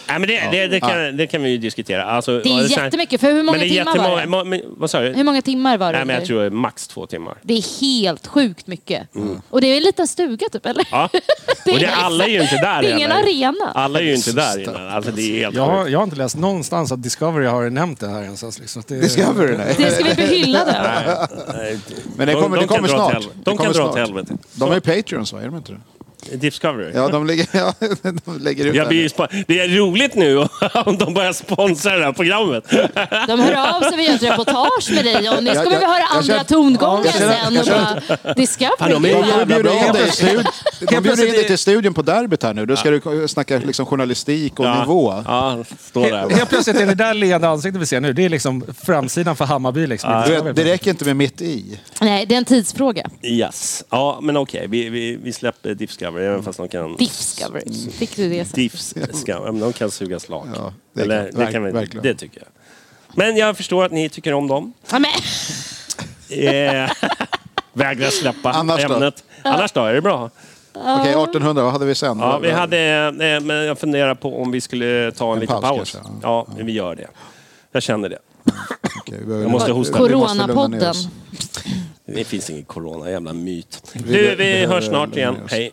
S2: Nej, men det, det, det, kan, det kan vi ju diskutera. Alltså,
S4: Det är
S2: så här-
S4: jättemycket. För hur många
S2: men det är
S4: timmar var det?
S2: jättemånga- må- men- Vad sa du?
S4: Hur många timmar var det?
S2: Nej, men jag
S4: ungefär?
S2: tror det är max två timmar.
S4: Det är helt sjukt mycket. Och det är en liten stuga typ, eller?
S2: Ja. Och det,
S4: liksom-
S2: alla är ju inte där
S4: Det är ingen
S2: heller.
S4: arena.
S2: Alla är ju inte där innan. Alltså det är helt
S3: Jag har,
S2: sjukt.
S3: jag har inte läst någonstans att Discovery har nämnt det här ens. alltså, Liksom. att Det,
S1: Discovery, nej.
S4: Det ska vi bli hyllade av.
S2: Nej,
S1: Men det
S2: de-
S1: kommer,
S2: de
S1: det
S2: kan
S1: kommer
S2: dra åt
S1: snart.
S2: helvete.
S1: Det
S2: De kan
S1: kommer
S2: dra åt
S1: snart.
S2: helvete.
S1: De är Patreons, va? Är de inte det?
S2: Discovery.
S1: Ja, de lägger, ja, de lägger ut
S2: Jag
S1: det.
S2: blir ju spo- det är roligt nu om de börjar sponsra det här programmet.
S4: De hör av sig, vi gör ett reportage med dig och nu
S1: Jag-
S4: kommer
S1: jag-
S4: vi höra
S1: jag
S4: andra
S1: känner-
S4: tongångar
S1: jag känner-
S4: sen.
S1: jag
S4: Och
S1: känner-
S4: bara, Discovery.
S2: Fan, de är ju
S4: Ja,
S2: jävla
S1: De bjuder
S2: bra.
S1: in dig i
S2: Det-
S1: stud- de bjuder in dig till studion på derbyt här nu. Då ska du snacka liksom journalistik och
S2: Ja.
S1: nivå.
S2: Ja, står där.
S3: Helt plötsligt är det där leende ansiktet vi ser nu. Det är liksom framsidan för Hammarby. Liksom.
S1: Du vet, det räcker inte med mitt i.
S4: Nej, det är en tidsfråga.
S2: Yes. Ja, men okej. Vi, vi, vi släpper Discovery även fast de kan...
S4: Discovery. Fick du det sen?
S2: Discovery. De kan suga slak.
S1: Ja, det
S2: Eller,
S1: kan-
S2: det, kan vi,
S1: verkligen.
S2: det tycker jag. Men jag förstår att ni tycker om dem.
S4: Ja, men,
S2: Eh, Vägrar släppa
S1: Annars då?
S2: ämnet. Annars då? Är det bra?
S1: Okej, 1800, vad hade vi sen?
S2: Ja, vi hade... Eh, men jag funderar på om vi skulle ta en, liten
S1: paus
S2: paus.
S1: kanske,
S2: Ja, vi gör det. Jag känner det.
S1: Okej, vi behöver-
S2: Jag måste hosta.
S1: vi måste lugna ner
S4: Coronapodden.
S1: oss.
S2: Det finns ingen corona, jävla myt.
S1: behöver-
S2: Du, vi
S1: behöver
S2: hörs snart
S1: lugna
S2: igen.
S1: ner oss.
S2: Hej.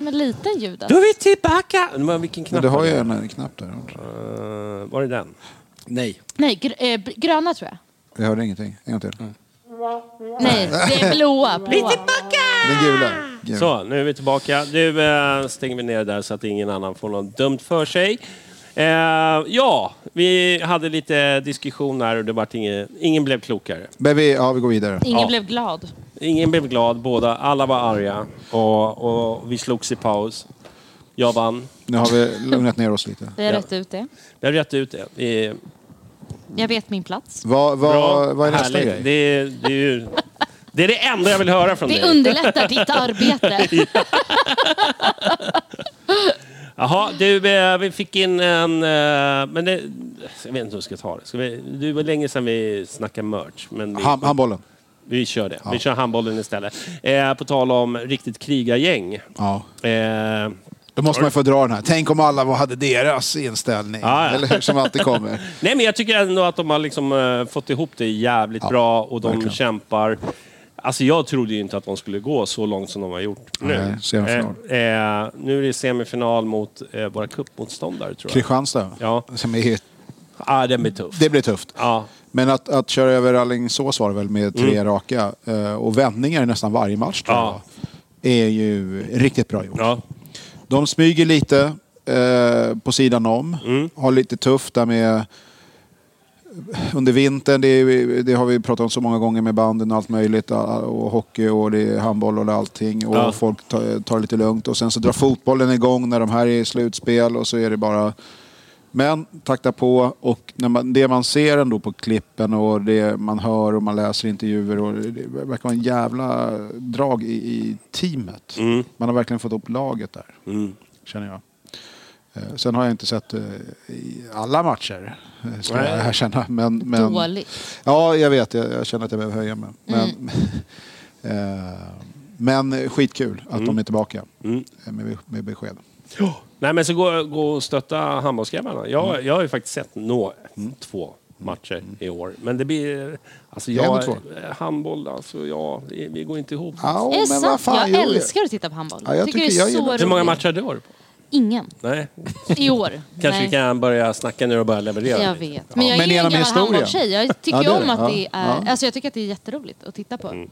S4: Med liten alltså. Judas.
S2: Då är vi tillbaka! Men Vilken knapp
S1: Men du har ju
S2: var
S1: en,
S2: det?
S1: en knapp där.
S2: Eh, var det den? Nej.
S4: Nej, gr- eh, b- gröna tror jag.
S1: Jag hörde ingenting. En gång till.
S2: Mm.
S4: Nej, det är blåa. blåa.
S1: Den gula. gula.
S2: Så, nu är vi tillbaka. Nu eh, stänger vi ner där så att ingen annan får något dumt för sig. Eh, ja, vi hade lite diskussion här och det vart ingen, ingen blev klokare.
S1: Men vi, ja, vi går vidare.
S4: Ingen
S2: Ja.
S4: blev glad.
S2: Ingen blev glad, båda, alla var arga och, och vi slogs i paus. Jag vann.
S1: Nu har vi lugnat ner oss lite.
S4: Vi har
S2: Ja.
S4: rätt ut det.
S2: Vi har rätt ut det. det är
S4: Jag vet min plats.
S1: Vad, vad, vad är nästa
S2: härligt.
S1: grej?
S2: Det, är- det, är ju, det är det enda jag vill höra från
S4: Det
S2: dig.
S4: underlättar ditt arbete.
S2: Jaha, du, eh, vi fick in en... eh, Men det, jag vet inte hur vi ska ta det. Ska vi, det var länge sedan vi snackade merch. Men vi,
S1: Ham, handbollen.
S2: vi kör det. Vi kör handbollen istället. Eh, på tal om riktigt krigargäng.
S1: Ja.
S2: Eh,
S1: Då måste man få dra den här. Tänk om alla hade deras inställning.
S2: Ja, ja.
S1: Eller hur? Som alltid kommer.
S2: Nej, men jag tycker ändå att de har liksom, eh, fått ihop det jävligt bra och de
S1: verkligen.
S2: kämpar. Alltså jag trodde ju inte att de skulle gå så långt som de har gjort nu.
S1: Nej, semifinal.
S2: Eh, eh, nu är det semifinal mot eh, våra cupmotståndare tror jag.
S1: Kristianstad.
S2: Ja.
S1: Som är,
S2: Ah, den blir tuff.
S1: det blir tufft.
S2: Ja.
S1: Men att, att köra över Alingsås var det väl med tre raka eh, och vändningar i nästan varje match tror
S2: Mm. Ja.
S1: jag. Är ju riktigt bra gjort.
S2: Ja.
S1: De smyger lite eh, på sidan om.
S2: Mm.
S1: Har lite tufft där med under vintern. Det, är- det har vi pratat om så många gånger med banden och allt möjligt. ah, Och hockey och det är handboll och det är allting. Och
S2: Ja.
S1: folk tar, tar det lite lugnt. Och sen så drar fotbollen igång när de här är i slutspel och så är det bara... Men takta på och när man, det man ser ändå på klippen och det man hör och man läser intervjuer och det verkar vara en jävla drag i, i teamet. Man har verkligen fått upp laget där, känner jag. Eh, Sen har jag inte sett eh, i alla matcher, eh, ska jag erkänna. Men, men,
S4: Dåligt. Mm.
S1: Ja, jag vet. Jag, jag känner att jag behöver höja mig. Men, eh, men eh, skitkul att de är tillbaka eh, med, med besked.
S2: Nej, men så gå, gå och stötta handbollsgrabbarna. Jag,
S1: Mm.
S2: jag har ju faktiskt sett nå, två matcher i år. Men det blir... Alltså
S1: Det är
S2: jag,
S1: ändå
S2: handboll, alltså jag, vi vi går inte ihop.
S1: Au,
S4: är det
S1: men
S4: sant?
S1: vad fan,
S4: jag
S1: jo,
S4: älskar att titta på handboll.
S1: Ja, jag
S4: tycker,
S1: tycker jag
S4: det är så
S1: gillar det.
S4: roligt.
S2: Hur många matcher har du varit på?
S4: Ingen.
S2: Nej.
S4: I år.
S2: Kanske
S4: Nej.
S2: vi kan börja snacka nu och börja leverera.
S4: Jag
S2: lite.
S4: vet. Men jag
S1: Men
S4: är ju en
S1: genom
S4: gammal
S1: historien.
S4: handbollstjej. Jag tycker
S1: Ja, det är
S4: om
S1: det.
S4: att
S1: Ja,
S4: det är...
S1: ja. Mm.
S4: Alltså jag tycker att det är jätteroligt att titta på.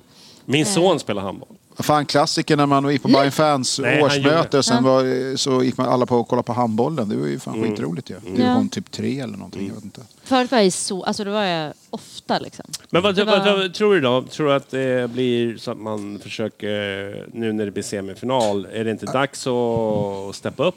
S2: Min
S4: Eh.
S2: son spelar handboll.
S1: Vad fan, klassiker när man gick på Bayern Fans
S2: Nej, han
S1: årsmöte
S2: gjorde.
S1: och sen var, så gick man alla på och kollade på handbollen. Det var ju fan
S2: Mm.
S1: skitroligt ju. Det
S4: Ja.
S1: kom typ tre eller någonting. Jag vet inte.
S4: Förut var jag så... Alltså då var jag ofta liksom.
S2: Men vad,
S4: Det
S2: vad,
S4: var-
S2: vad tror du då? Tror du att det blir så att man försöker, nu när det blir semifinal, är det inte dags att steppa upp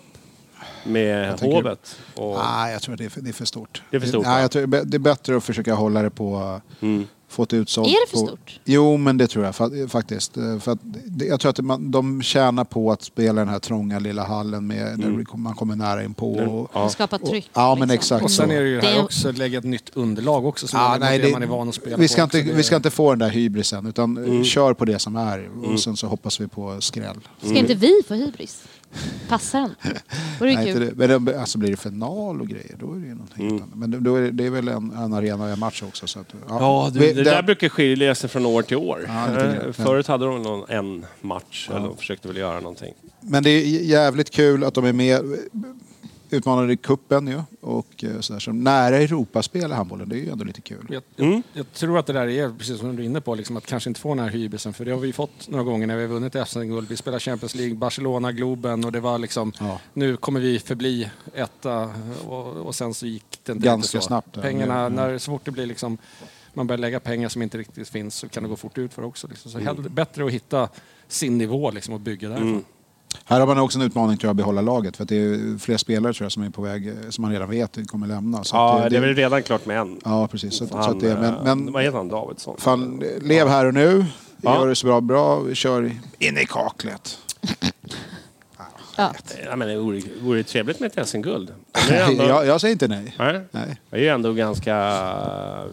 S2: med
S1: tänker- Ah,
S2: Hovet? Och,
S1: Nej, jag tror att det är för, det är för stort.
S2: Det är för stort, Mm.
S1: Nej,
S2: va?
S1: jag tror det är bä- det är bättre att försöka hålla det på... eh, Få ett utsålt
S4: Är det för
S1: på-
S4: stort?
S1: Jo, men det tror jag fa- faktiskt. Eh, För att det- jag tror att man, de tjänar på att spela den här trånga lilla hallen med, när det kom- man kommer nära in på. Och,
S2: Mm. Ja.
S4: Skapa tryck.
S1: Och, ja, men
S4: liksom.
S1: exakt
S3: Och sen
S1: så.
S3: är det ju det här
S4: Det-
S3: också, lägga ett nytt underlag också som
S1: Ja,
S3: är
S1: nej,
S3: det,
S1: det-
S3: man är van att spela
S1: vi, ska
S3: på.
S1: inte,
S3: Så det-
S1: vi ska inte få den där hybrisen, utan eh,
S4: Mm.
S1: kör på det som är. Och sen så hoppas vi på skräll.
S4: Ska inte vi få hybris? Passar den? Vore det
S1: Mm. Nej, inte
S4: kul? Mm.
S1: det. Men det, alltså blir det final och grejer, då är det ju någonting annat. Men det- då är det, det är väl en, en arena och en match också. Så att,
S2: Ja,
S1: Vi-
S2: det, det där brukar skilja sig från år till år.
S1: Ja, det tycker jag.
S2: Eh, Förut hade de någon, en match, eller de försökte väl göra någonting.
S1: Men det är jävligt kul att de är med. Utmanade i cupen ju. Och eh, sådär. Så nära Europaspel i handbollen, det är ju ändå lite kul.
S3: Jag, jag, jag tror att det där är, precis som du är inne på, liksom att kanske inte få den här hybrisen. För det har vi ju fått några gånger när vi har vunnit SM-guld. Vi spelar Champions League, Barcelona, Globen och det var liksom,
S1: Ja.
S3: nu kommer vi förbli etta. Och, och sen så gick det inte
S1: Ganska
S3: riktigt så.
S1: snabbt, ja. Mm.
S3: Pengarna,
S1: Ja.
S3: När, så fort det blir liksom, man börjar lägga pengar som inte riktigt finns så kan det gå fort ut för också. Liksom. Så
S1: Mm.
S3: hellre, bättre att hitta sin nivå liksom, och bygga därifrån.
S1: Här har man också en utmaning tror jag att behålla laget. För att det är fler spelare tror jag som är på väg, eh, som man redan vet kommer lämna. Så
S2: Ja,
S1: att, eh,
S2: det, är väl redan klart med en.
S1: Ja, precis. Så, att- så
S2: Han,
S1: att det,
S2: eh,
S1: men,
S2: Vad
S1: men
S2: heter han? Davidsson?
S1: fan, lev här och nu.
S2: Ja.
S1: Gör det så bra, bra. Kör in i kaklet.
S4: Ja.
S2: Eh, Ja, men det vore, vore trevligt med ett SM-guld. De är ändå-
S1: jag, jag säger inte nej.
S2: Nej.
S1: Nej.
S2: Vi är ju ändå ganska...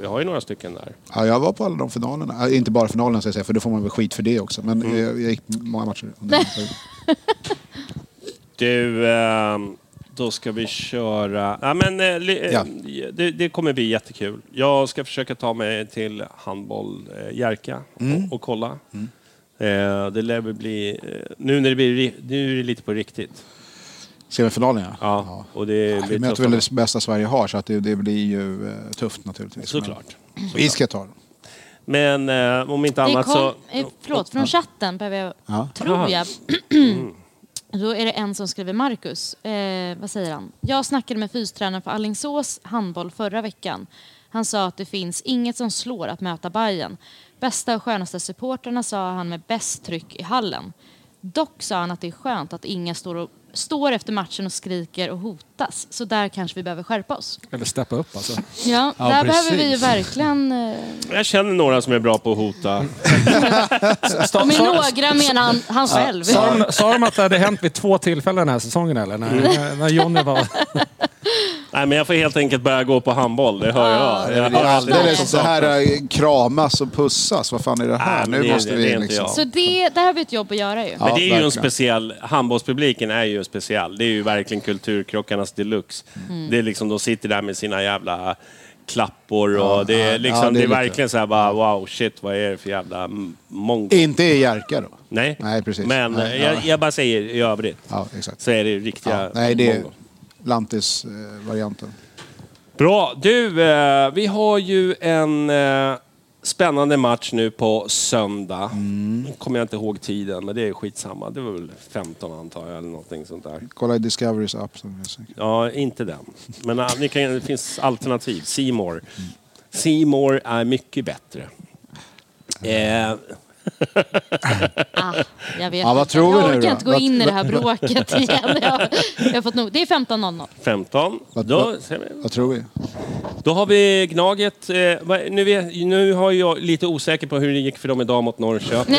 S2: Vi har ju några stycken där.
S1: Ja, jag var på alla de finalerna. Ja, inte bara finalerna ska jag säga, för då får man väl skit för det också. Men
S2: Mm.
S1: jag, jag gick många matcher.
S2: Du, ehm, då ska vi köra... Ja, men, eh, li- eh,
S1: Ja.
S2: det, det kommer bli jättekul. Jag ska försöka ta mig till handboll eh, Jerka
S1: Mm.
S2: och, och kolla. Eh, det lär väl bli... eh, Nu, när det blir, ri- nu är det lite på riktigt.
S1: Semifinalen ja.
S2: Ja, och det
S1: Vi
S2: blir
S1: möter
S2: tufft.
S1: väl det bästa Sverige har, så att det, det blir ju eh, tufft naturligtvis.
S2: Såklart.
S1: Men Vi ska ta den.
S2: Men eh, om inte
S4: Det kom,
S2: annat så...
S4: eh, förlåt, från chatten behöver jag,
S1: Ja.
S4: tror jag.
S3: Mm.
S4: Då är det en som skriver Marcus. Eh, vad säger han? Jag snackade med fystränaren för Allingsås handboll förra veckan. Han sa att det finns inget som slår att möta Bayern. Bästa och skönaste supporterna sa han med bäst tryck i hallen. Dock sa han att det är skönt att inga står, och, står efter matchen och skriker och hotas. Så där kanske vi behöver skärpa oss.
S3: Eller steppa upp alltså.
S4: Ja,
S1: Ja,
S4: där
S1: precis.
S4: behöver vi ju verkligen... Eh,
S2: Jag känner några som är bra på att hota.
S3: Sta,
S4: med några menar han, han själv.
S3: Sa de, sa de att det hade hänt vid två tillfällen den här säsongen eller?
S2: Mm.
S3: När, när Johnny var...
S2: Nej, men jag får helt enkelt börja gå på handboll. Det hör jag. jag
S1: Det
S2: hör
S1: är alldeles
S2: allt
S1: det
S2: som saknas.
S1: här eh, kramas och pussas. Vad fan är det här?
S2: Nej,
S1: nu
S2: det-
S1: måste
S2: det-
S1: vi
S2: det är inte
S1: liksom...
S2: jag.
S4: Så det, det här blir ett jobb att göra ju.
S1: Ja,
S2: Men det är ju en
S1: verkligen.
S2: speciell, handbollspubliken är ju speciell. Det är ju verkligen kulturkrockarnas deluxe. Det är liksom, de sitter där med sina jävla klappor och
S1: Ja, ja,
S2: det, är liksom,
S1: ja, det är
S2: det, är
S1: lite-
S2: verkligen så här bara wow, shit, vad är det för jävla m- mongo?
S1: Inte i Jerka då?
S2: Nej,
S1: Nej, precis.
S2: men eh,
S1: Nej,
S2: jag,
S1: ja.
S2: jag bara säger i övrigt
S1: Ja, exakt.
S2: så är det
S1: Ja,
S2: riktiga
S1: nej, det är
S2: mongo.
S1: Lantis-varianten.
S2: Bra. Du, eh, vi har ju en eh, spännande match nu på söndag.
S1: Mm.
S2: Nu kommer jag inte ihåg tiden, men det är skitsamma. Det var väl 15 antar jag, eller någonting sånt där.
S1: Kolla i Discoverys app. som vi säkert-
S2: Ja, inte den. Men ah, ni kan, det finns alternativ. Seymour. Seymour är mycket bättre. Eh,
S4: Ah, jag vet
S1: Ja, vad
S4: inte.
S1: tror vi
S4: jag
S1: nu
S4: orkar
S1: då?
S4: inte gå
S1: Vad-
S4: in i det här bråket igen. Jag, jag har fått nog. Det är 15.00.
S2: 15.
S1: Vad-
S2: Då,
S1: vad- Vad tror vi?
S2: då har vi Gnaget. Eh, vad- nu, vet, nu har jag lite osäker på hur det gick för dem idag mot Norrköping.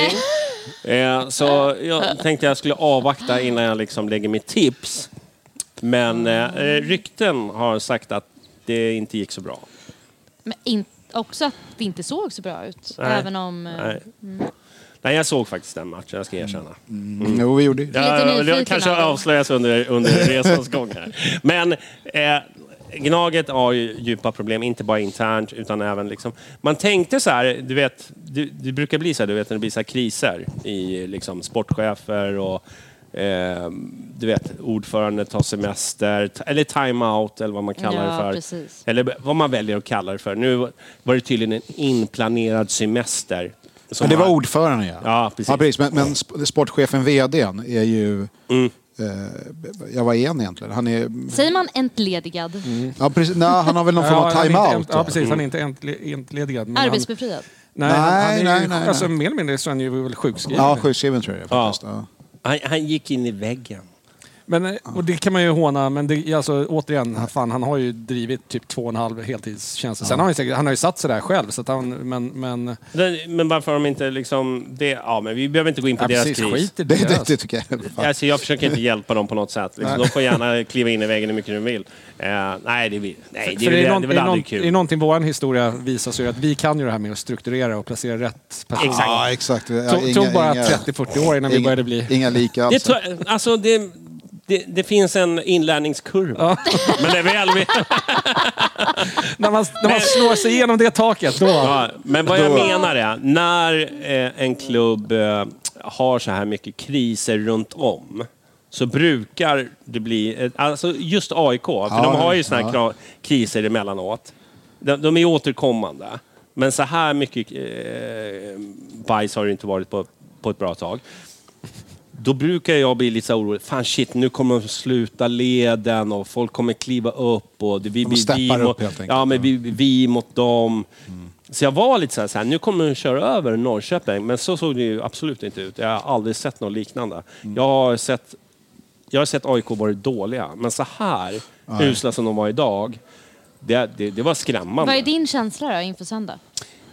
S4: Nej.
S2: Eh, så jag tänkte jag skulle avvakta innan jag liksom lägger mitt tips. Men eh, rykten har sagt att det inte gick så bra.
S4: Men in, också att det inte såg så bra ut.
S2: Nej.
S4: Även om... eh,
S2: Nej. Nej, jag såg faktiskt den matchen, jag ska erkänna.
S1: Mm. Jo, vi gjorde det.
S4: Lite
S2: Ja,
S4: nyfiken
S2: det kanske
S4: av dig.
S2: avslöjas under, under resans gång här. Men eh, Gnaget har ju djupa problem, inte bara internt utan även liksom... Man tänkte så här, du vet, det, det brukar bli så här, du vet när det blir så här kriser i liksom sportchefer och eh, du vet, ordförande tar semester, t- eller time-out eller vad man kallar
S4: Ja,
S2: det för.
S4: precis.
S2: Eller vad man väljer att kalla det för. Nu var det tydligen en inplanerad semester. som
S1: Men det var
S2: man-
S1: ordföranden ja.
S2: Ja, precis.
S1: Men, men sp- sportchefen, vdn, är ju... Eh, ja, vad är han egentligen? Han är...
S4: Säger man entledigad?
S1: Ja, precis, nej, han har väl någon form av
S3: han är inte
S1: time-out?
S3: ent- Ja, precis. Han
S2: Mm.
S3: är inte entle- entledigad. men han-
S4: Arbetsbefriad?
S3: Nej, han, han är
S1: Nej,
S3: ju,
S1: nej, nej,
S3: Alltså,
S1: nej.
S3: mer eller mindre så är han ju väl sjukskriven.
S1: Ja, sjukskriven tror jag faktiskt. Ja.
S2: han, han gick in i väggen.
S3: Men, eh, och det kan man ju håna, men det, alltså, återigen, fan, han har ju drivit typ två och en halv heltidstjänster. Sen har han, ju säkert, han har ju satt sig där själv, så att han, men... men
S2: Den- Men varför har de inte liksom... Det, ja, men vi behöver inte gå in på
S3: ja,
S2: deras
S3: precis,
S2: kris.
S3: skit i
S1: Det, det,
S3: deras.
S1: det tycker jag. är- Fan.
S2: Alltså, jag försöker inte hjälpa dem på något sätt. Liksom, de får gärna kliva in i vägen hur mycket de vill. Eh, nej, det, vi- nej, det,
S3: För
S2: det,
S3: är
S2: det,
S3: någon-
S2: det är väl
S3: är någon-
S2: aldrig
S3: Är
S2: kul.
S3: någonting vår historia visar så är det att vi kan ju det här med att strukturera och placera rätt personer.
S2: Exakt.
S1: Ja, exakt. Ja,
S3: Tog, tog bara 30-40 år innan vi
S1: inga-
S3: började bli...
S1: Inga lika
S2: Det,
S1: alls.
S2: tror jag- alltså, det, det, det finns en inlärningskurva. Men det är väl... vi-
S3: När man, när man slår sig igenom det taket, då...
S2: Ja, men vad jag menar är, när eh, en klubb eh, har så här mycket kriser runt om så brukar det bli, ett, alltså just AIK, för
S1: Ja,
S2: de har ju såna här
S1: ja.
S2: kra- kriser emellanåt. De, de är återkommande. Men så här mycket eh, bajs har det inte varit på, på ett bra tag. Då brukar jag bli lite så här orolig. Fan shit, nu kommer de sluta leden och folk kommer kliva upp. Och det, vi,
S1: De
S2: vi,
S1: steppar
S2: vi
S1: upp
S2: mot,
S1: helt enkelt. Mm.
S2: Ja, men vi, vi mot dem. Så jag var lite så här, så här, nu kommer de köra över Norrköping. Men så såg det ju absolut inte ut. Jag har aldrig sett något liknande.
S1: Mm.
S2: Jag har sett jag har sett AIK vara dåliga, men så här usla som de var idag, det, det, det var skrämmande.
S4: Vad är din känsla då inför söndag?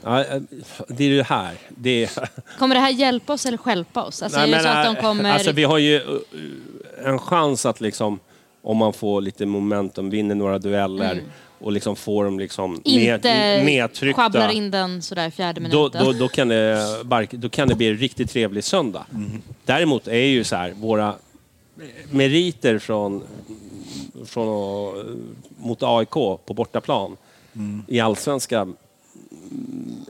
S2: Ja, eh, det är det här. Det är,
S4: Kommer det här hjälpa oss eller stjälpa oss? Alltså,
S2: Nej,
S4: är det
S2: men,
S4: så att
S2: eh,
S4: de kommer...
S2: alltså, vi har ju eh, en chans att liksom, om man får lite momentum, vinner några dueller och liksom får dem liksom
S4: Mm. Inte
S2: ned, nedtryckta.
S4: sjabblar in den sådär i fjärde
S2: Då,
S4: minuten.
S2: då, då, kan det, bark- då kan det bli en riktigt trevlig söndag.
S1: Mhm.
S2: Däremot är ju så här, våra meriter från, från, att- mot AIK på bortaplan
S1: Mm.
S2: i allsvenskan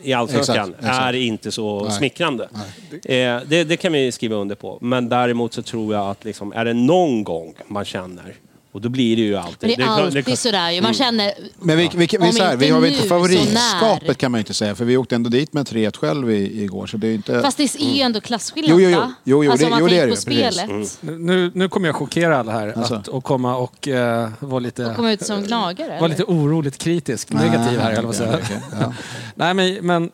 S2: i allsvenskan
S1: Exakt, exakt.
S2: är inte så
S1: Nej.
S2: smickrande. Eh, det, det kan vi skriva under på. Men däremot så tror jag att liksom, är det någon gång man känner, och då blir det ju alltid...
S4: Men det är alltid
S2: det-
S4: sådär ju. Man känner...
S1: Men vi, vi, vi,
S4: Om
S1: så här, vi
S4: inte
S1: har väl
S4: nu,
S1: inte
S4: så när?
S1: favoritskapet kan man ju inte säga, för vi åkte ändå dit med 3-1 själv i, igår. Så det är ju inte...
S4: Fast det är ju ändå klasskillnad
S1: Jo, jo, jo.
S4: va?
S1: Jo, jo,
S4: alltså
S1: det-
S4: om man
S1: jo, det
S4: tänker
S1: är
S4: på
S1: det ju. Precis.
S4: spelet.
S3: Nu, nu kommer jag chockera alla här
S1: Mm. Alltså.
S3: att, och komma och eh, vara lite...
S4: Komma ut som gnagare.
S3: Var
S4: eller?
S3: lite oroligt kritisk, negativ här, höll jag på
S1: Ah, okej,
S3: att säga.
S1: okej, ja.
S3: Nej, men, men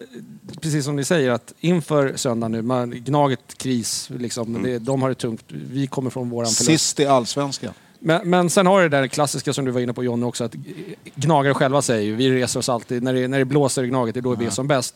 S3: precis som ni säger, att inför söndag nu, man, Gnaget, kris, liksom, det, de har det tungt. Vi kommer från våran förlust.
S1: Mm. Sist i allsvenskan.
S3: Men, men sen har du det där klassiska som du var inne på Jonny också, att gnagare själva säger ju, vi reser oss alltid, när det, när det blåser i Gnaget, det är då vi är som bäst.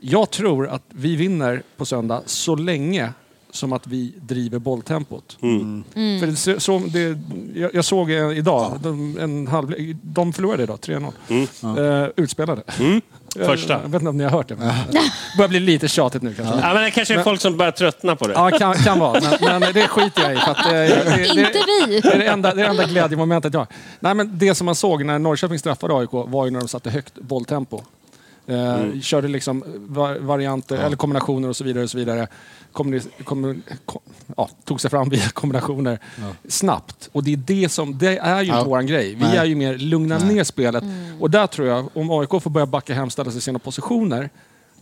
S3: Jag tror att vi vinner på söndag så länge som att vi driver bolltempot. För det, så, så, det, jag, jag såg eh, idag, de, en halv, de förlorade idag, 3-0. Eh, utspelade. Eh,
S2: Första.
S3: Jag, jag vet inte om ni har hört det. Men det börjar bli lite tjatigt nu kanske.
S2: Ja, men det kanske är folk som börjar tröttna på det.
S3: Ja, kan, kan vara. Men, men det skiter jag i. För att, eh, det, det,
S4: Inte vi!
S3: det är det enda, det är det enda glädjemomentet jag har. Nej, men det som man såg när Norrköping straffade AIK var ju när de satte högt bolltempo. Eh,
S1: Mm.
S3: Körde liksom va- varianter, eller kombinationer och så vidare. Och så vidare. Kom, kom, kom, ja, tog sig fram via kombinationer snabbt. Och det är, det som, det är ju
S1: Ja.
S3: inte våran grej. Vi
S1: Nej.
S3: är ju mer lugna ner spelet. Och där tror jag, om AIK får börja backa hem, ställa sig i sina positioner,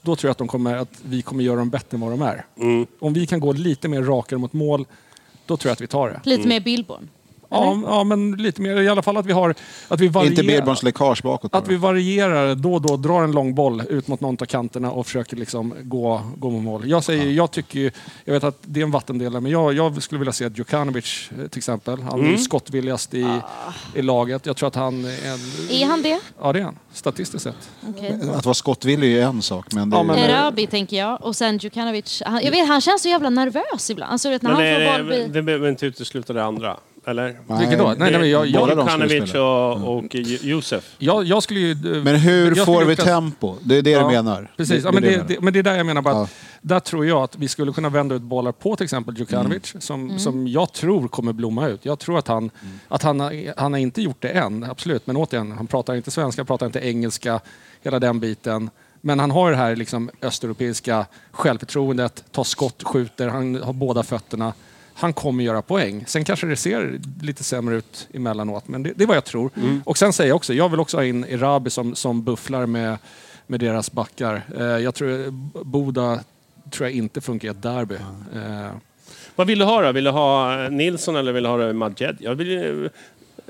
S3: då tror jag att, de kommer, att vi kommer göra dem bättre än vad de är.
S1: Mm.
S3: Om vi kan gå lite mer rakare mot mål, då tror jag att vi tar det.
S4: Lite mer Billborn.
S3: Ja, ja, men lite mer. I alla fall att vi har... Att vi varierar.
S1: Inte Birborns läckage bakåt.
S3: Att
S1: bara.
S3: vi varierar då och då, drar en lång boll ut mot någon av kanterna och försöker liksom gå, gå mot mål. Jag, säger, jag tycker ju, jag vet att det är en vattendelare, men jag, jag skulle vilja se att Djukanovic eh, till exempel, han
S1: Mm.
S3: är ju skottvilligast i,
S1: Ah.
S3: i laget. Jag tror att han är en...
S4: Är han det?
S3: Ja, det är han. Statistiskt sett.
S4: Okej.
S1: Att vara skottvillig är en sak, men det
S3: Ja, men-
S1: är...
S4: Erabi tänker jag och sen Djukanovic. Han, jag vet, han känns så jävla nervös ibland. Alltså, du vet, när
S2: Men
S4: han får
S2: nej,
S4: boll
S2: det,
S4: blir...
S2: det behöver inte utesluta det andra, eller?
S3: Vilket då? Nej, nej, men jag,
S1: Båda
S3: jag,
S1: de skulle
S2: Djukanovic
S1: spela.
S3: Mm.
S2: och, och Ju- Josef.
S3: jag, jag skulle ju... eh,
S1: Men hur
S3: jag skulle
S1: får vi
S3: uppskatta-
S1: tempo? Det är det du menar.
S3: Precis, ja,
S1: är
S3: men, det,
S1: du menar.
S3: det, men det är där jag menar bara att
S1: Ja.
S3: där tror jag att vi skulle kunna vända ut bollar på till exempel Djukanovic
S1: Mm.
S3: som, som jag tror kommer blomma ut. Jag tror att han, att han, har- han har inte gjort det än, absolut. Men återigen, han pratar inte svenska, pratar inte engelska, hela den biten. Men han har det här liksom östeuropeiska självförtroendet, tar skott, skjuter, han har båda fötterna. Han kommer göra poäng. Sen kanske det ser lite sämre ut emellanåt, men det, det är vad jag tror.
S2: Mm.
S3: Och sen säger jag också, jag vill också ha in Erabi som, som bufflar med med deras backar. Eh, jag tror, Boda tror jag inte funkar i ett derby. Eh,
S2: Vad vill du ha då? Vill du ha eh, Nilsson eller vill du ha Majed? Jag, vill, ju-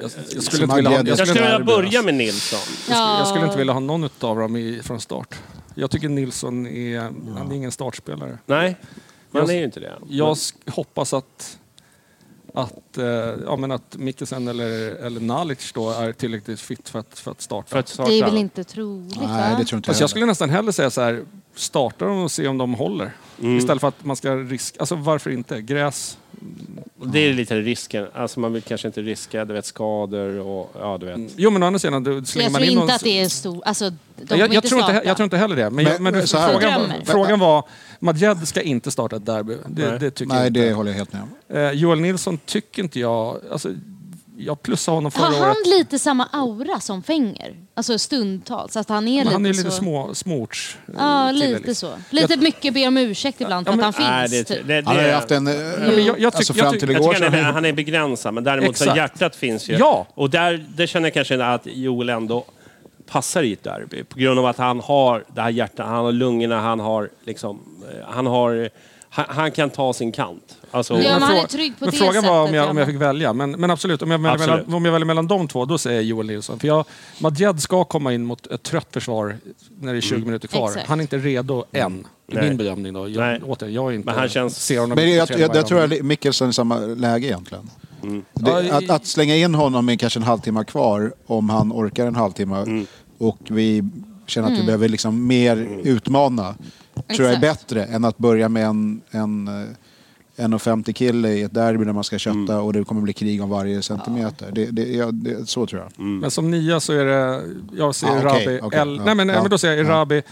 S3: jag skulle inte vilja ha,
S1: Jag
S2: Eh, jag skulle vilja börja med
S3: Jag
S2: Nilsson.
S3: skulle, jag skulle inte vilja ha någon av dem i, från start. Jag tycker Nilsson är, han är ingen startspelare.
S2: Nej, man
S3: Jag-
S2: är ju inte det.
S3: Jag sk- hoppas att, att, eh, ja, men att Mikkelsen eller, eller Nalic då är tillräckligt fit för att, för att starta.
S2: För att starta.
S4: Det är väl inte troligt
S1: Nej,
S4: va?
S1: det tror inte
S3: Fast jag
S1: jag
S3: skulle nästan hellre säga så här, starta dem och se om de håller.
S1: Mm.
S3: Istället för att man ska riska, alltså varför inte? Gräs,
S2: Det är lite risken. Alltså man vill kanske inte riska, du vet, skador och ja, du vet.
S3: Jo, men å andra sidan, då slänger
S4: jag
S3: man
S4: tror
S3: in
S4: inte
S3: någon...
S4: att det är stor... Alltså, de kommer
S3: jag, jag,
S4: inte
S3: tror
S4: starta.
S3: inte, jag tror inte heller det. Men, jag,
S1: Men,
S3: men
S1: så här.
S3: frågan,
S4: Drömmer.
S3: var, frågan var, Madjed ska inte starta ett derby. Det, det tycker
S1: Nej,
S3: jag
S1: det
S3: inte.
S1: håller jag helt med om.
S3: Eh, Joel Nilsson tycker inte jag... Alltså, jag plussade honom förra
S4: Har Ah, han
S3: året.
S4: lite samma aura som Fenger? Alltså stundtals? Att han är
S3: Men
S4: lite
S3: han är lite
S4: så...
S3: små, småorts... eh,
S4: Ja,
S3: kille,
S4: lite
S3: liksom.
S4: så. Lite mycket be om ursäkt ibland för
S3: Ja, men-
S4: att han
S2: Nej,
S4: finns.
S2: det,
S4: typ.
S2: det,
S1: Han har ju
S2: det-
S1: haft en... eh,
S3: men jag- jag
S1: alltså
S3: tycker- jag
S1: fram till
S3: tycker-
S2: jag
S1: igår
S2: tycker
S1: så...
S2: han är, han är begränsad, men däremot så
S3: Exakt.
S2: hjärtat finns ju.
S3: Ja.
S2: Och där, där känner jag kanske att Joel ändå passar i ett derby. På grund av att han har det här hjärtat, han har lungorna, han har liksom... eh, Han, har, han, han kan ta sin kant. Alltså,
S4: Ja, men han är
S3: frå-
S4: trygg på
S3: men
S4: det
S3: frågan var om
S4: sättet,
S3: jag,
S4: ja,
S3: om
S4: men-
S3: jag fick välja. Men, men absolut, om jag, väljer
S2: Absolut.
S3: Mellan, om jag väljer mellan de två, då säger jag Joel Nilsson. För jag, Madjed ska komma in mot ett trött försvar när det är 20 minuter kvar.
S4: Exakt.
S3: Han är inte redo än, i
S2: Mm. Nej.
S3: min bedömning. Då.
S2: Nej.
S3: Jag, återigen, jag är inte...
S2: Men han känns-
S3: ser honom
S1: Men
S3: på
S1: jag,
S3: tredje
S1: jag, jag tror
S3: varje
S1: att Mikkelsen är i samma läge egentligen. Det,
S3: Ja,
S1: att,
S3: i-
S1: att slänga in honom med kanske en halvtimme kvar, om han orkar en halvtimme, och vi känner att vi behöver liksom mer utmana, tror jag är
S4: Exakt.
S1: bättre än att börja med en, en, eh, 1,50 kille i ett derby när man ska kötta och det kommer bli krig om varje centimeter. Det, det, ja, det, så tror jag.
S3: Mm. Men som nia så är det... Jag säger
S1: Ah, okej,
S3: Rabi.
S1: okej,
S3: el,
S1: ja,
S3: nej, men,
S1: ja,
S3: men då säger jag
S1: ja.
S3: Rabi.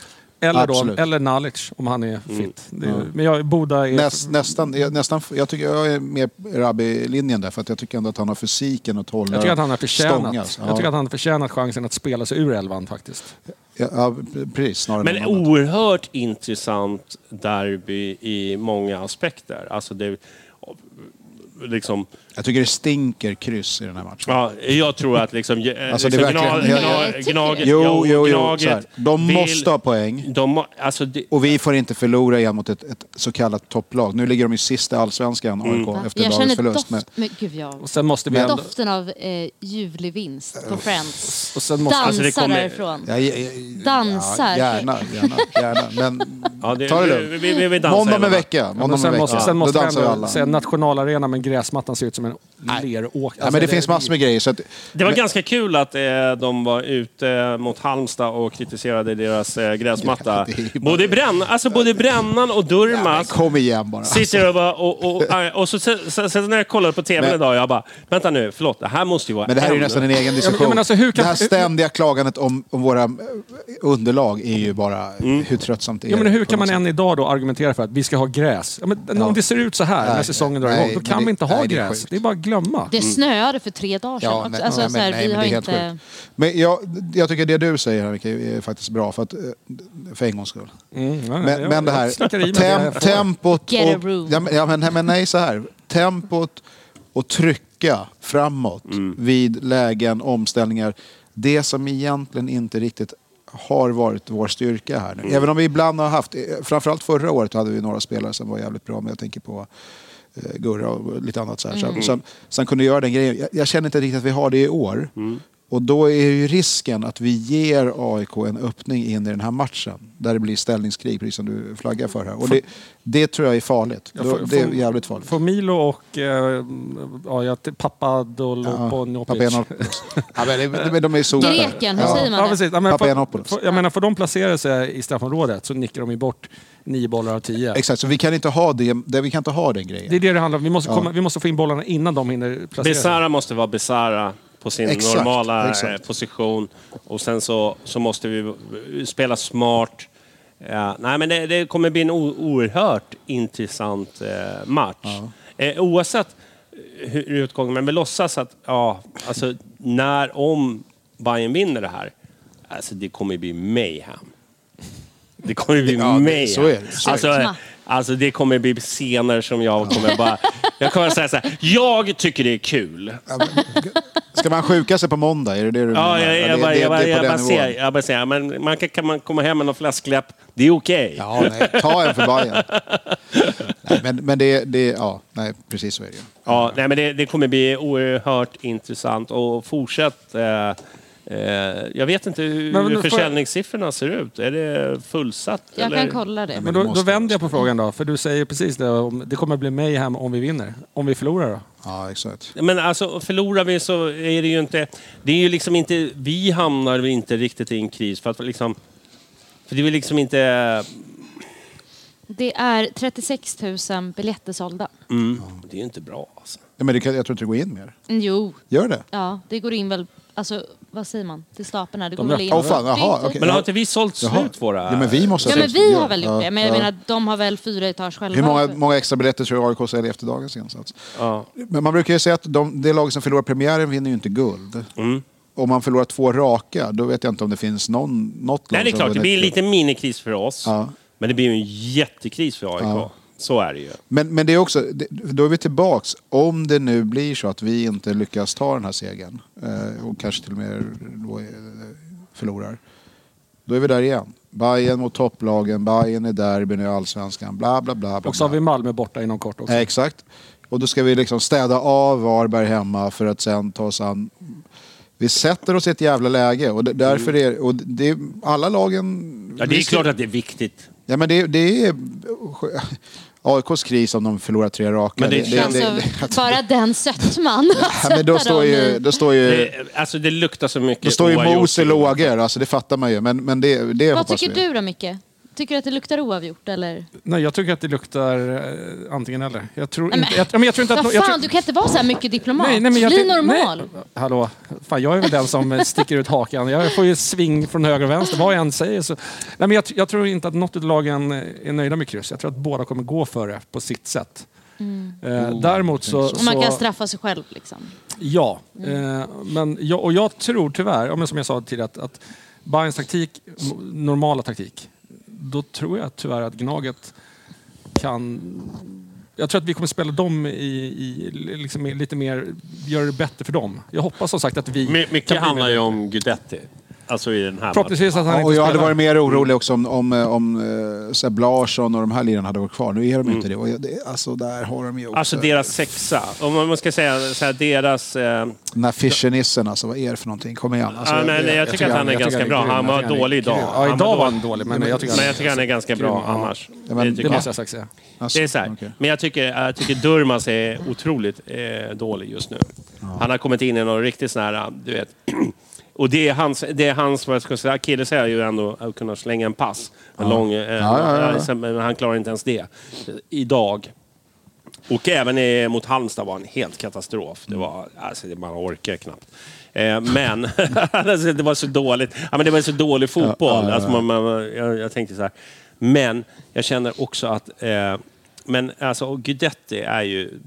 S3: Eller, då,
S1: Absolut.
S3: eller Nalic om han är
S2: Mm.
S3: fit. Det, är- Men jag, Boda är...
S1: Näst, nästan, jag, nästan, jag, tycker, jag är mer Rabbi-linjen där för att jag tycker ändå att han har fysiken att hålla
S3: jag tycker att han har förtjänat,
S1: stångas.
S3: jag tycker att han har förtjänat chansen att spela sig ur elvan faktiskt.
S1: Ja, ja, precis. Snarare än
S2: Men
S1: någon annan.
S2: oerhört intressant derby i många aspekter. Alltså det... Liksom,
S1: Jag tycker det stinker kryss i den här matchen.
S2: ja, jag tror att liksom... eh,
S1: Alltså, det
S2: liksom
S1: är verkligen-
S2: gna-
S1: jag- jag-
S2: gna- gnaget-
S1: Jo, jo, jo.
S2: gnaget
S1: Så här. De
S2: vill-
S1: måste ha poäng.
S2: De, må- alltså det,
S1: Och vi får inte förlora igen mot ett, ett så kallat topplag. Nu ligger de i sista allsvenskan,
S2: Mm.
S1: AIK, efter
S6: Alltså, jag
S1: dagens
S6: känner
S1: förlust.
S6: doft,
S1: Men,
S6: men... gud jag.
S3: Och sen måste vi ändå...
S6: Doften av eh, ljuvlig vinst på Friends.
S3: Och sen måste,
S6: Dansar
S2: alltså, det kommer-
S6: därifrån.
S1: ja, ja, ja,
S6: Dansar.
S1: Ja, gärna, gärna, gärna. Men
S2: Ja, det-
S1: ta det
S2: vi-
S1: lugnt.
S2: vi- vi- vi dansar
S1: Måndag om
S2: hela
S1: en vecka. Måndag
S3: men
S1: om en
S3: sen måste,
S1: vecka.
S3: sen
S1: Då
S3: måste vi
S1: dansar vi
S3: ändå
S1: alla.
S3: säga nationalarena men gräsmattan ser ut som en leråker.
S1: Ja, men det finns massor med grejer. Så att,
S2: Det var ganska kul att eh, de var ute mot Halmstad och kritiserade deras eh, gräsmatta.
S1: Ja, det är ju bara-
S2: Både, bränn, alltså både Brännan och
S1: men
S2: Durmaz
S1: kom igen bara.
S2: sitter och bara... Och, och, och, och så, sen, sen- sen när jag kollade på TV
S1: Men-
S2: idag, jag bara... Vänta nu, förlåt. Det här måste ju vara
S1: Men det här är ju
S2: en-
S1: nästan en egen diskussion.
S3: men alltså, hur kan-
S1: det här ständiga klagandet om, om våra eh, underlag är ju bara hur tröttsamt det är.
S3: Mm. Ja, men hur
S1: på
S3: kan
S1: något
S3: man
S1: sätt.
S3: än idag då argumentera för att vi ska ha gräs? Ja, men Om det ser ut så här när
S1: Nej,
S3: säsongen drar
S1: nej,
S3: igång, då
S1: men
S3: kan
S1: det-
S3: vi inte ha
S1: nej, det är
S3: gräs.
S1: sjukt. Mm.
S3: Det är bara att glömma.
S6: Det snöade för tre dagar sedan. också. alltså, så här, vi har
S1: det är helt
S6: inte...
S1: sjukt. Men jag, jag tycker det du säger här Micke, är faktiskt bra för, att, eh, för en gångs skull.
S3: Mm, ja,
S1: Men,
S3: jag-
S1: men det här
S3: jag slickar i mig det
S1: tem,
S3: jag får.
S1: tempot...
S6: Get a
S1: och,
S6: room.
S1: ja, men, ja, men, nej, men nej, så här. Tempot och trycka framåt
S3: Mm.
S1: vid lägen, omställningar. Det som egentligen inte riktigt har varit vår styrka här nu.
S3: Mm.
S1: Även om vi ibland har haft, eh, framförallt förra året hade vi några spelare som var jävligt bra, men jag tänker på eh, Gurra och lite annat så här.
S6: Mm.
S1: Som, som, som kunde göra den grejen. Jag, jag känner inte riktigt att vi har det i år.
S6: Mm.
S1: Och då är ju risken att vi ger AIK en öppning in i den här matchen. Där det blir ställningskrig, precis som du flaggar för här. Och det, det tror jag är farligt.
S3: Ja,
S1: Då-
S3: för-
S1: det är
S3: för-
S1: jävligt farligt.
S3: För Milo och eh, ja, jag- Papadolopoulos.
S1: Papenop- ja, men, det- men de är så...
S6: Greken, hur säger man
S3: Ja,
S6: det?
S3: precis. Ja, men för,
S1: Papenopoulos.
S3: för, jag menar, får de placera sig i straffområdet så nickar de ju bort nio bollar av tio.
S1: Exakt, så vi kan inte ha, det, det, vi kan inte ha den grejen.
S3: Det är det det handlar om. Vi måste, komma, vi måste få in bollarna innan de hinner placera sig.
S2: Besara måste vara Besara på sin
S1: Exakt,
S2: normala
S1: exakt.
S2: eh, position. Och sen så, så måste vi eh, spela smart. Ja, nej, men det, det kommer bli en o- oerhört intressant eh, match. Eh, oavsett hur hur utgången, men vi låtsas att ja, alltså, när, om Bayern vinner det här, alltså, det kommer ju bli mayhem. Det kommer bli
S1: Ja, det-
S2: mayhem.
S1: så är det, så är
S2: alltså,
S6: det.
S2: Alltså det kommer bli scener som jag kommer bara... Jag kommer säga så här. Jag tycker det är kul.
S1: Ska man sjuka sig på måndag? Är det det du
S2: Ja,
S1: menar?
S2: jag,
S1: det-
S2: jag, bara-
S1: det- det är
S2: jag, bara-
S1: på
S2: jag,
S1: den
S2: bara
S1: nivån.
S2: ser- jag bara säger, men man kan, kan man komma hem med någon fläskläpp, det är okej.
S1: Ja, nej, ta en för Bajen. Nej, men, men det, det, ja, nej, precis så är det ju.
S2: Ja, nej, men det, det kommer bli oerhört intressant och fortsätt. Eh, eh, jag vet inte hur
S3: Men- men får jag-
S2: försäljningssiffrorna ser ut. Är det fullsatt?
S6: Jag
S2: eller?
S6: kan kolla det.
S3: Men då, då vänder jag på frågan då, för du säger precis det om det kommer bli mayhem om vi vinner. Om vi förlorar då?
S1: Ja, exakt.
S2: Men alltså, förlorar vi så är det ju inte... Det är ju liksom inte... Vi hamnar ju inte riktigt i en kris för att liksom... För det är ju liksom inte...
S6: Det är 36 000 biljetter sålda.
S2: Mm, det är ju inte bra alltså.
S1: Nej, men det kan, jag tror inte det går in mer.
S6: Jo,
S1: Gör det?
S6: ja, det går in väl... Alltså, vad säger man? Till stapeln Det
S3: De
S6: går väl in...
S3: öppnar
S1: Åh, fan, jaha,
S6: 40 000.
S1: okej.
S2: Men har inte vi sålt
S1: Jaha.
S2: slut våra...
S1: Ja, men vi måste
S6: Ja,
S1: ha
S6: men
S1: sålt.
S6: vi har väl gjort
S1: Ja,
S6: det. Men jag
S1: ja.
S6: menar, de har väl fyra etage själva.
S1: Hur många, många extra biljetter tror du AIK säljer efter dagens insats?
S2: Ja.
S1: Men man brukar ju säga att de, det lag som förlorar premiären vinner ju inte guld.
S2: Mm.
S1: Om man förlorar två raka, då vet jag inte om det finns någon, något lag
S2: Nej, det är
S1: som
S2: klart. Det
S1: vunnit
S2: blir en
S1: guld.
S2: liten minikris för oss.
S1: Ja.
S2: Men det blir ju en jättekris för AIK. Så är det ju.
S1: Men, men det är också, det- då är vi tillbaks. Om det nu blir så att vi inte lyckas ta den här segern eh, och kanske till och med då eh, förlorar. Då är vi där igen. Bayern mot topplagen, Bayern i derbyn i allsvenskan, bla bla bla. bla,
S3: Och så har
S1: bla.
S3: vi Malmö borta inom kort också.
S1: Eh, exakt. Och då ska vi liksom städa av Varberg hemma för att sen ta oss an... Vi sätter oss i ett jävla läge och d- därför är och det... Alla lagen...
S2: Ja, det är klart att det är viktigt.
S1: Ja, men det, det är... AIKs kris om de förlorar tre raka.
S2: Men det känns-
S6: Alltså, bara den sötman. Alltså,
S1: Ja, men då står ju... Då står
S3: Eh.
S1: ju,
S2: Det, alltså, det luktar så mycket
S1: då står ju
S2: oavgjort.
S1: mos i lågor, alltså det fattar man ju. Men, men det, det
S6: Vad
S1: hoppas
S6: tycker
S1: vi.
S6: du då, Micke? Tycker du att det luktar oavgjort eller?
S3: Nej, jag tycker att det luktar eh, antingen eller. Jag tror
S6: Nej,
S3: inte... Jag, men jag tror inte att...
S6: Vad
S3: nå-
S6: fan,
S3: jag tror,
S6: du kan inte vara så här mycket diplomat.
S3: Nej, nej, men jag
S6: Bli
S3: tyck-
S6: normal.
S3: nej. Hallå, fan, jag är väl den som eh, sticker ut hakan. Jag får ju sving från höger och vänster, vad jag än säger. Så. Nej, men jag, jag tror inte att något av lagen eh, är nöjda med kryss. Jag tror att båda kommer gå för det på sitt sätt.
S6: Mm.
S3: Eh, däremot så...
S6: Och man kan
S3: så
S6: straffa sig själv liksom.
S3: ja,
S6: Mm.
S3: eh, men jag, och jag tror tyvärr, ja, men som jag sa tidigare, att, att Bayerns taktik, m- normala taktik, då tror jag tyvärr att Gnaget kan... Jag tror att vi kommer spela dem i, i liksom i lite mer, göra det bättre för dem. Jag hoppas som sagt att vi...
S2: My, mycket
S3: kan bli
S2: handlar ju om Gudetti. Alltså i den här
S3: Förhoppningsvis att
S1: Ja,
S3: han inte
S1: och jag
S3: spelar.
S1: hade varit mer orolig också om, om, eh, om eh, Seb Larsson och de här lirarna hade varit kvar. Nu är de
S2: Mm.
S1: inte det. Och jag- det. Alltså, där har de ju också...
S2: Alltså deras sexa. Om man man ska säga så här, deras... Eh,
S1: Den här Fischernissen, alltså vad är det för någonting? Kom igen. Alltså,
S2: ja, nej, nej, jag, tycker att han är
S1: jag
S2: ganska
S1: tycker
S2: bra.
S1: grym.
S2: Han var
S1: Jag tycker
S2: dålig
S1: grym.
S2: idag.
S1: Ja, idag
S3: var han dålig, men jag tycker han
S2: men
S3: är
S2: jag tycker han är ganska
S3: grym.
S2: bra
S3: Ja.
S2: annars.
S3: Ja, men det
S2: tycker
S3: måste
S2: jag.
S3: jag sagt säga.
S7: Alltså,
S1: alltså,
S2: Det är så här. Men jag tycker, jag tycker Durmaz är otroligt eh, dålig just nu. Han har kommit in i någon riktigt sån här, eh, du vet. Och det är hans, det är hans vad jag ska säga, akilleshäl är ju ändå att kunna slänga en pass. En
S7: Ja.
S2: lång, eh,
S7: Ja, ja, ja, ja.
S2: sen- Men han klarar inte ens det. eh, Idag. Och även eh, mot Halmstad var en helt katastrof. Det var, alltså, det- man orkar knappt. Eh, men alltså, det var så dåligt. Ja, men det var så dålig fotboll.
S7: Ja, ja, ja.
S2: Alltså, man, man, jag, jag tänkte så här. Men jag känner också att... Eh, men alltså, och Guidetti är ju...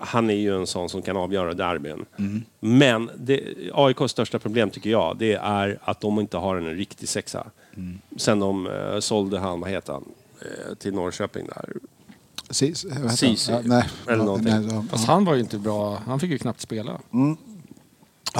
S2: Han är ju en sån som kan avgöra derbyn.
S7: Mm.
S2: Men det, AIKs största problem tycker jag, det är att de inte har en riktig sexa.
S7: Mm.
S2: Sen de eh, sålde han, vad heter han, eh, till Norrköping där.
S1: Sis, vad heter han?
S2: Sisi.
S1: Ja, nej.
S2: Eller
S1: Ja,
S2: någonting.
S1: nej, ja.
S3: Fast han var ju inte bra. Han fick ju knappt spela.
S1: Mm.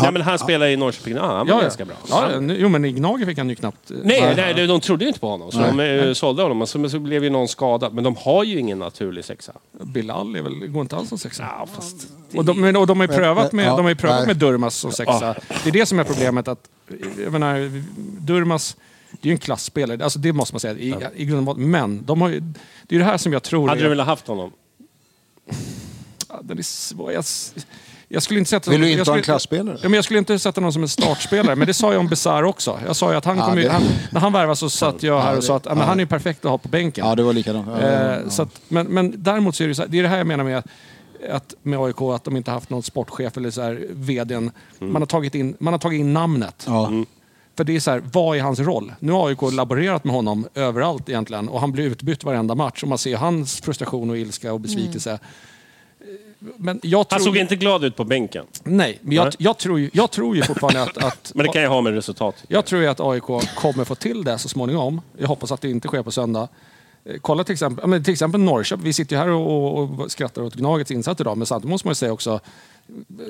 S2: Nej men han spelar i Norrköping, ja, han var ganska bra.
S3: Ja,
S2: Han-
S3: nu- jo, men i Gnager fick han ju knappt... eh,
S2: Nej,
S3: spela.
S2: nej, de- de trodde ju inte på honom. Så
S3: Nej.
S2: de eh, sålde honom. Men så, men så blev ju någon skadad. Men de har ju ingen naturlig sexa.
S3: Bilal är väl, går inte alls som sexa.
S2: Ja, fast
S3: Och de, men- och de har ju
S2: Men-
S3: prövat med,
S2: ja,
S3: de har ju prövat
S2: nej.
S3: med Durmas som sexa.
S2: Ja.
S3: Det är det som är problemet. att jag menar, Durmas, det är ju en klassspelare. Alltså, det måste man säga. I, i grund och botten. Men de har ju, det är det här som jag tror...
S2: Hade
S3: är-
S2: du velat haft honom?
S3: Ja, Den är svår. Jag, s- jag skulle inte sätta...
S1: Vill du
S3: jag
S1: inte
S3: skulle,
S1: ha en klasspelare?
S3: Ja, men jag skulle inte sätta någon som en startspelare, men det sa jag om Besar också. Jag sa ju att han
S1: Ja,
S3: kom ju,
S1: det-
S3: han, när han värvade så satt jag här
S1: Ja,
S3: och
S1: det-
S3: sa att ja, men
S1: ja.
S3: han är ju perfekt att ha på bänken.
S1: Ja, det var likadant. Ja, ja,
S3: Eh, Så att, men, men däremot så är det, ju så här, det är det här jag menar med att- att med AIK, att de inte haft någon sportchef eller så här, vdn.
S1: Mm.
S3: Man, har tagit in, man har tagit in namnet.
S2: Mm.
S3: För det är så här, vad är hans roll? Nu har AIK laborerat med honom överallt egentligen och han blir utbytt varenda match och man ser hans frustration och ilska och besvikelse.
S1: Mm.
S3: Men jag tror...
S2: Han såg inte glad ut på bänken.
S3: Nej, men jag,
S2: Nej.
S3: jag, tror, ju, jag tror ju fortfarande att... att
S2: Men det kan ju ha med resultat
S3: Jag tror ju att AIK kommer få till det så småningom. Jag hoppas att det inte sker på söndag. Eh, Kolla till exempel, ja, men till exempel Norrköping. Vi sitter ju här och, och, och skrattar åt Gnagets insats idag, men samtidigt måste man ju säga också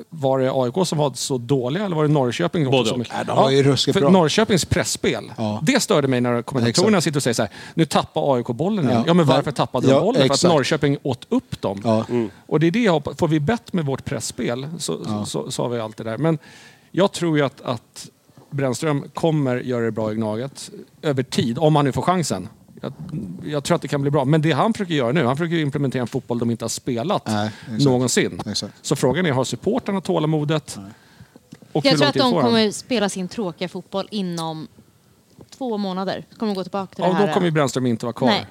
S3: var det AIK som var så dåliga eller var det Norrköping? också
S1: Både
S3: som,
S1: och. Nej, de var ju ruskigt
S3: för
S1: bra.
S3: Norrköpings pressspel. Det störde mig när kommentatorerna sitter och säger så här, nu tappar AIK bollen igen.
S1: Ja.
S3: Ja, men varför
S1: Men-
S3: tappade de
S1: Ja,
S3: bollen? För
S1: exakt.
S3: att Norrköping åt upp dem. Och det är det jag hoppas. Får vi bett med vårt pressspel så, så, så, så har vi allt det där. Men jag tror ju att, att Brännström kommer göra det bra i Gnaget över tid, om han nu får chansen. Jag, jag tror att det kan bli bra. Men det han försöker göra nu, han försöker ju implementera en fotboll de inte har spelat någonsin. Så frågan är, har supportrarna tålamodet? Och hur
S6: jag tror
S3: lång
S6: att
S3: tid
S6: de
S3: får han?
S6: kommer spela sin tråkiga fotboll inom två månader. Kommer de gå tillbaka till det
S3: Ja,
S6: här.
S3: då kommer ju Brännström inte vara kvar.
S6: Nej.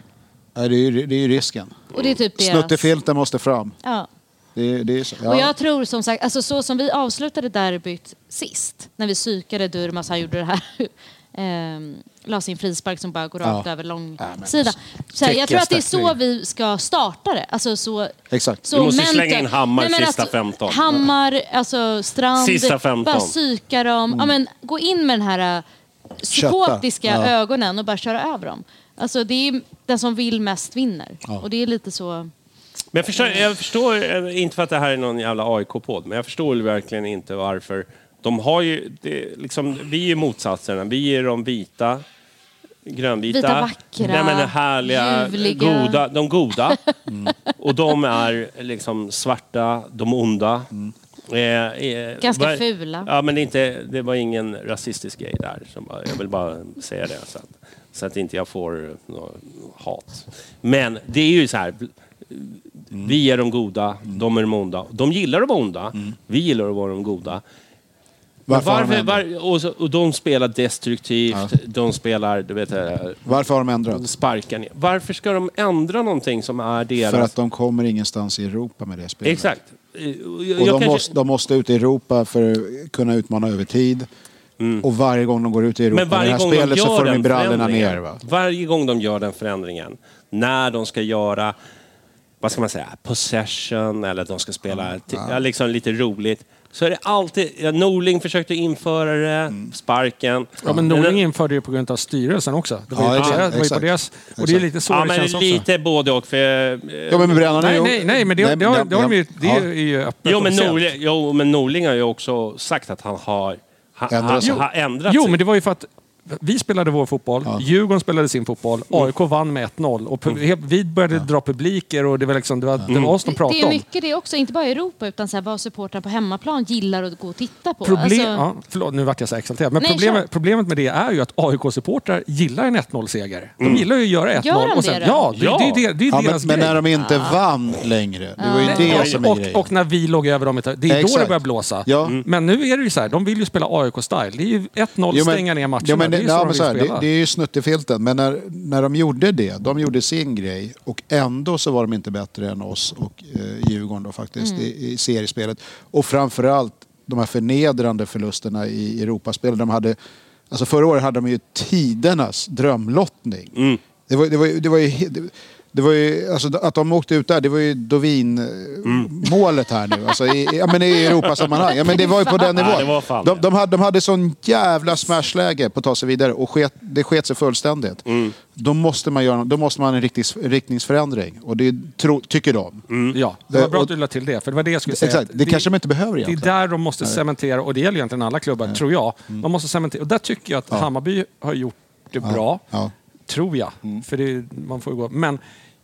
S1: Nej, det, är ju, det är ju risken.
S6: Och det är typ deras-
S1: Snuttefilten måste fram.
S6: Ja.
S1: Det, är- det är så.
S6: Och
S1: Ja.
S6: jag tror som sagt, alltså så som vi avslutade derbyt sist, när vi psykade Durmaz, han gjorde det här, ehm, la sin frispark som bara går rakt
S1: Ja.
S6: över lång
S1: Ja, men
S6: sida.
S1: alltså,
S6: Så här, jag tror att det är så
S1: täckestackning.
S6: vi ska starta det. Alltså så...
S1: Exakt.
S6: så mentor- Nej, men alltså, Hammar, alltså Strand.
S2: Sista 15.
S6: Bara psyka dem.
S3: Mm.
S6: Ja, men, gå in med den här eh, psykotiska
S2: Kötta. Ja.
S6: ögonen och bara köra över dem. Alltså det är den som vill mest vinner.
S2: Ja.
S6: Och det är lite så...
S2: Men jag förstår, jag förstår, eh, inte för att det här är någon jävla AIK-podd, men jag förstår ju verkligen inte varför. De har ju, det, liksom, vi är motsatserna. Vi är de vita, grönvita.
S6: Vita, vackra,
S2: nej, men härliga,
S6: ljuvliga. Mm.
S2: goda. De goda. Och de är liksom svarta, de onda. Eh, eh,
S6: Ganska
S2: vad-
S6: fula.
S2: Ja, men det, är inte, det var ingen rasistisk grej där. Som bara, jag vill bara säga det så att, så att inte jag får eh, nå- hat. Men det är ju så här.
S1: Mm.
S2: Vi är de goda, de är de onda. De gillar de onda, vi gillar att vara de goda.
S1: Mm. Varför har de
S2: Varför,
S1: ändrat?
S2: var, och, så, och de spelar destruktivt, de spelar, du vet, eh,
S1: Varför har de ändrat?
S2: sparkar ner. Varför ska de ändra någonting som är deras...
S1: För att de kommer ingenstans i Europa med det spelet.
S2: Exakt. Eh, och Jag,
S1: Och
S2: jag
S1: de,
S2: kanske...
S1: måste, de måste ut i Europa för att kunna utmana över tid. Och varje gång de går ut i Europa
S2: Mm. Men varje
S1: med det
S2: gång
S1: här spelet
S2: de
S1: så
S2: gör
S1: får de ju
S2: den
S1: brallorna ner.
S2: förändringen,
S1: Va?
S2: varje gång de gör den förändringen, när de ska göra, vad ska man säga, possession eller de ska spela ti- ja. liksom lite roligt, så är det alltid, ja, Norling försökte införa det,
S1: Mm.
S2: sparken.
S3: Ja, men Norling införde det på grund av styrelsen också. Det var
S1: Ja,
S3: ju på
S1: exakt,
S3: deras- det var ju på
S1: exakt.
S3: deras... Och det är lite så
S2: Ja,
S3: det
S2: men
S3: känns också.
S2: lite både och. För,
S1: Ja, men brallorna är
S3: Nej,
S1: ju-
S3: nej, nej, men det,
S1: Nej,
S3: det, har,
S1: ja,
S3: det, har de ju, det
S1: ja.
S3: är ju öppet
S2: jo, men
S3: officiellt.
S2: Norling, jo, men Norling har ju också sagt att han har han,
S1: Ändrat
S2: han,
S1: sig.
S2: har ändrat
S3: Jo,
S2: sig.
S3: men det var ju för att vi spelade vår fotboll, Djurgården spelade sin fotboll,
S2: Mm.
S3: AIK vann med 1-0 och pu- helt- vi började dra publiker och det var, liksom, det var,
S2: Mm.
S3: det var oss de
S6: Det
S3: pratade
S6: är
S3: om.
S6: mycket det också, inte bara i Europa utan så här, vad supportrar på hemmaplan gillar att gå och titta på.
S3: Problem,
S6: Alltså,
S3: ja, förlåt, nu vart jag så exalterad. Men
S6: Nej,
S3: problemet,
S6: kör.
S3: problemet med det är ju att AIK-supportrar gillar en 1-0-seger.
S2: Mm.
S3: De gillar ju att göra 1-0.
S6: Gör de
S3: och sen,
S6: det då?
S3: Ja, det,
S2: Ja.
S3: det, det, det är
S1: Ja, men,
S3: deras
S1: men
S3: grej.
S1: när de inte vann längre. Det var ju det som är grejen.
S3: och, och när vi låg över dem, ett tag, det är då
S1: Exakt.
S3: det börjar blåsa.
S1: Ja. Mm.
S3: Men nu är det ju så här, de vill ju spela AIK-style. Det är ju 1-0,
S1: Jo, men-
S3: stänga ner matcherna.
S1: jo, men
S3: det är ju
S1: ja,
S3: så de
S1: men
S3: vill
S1: så här,
S3: spela.
S1: det, det är ju snuttefilten. Men när, när de gjorde det, de gjorde sin grej och ändå så var de inte bättre än oss och eh, Djurgården då faktiskt
S3: Mm.
S1: i, i seriespelet. Och framförallt de här förnedrande förlusterna i Europaspel. De hade, alltså förra året hade de ju tidernas drömlottning.
S2: Mm.
S1: Det, var, det, var, ju- det var ju... he- Det, det var ju, alltså, att de åkte ut där, det var ju
S2: Mm.
S1: Dovin-målet här nu. Alltså, i, i- ja, men I Europasammanhang. Ja, men det var ju på den
S2: Ja,
S1: nivån.
S2: det var fan
S1: de,
S2: det.
S1: de hade, de hade sån jävla smashläge på att ta sig vidare och sket, det sket sig fullständigt.
S2: Mm.
S1: Då, måste man göra, då måste man ha en riktig, riktningsförändring och det tro, tycker de.
S2: Mm.
S3: Ja, det var
S1: Eh,
S3: bra
S1: och-
S3: att du lade till det, för det var det jag skulle säga.
S1: Exakt,
S3: att
S1: det kanske de inte behöver
S3: Det är
S1: egentligen. Mm.
S3: där de måste cementera, och det gäller egentligen alla klubbar, tror jag. De måste cementera, och där tycker jag att Hammarby har gjort det bra,
S1: ja. Mm.
S3: tror jag. För det, man får ju gå. Men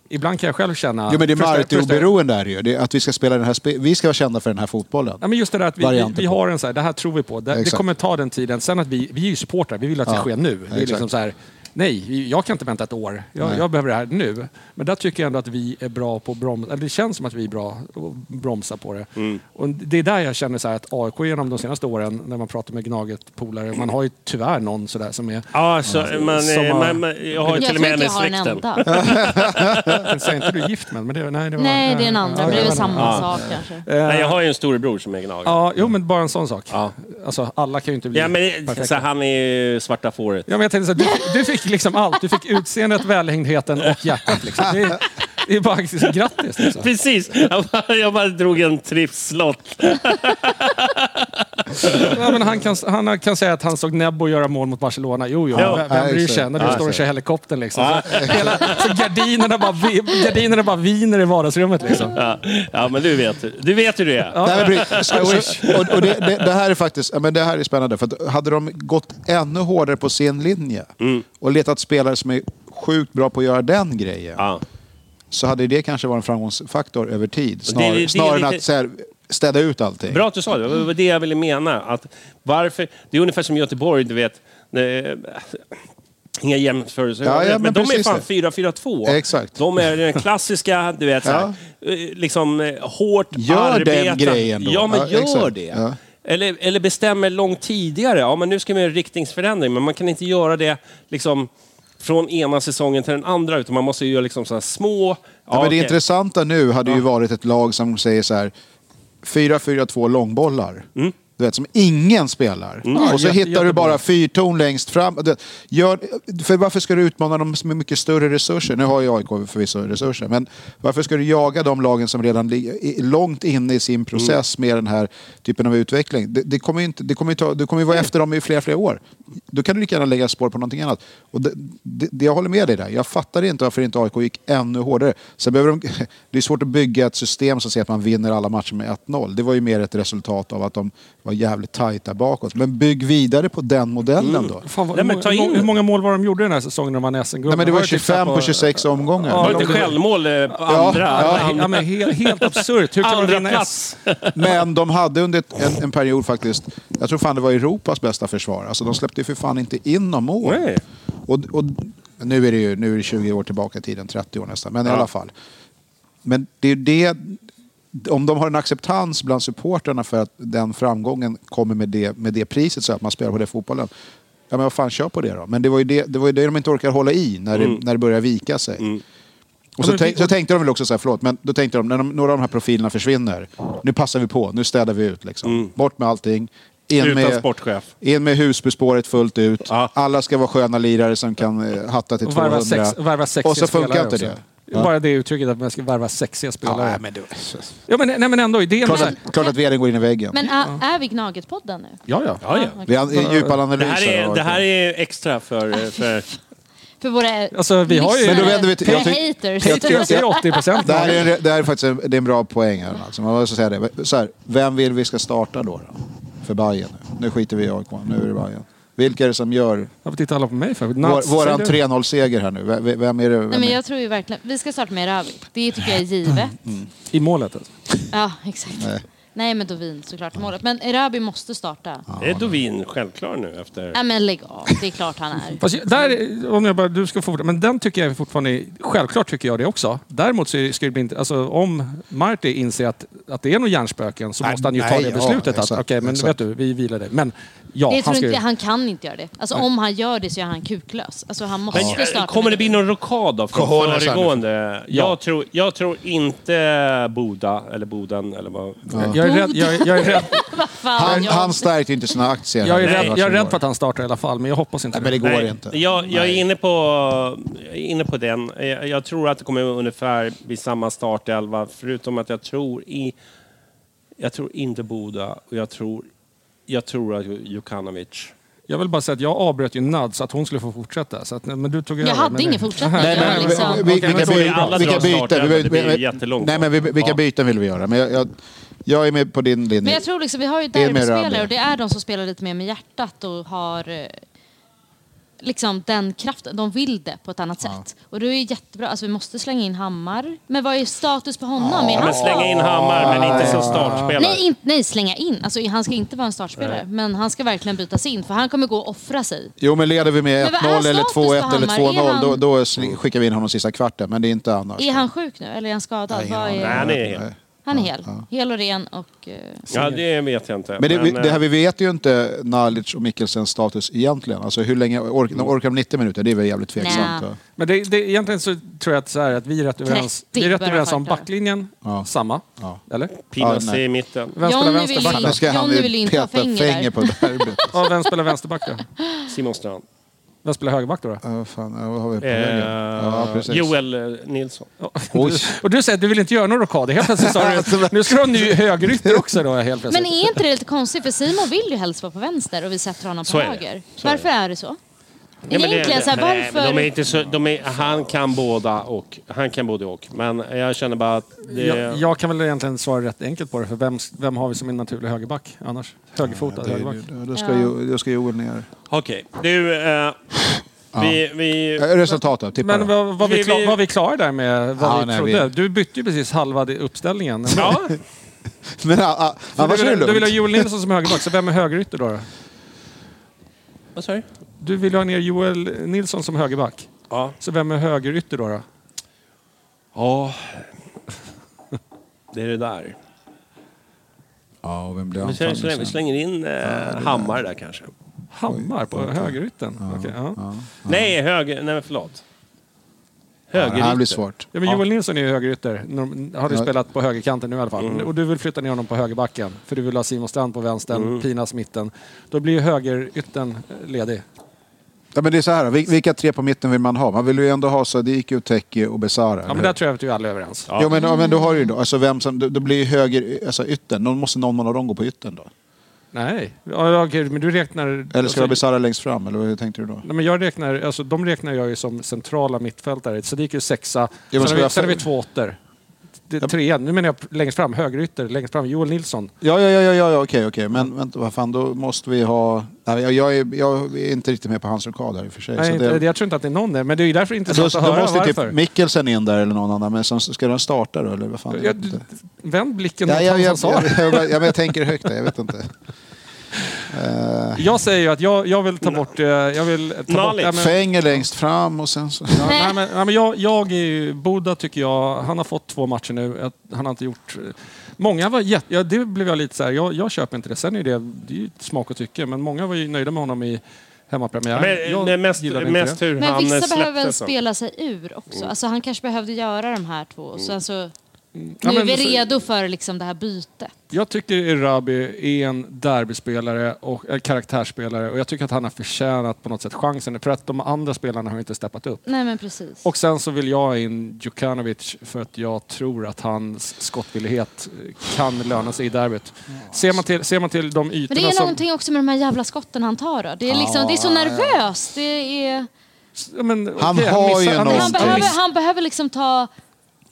S3: ibland kan jag själv känna...
S1: Jo men det är
S3: Förstår- förstår-
S1: Marti-oberoende är det ju. Det är att vi ska, spela den här spe, vi ska vara kända för den här fotbollen.
S3: Ja, men just det där att vi, vi,
S1: Varianter
S3: vi
S1: på.
S3: har en så här, det här tror vi på. Det, det
S1: Exakt.
S3: kommer ta den tiden. Sen att vi, vi är ju supportrar, vi vill att det
S1: Ja.
S3: sker nu. Det är
S1: Exakt.
S3: liksom så här, nej, jag kan inte vänta ett år. Jag, jag behöver det här nu. Men där tycker jag ändå att vi är bra på att bromsa. Eller det känns som att vi är bra att bromsa på det.
S2: Mm.
S3: Och det är där jag känner så här att AIK genom de senaste åren, när man pratar med Gnaget-polare, man har ju tyvärr någon så där som är...
S2: Ja, så, man,
S3: Som har-
S2: man, man, jag har
S6: jag
S2: ju till och
S6: tror
S2: med en
S6: inte
S2: i
S6: jag har en
S2: släkten.
S6: enda.
S3: Säg inte du är gift med men det, nej, det var,
S6: Nej, det är en
S3: ja,
S6: andra, men det är
S3: ja,
S6: väl
S3: ja.
S6: samma sak kanske.
S2: Nej, jag har ju en storebror som är gnagare.
S3: Ja, jo men bara en sån sak. Alltså alla kan ju inte bli
S2: Ja, men
S3: perfekta.
S2: så han är ju svarta fåret.
S3: Ja, men jag tänkte så här, du, du fick liksom allt. Du fick utseendet, välhängdheten och hjärtat. Liksom. Det, är, det är bara liksom, grattis. Liksom.
S2: Precis! Jag bara, jag bara drog en tripslott.
S3: Ja, men han, kan, han kan säga att han såg Nebbo göra mål mot Barcelona. Jo, jo,
S2: Ja.
S3: vem, vem bryr sig när du
S1: Ja,
S3: står och
S1: exakt.
S3: kör helikoptern? Liksom. Så, hela, så gardinerna, bara, vi- gardinerna bara viner i vardagsrummet. Liksom.
S2: Ja, ja, men du vet, du vet hur det är.
S1: Nej, men precis. Så- så- och, och det, det, det här är faktiskt ja, men det här är spännande. För att hade de gått ännu hårdare på sin linje
S2: Mm.
S1: och letat spelare som är sjukt bra på att göra den grejen.
S2: Ja.
S1: så hade det kanske varit en framgångsfaktor över tid. Snar,
S2: det är
S1: snarare än
S2: lite-
S1: att så här, städa ut allting.
S2: Bra att du sa det. Det var det jag ville mena. Att varför, det är ungefär som Göteborg, du vet. Eh, Inga jämförelser.
S1: Ja, ja,
S2: men,
S1: men
S2: de är
S1: precis
S2: fan
S1: det.
S2: 4-4-2.
S1: Exakt.
S2: De är den klassiska, du vet, så här, eh, liksom eh, hårt
S1: Gör den
S2: arbetande-
S1: grejen då.
S2: Ja, men
S1: Ja,
S2: gör
S1: exakt.
S2: det.
S1: Ja.
S2: Eller, eller bestämmer långt tidigare. Ja, men nu ska vi göra en riktningsförändring, men man kan inte göra det liksom från ena säsongen till den andra, utan man måste ju göra liksom så här små...
S1: Ja, men
S2: okej.
S1: Det intressanta nu hade ju varit ett lag som säger så här 4-4-2 långbollar. Du vet, som ingen spelar. Och så
S3: Jätte-
S1: hittar du
S3: jättebra.
S1: bara fyrton längst fram. Du vet, Gör, för varför ska du utmana dem med mycket större resurser? Nu har ju AIK förvisso resurser, men varför ska du jaga de lagen som redan ligger i- långt inne i sin process med den här typen av utveckling? Det, det kommer ju inte, det kommer ju ta, du kommer ju vara
S2: Mm.
S1: efter dem i flera, flera år. Då kan du lika gärna lägga spår på någonting annat. Och det, det, det, jag håller med dig där. Jag fattar inte varför inte AIK gick ännu hårdare. Sen behöver de, det är svårt att bygga ett system som säger att man vinner alla matcher med 1-0. Det var ju mer ett resultat av att de var jävligt tajta bakåt. Men bygg vidare på den modellen då.
S3: Mm. Fan, vad,
S2: Nej, men ta
S3: hur, många,
S2: in-
S3: hur många mål var de gjorde den här säsongen när de vann SM-guld?
S1: Nej, men det var
S3: ju typ
S1: 25
S3: så här
S1: på 26 omgångar.
S3: Ja,
S2: Var det inte självmål eh, på andra?
S3: Ja, ja, men helt, helt absurt. Hur kan de
S2: Andra
S3: vinna
S2: plats.
S1: Men de hade under ett- en, en period faktiskt, jag tror fan det var Europas bästa försvar. Alltså de släppte ju för fan inte in någon mål.
S2: Nej.
S1: Och, och nu är det ju nu är det 20 år tillbaka i tiden, 30 år nästan, men i alla fall. Men det är ju det, om de har en acceptans bland supportrarna för att den framgången kommer med det, med det priset så att man spelar på det fotbollen. Ja men vad fan, kör på det då. Men det var ju det, det, var ju det de inte orkade hålla i när det,
S2: Mm.
S1: när det började vika sig. Och så,
S2: Ja, men
S1: tänk,
S2: vi-
S1: så tänkte de väl också så här, förlåt, men då tänkte de när de, några av de här profilerna försvinner, nu passar vi på, nu städar vi ut liksom. Bort med allting.
S2: Mm. Utan
S1: med,
S2: sportchef.
S1: in med Husbyspåret fullt ut. Alla ska vara sköna lirare som kan eh, hatta till
S3: Och varva,
S1: 200.
S3: sex, varva sexiga
S1: och så funkar
S3: spelare
S1: inte
S3: också.
S1: det.
S3: Bara det uttrycket att man ska varva sexiga
S1: Ja,
S3: spelare.
S1: nej, men det,
S3: Ja, men, nej, men ändå, idén...
S1: klart, att, klart att veden går in i väggen.
S6: Men är, är vi Gnaget-podden nu?
S3: Ja, ja.
S2: Ja, ja.
S1: Vi har en
S2: Det
S1: djupanalyser.
S2: här, är,
S1: har
S2: det
S1: varit.
S2: här är extra för... för
S6: För våra
S3: Alltså, vi har ju-
S6: lyssnare,
S1: Men då vänder vi till-
S6: våra
S1: jag tyck-
S6: haters.
S1: jag tycker-
S3: Jag säger 80 procent.
S1: Det här är, en- det här är faktiskt en, det är en bra poäng. Här, alltså. Man måste säga det. Så här, vem vill vi ska starta då? då? För Bayern nu. Nu skiter vi i AIK, nu är det Bayern. Vilka är det som gör
S3: Varför tittar alla på mig för?
S1: vår,
S3: Nats,
S1: våran
S3: säger
S1: 3-0-seger här nu? Vem, vem är det? Vem
S6: Nej, men
S1: är?
S6: jag tror ju verkligen... Vi ska starta med Ravi. Det tycker jag är givet.
S3: du? I målet alltså.
S6: Ja, exakt.
S1: Nej.
S6: Nej, men Dovin såklart i målet. Men Rabi måste starta. Ja.
S2: är Dovin självklar nu efter...
S6: men lägg av. Det är klart han är.
S3: Fast jag- där, om jag bara, du ska fortsätta, men den tycker jag fortfarande är- Självklart tycker jag det också. Däremot så är det- skulle det bli inte... Alltså, om Marty inser att, att det är någon hjärnspöken så
S1: Nej,
S3: måste han ju
S1: nej,
S3: ta det
S1: ja,
S3: beslutet. att
S1: exakt,
S3: Okej, men
S1: exakt.
S3: vet du, vi vilar dig. Men ja,
S6: jag tror
S3: han ska ju...
S6: inte, han kan inte göra det. Alltså om han gör det så är han kuklös. Alltså han måste
S2: Men
S6: starta.
S2: eh, kommer
S6: med
S2: det bli någon rockad av från
S1: Cojones,
S2: föregående?
S3: Ja.
S2: Jag tror, jag tror inte Boda, eller Boden, eller vad...
S3: Jag är rädd, jag, är- jag är rädd,
S6: Fan,
S1: Han,
S6: jag-
S1: han stärkte ju inte sina aktier.
S3: jag är
S1: här.
S3: rädd, jag är
S1: Varsågod.
S3: rädd för att han startar i alla fall, men jag hoppas inte
S1: Nej, men det går
S2: Nej,
S1: inte.
S2: Jag, jag, är inne på, jag är inne på den. Jag, jag tror att det kommer ungefär vid samma startelva, förutom att jag tror i... Jag tror inte Boda och jag tror, jag tror att Jukanovic.
S3: Jag vill bara säga att jag avbröt ju Nad så att hon skulle få fortsätta. Så att, men du tog
S6: Jag
S3: över,
S6: hade
S3: men det-
S6: ingen fortsättning.
S3: Nej,
S6: Jag
S3: men-
S6: liksom-
S1: vi- vi-
S2: Okej, men
S1: Vilka
S2: så är
S1: by-
S2: alla
S1: vilka
S2: drar
S1: byten?
S2: startelva,
S1: Vi-
S2: det blir
S1: vi-
S2: ju jättelångt.
S1: Nej, men vi- vilka
S2: Ja.
S1: byten vill vi göra? Men jag, jag, jag är med på din linje.
S6: Men jag tror liksom, vi har ju
S1: Det är mer Rabi.
S6: derbyspelare och det är de som spelar lite mer med hjärtat och har eh, liksom den kraften. De vill det på ett annat sätt. Och det är ju jättebra. Alltså vi måste slänga in Hammar. Men vad är status på honom? Är
S2: Men
S6: han
S2: slänga in Hammar, men inte som startspelare.
S6: Nej, in, nej, slänga in. Alltså, han ska inte vara en startspelare. Men han ska verkligen bytas in för han kommer gå och offra sig.
S1: Jo, men leder vi
S6: Men
S1: med
S6: vad är
S1: 1-0 eller
S6: status på
S1: 2-1 eller
S6: Hammar?
S1: 2-0
S6: Är
S1: då,
S6: han-
S1: då sli- skickar vi in honom sista kvarten. Men det är inte annars.
S6: Är han sjuk nu eller är han skadad?
S1: Nej,
S6: Vad
S1: ingen
S6: är...
S2: Nej, han är hel.
S1: Nej.
S6: Han är hel. Hel och ren och... eh,
S2: Ja, det vet jag inte.
S1: Men det, vi-
S2: Men,
S1: det här
S2: eh,
S1: vi vet ju inte Nalic och Mikkelsens status egentligen. Alltså hur länge, ork, de orkar de 90 minuter? Det är väl jävligt tveksamt.
S6: Nej.
S1: va?
S3: Men det, det, egentligen så tror jag att, så här, att vi är rätt överens, vi är rätt
S6: 30
S3: överens om
S6: börjar
S3: backlinjen,
S1: Ja.
S3: samma.
S1: Ja.
S3: Eller?
S2: Pinas
S1: Ja, nej.
S2: eh, i mitten.
S3: Vem spelar
S6: Johnny
S3: vänsterback?
S6: vill
S1: Nu ska han
S6: Johnny
S1: ju
S6: vill inte ha
S1: peta
S6: fänger
S1: fänger,
S6: där.
S1: på derbyt.
S3: Ja, vem spelar vänsterback då?
S2: Simon Strand.
S3: Vem spelar högerback då? då?
S1: Ja, vad fan, ja, vad har vi på
S2: Eh,
S1: vägen? Ja, precis.
S2: Joel eh, Nilsson.
S1: Oj.
S3: Och du säger att du vill inte göra någon rockad. Helt plötsligt sa
S1: alltså,
S3: du nu ska du ha en ny högerytter också då helt
S6: Men
S3: plötsligt.
S6: är inte det lite konstigt? För Simon vill ju helst vara på vänster och vi sätter honom på
S2: Så är det.
S6: höger.
S2: Så är det.
S6: Varför är det så?
S2: Nej, men det-
S6: Egentligen så här,
S2: nej, men
S6: varför...
S2: De är inte så, de är, han kan båda och. Han kan både och. Men jag känner bara att det...
S3: jag, jag kan väl egentligen svara rätt enkelt på det, för vem, vem har vi som en naturlig högerback annars? Högerfotad
S1: Det-
S3: högerback.
S1: det- Då ska, jo, då ska Joel ner.
S2: Okej, du... Eh, vi, vi,
S1: Eh, Resultat då? Tippa
S3: Men
S1: då.
S3: vad, vad, vi,
S2: Vi-
S3: klar,
S2: vi-
S3: vad vi klarar där med vad
S1: Ja,
S3: vi
S1: nej,
S3: trodde.
S1: vi-
S3: Du bytte ju precis halva di- uppställningen.
S2: ja,
S1: Men ah, ah,
S3: Du
S1: annars är det
S3: vill, du vill ha
S1: lugnt.
S3: Joel Nilsson som högerback, så vem är högerytter då? då?
S2: vad sa du?
S3: Du vill ha ner Joel Nilsson som högerback.
S2: Ja.
S3: Så vem är högerytter då? då?
S2: ja. Det är det där.
S1: Ja, och vem blir
S2: Vi slänger,
S1: anfallare
S2: vi
S1: sen?
S2: slänger in eh, Hammar där kanske.
S3: Hammar på högerytten? Okej, ja. Ja.
S2: Nej, höger... Nej, men förlåt.
S1: Ja, Det här blir
S2: Högerytter.
S1: svårt.
S3: men Joel Nilsson är ju högerytter. Norm- Har du
S1: Ja.
S3: spelat på högerkanten nu i alla fall. Och du vill flytta ner honom på högerbacken. För du vill ha Simon Strand på vänstern, Pinas mitten. Då blir ju högerytten eh, ledig.
S1: Ja, men det är så här, då. Vil- vilka tre på mitten vill man ha? Man vill ju ändå ha Sadiki, Uteki och Besara.
S3: Ja, men där tror jag att vi alla är överens.
S1: Ja. men, ja, men då har du ju då, alltså vem som, då, då blir ju höger, alltså yttern, då måste någon av dem gå på yttern då?
S3: Nej, ja, okej, men du räknar...
S1: Eller ska det
S3: alltså,
S1: vara Besara längst fram, eller hur tänkte du då?
S3: Nej, men jag räknar, alltså, de räknar jag ju som centrala mittfältare. Sadiq är ju sexa,
S1: men
S3: sen,
S1: ska
S3: har vi,
S1: jag-
S3: sen har vi två åttor. Det är Trean, nu menar jag längst fram, högerytter, längst fram, Joel Nilsson.
S1: Ja, ja, ja, ja, ja okej, okej, men vänta, vad fan, då måste vi ha... Nej, jag, jag, är, jag är inte riktigt med på hans rockad här i och för sig.
S3: Nej,
S1: så
S3: inte, det, jag tror inte att det är någon där, men det är ju därför
S1: då,
S3: intressant att
S1: då
S3: höra
S1: måste ju
S3: varför.
S1: typ Mikkelsen in där eller någon annan, men sen ska den starta då, eller vad fan? Jag
S3: jag,
S1: vet inte.
S3: vänd blicken
S1: Ja,
S3: mot
S1: jag,
S3: han
S1: jag,
S3: som sa
S1: jag, Eh,
S3: det.
S1: jag, jag, men jag tänker högt där, jag vet inte.
S3: Jag säger ju att jag, jag vill ta bort... eh, Jag vill ta bort
S1: Fänger
S3: nej, men,
S1: längst fram och sen så...
S3: ja, nej, men, nej, men jag, jag är ju... Boda tycker jag... Han har fått två matcher nu. Jag- Han har inte gjort... Många var jätte... Ja, det blev jag lite så här. Jag, jag köper inte det. Sen är det, det är ju smak och tycke. Men många var ju nöjda med honom i hemmapremiären.
S2: Men,
S3: jag
S2: men mest,
S3: gillade inte
S2: mest
S3: det.
S2: hur
S6: Men
S2: han
S6: vissa
S2: släppte
S6: behöver väl
S2: sen.
S6: spela sig ur också.
S2: Mm.
S6: Alltså han kanske behövde göra de här två. och Sen så, nu
S3: Ja,
S6: är
S3: men
S6: vi
S3: så-
S6: redo för liksom det här bytet.
S3: Jag tycker Erabi är en derbyspelare och äh, karaktärsspelare och jag tycker att han har förtjänat på något sätt chansen för att de andra spelarna har inte steppat upp.
S6: Nej men precis.
S3: Och sen så vill jag in Djukanovic för att jag tror att hans skottvillighet eh, kan löna sig i derbyt. Ser man till, ser man till de
S6: men det
S3: ytorna
S6: är
S3: som...
S6: någonting också med de här jävla skotten han tar då. Det är, liksom, det är så nervöst. Det är,
S3: Ja, men,
S1: Han
S3: okej,
S1: har
S3: missar-
S1: ju
S3: han
S1: någonting.
S6: han,
S3: missar-
S6: behöver, han behöver liksom ta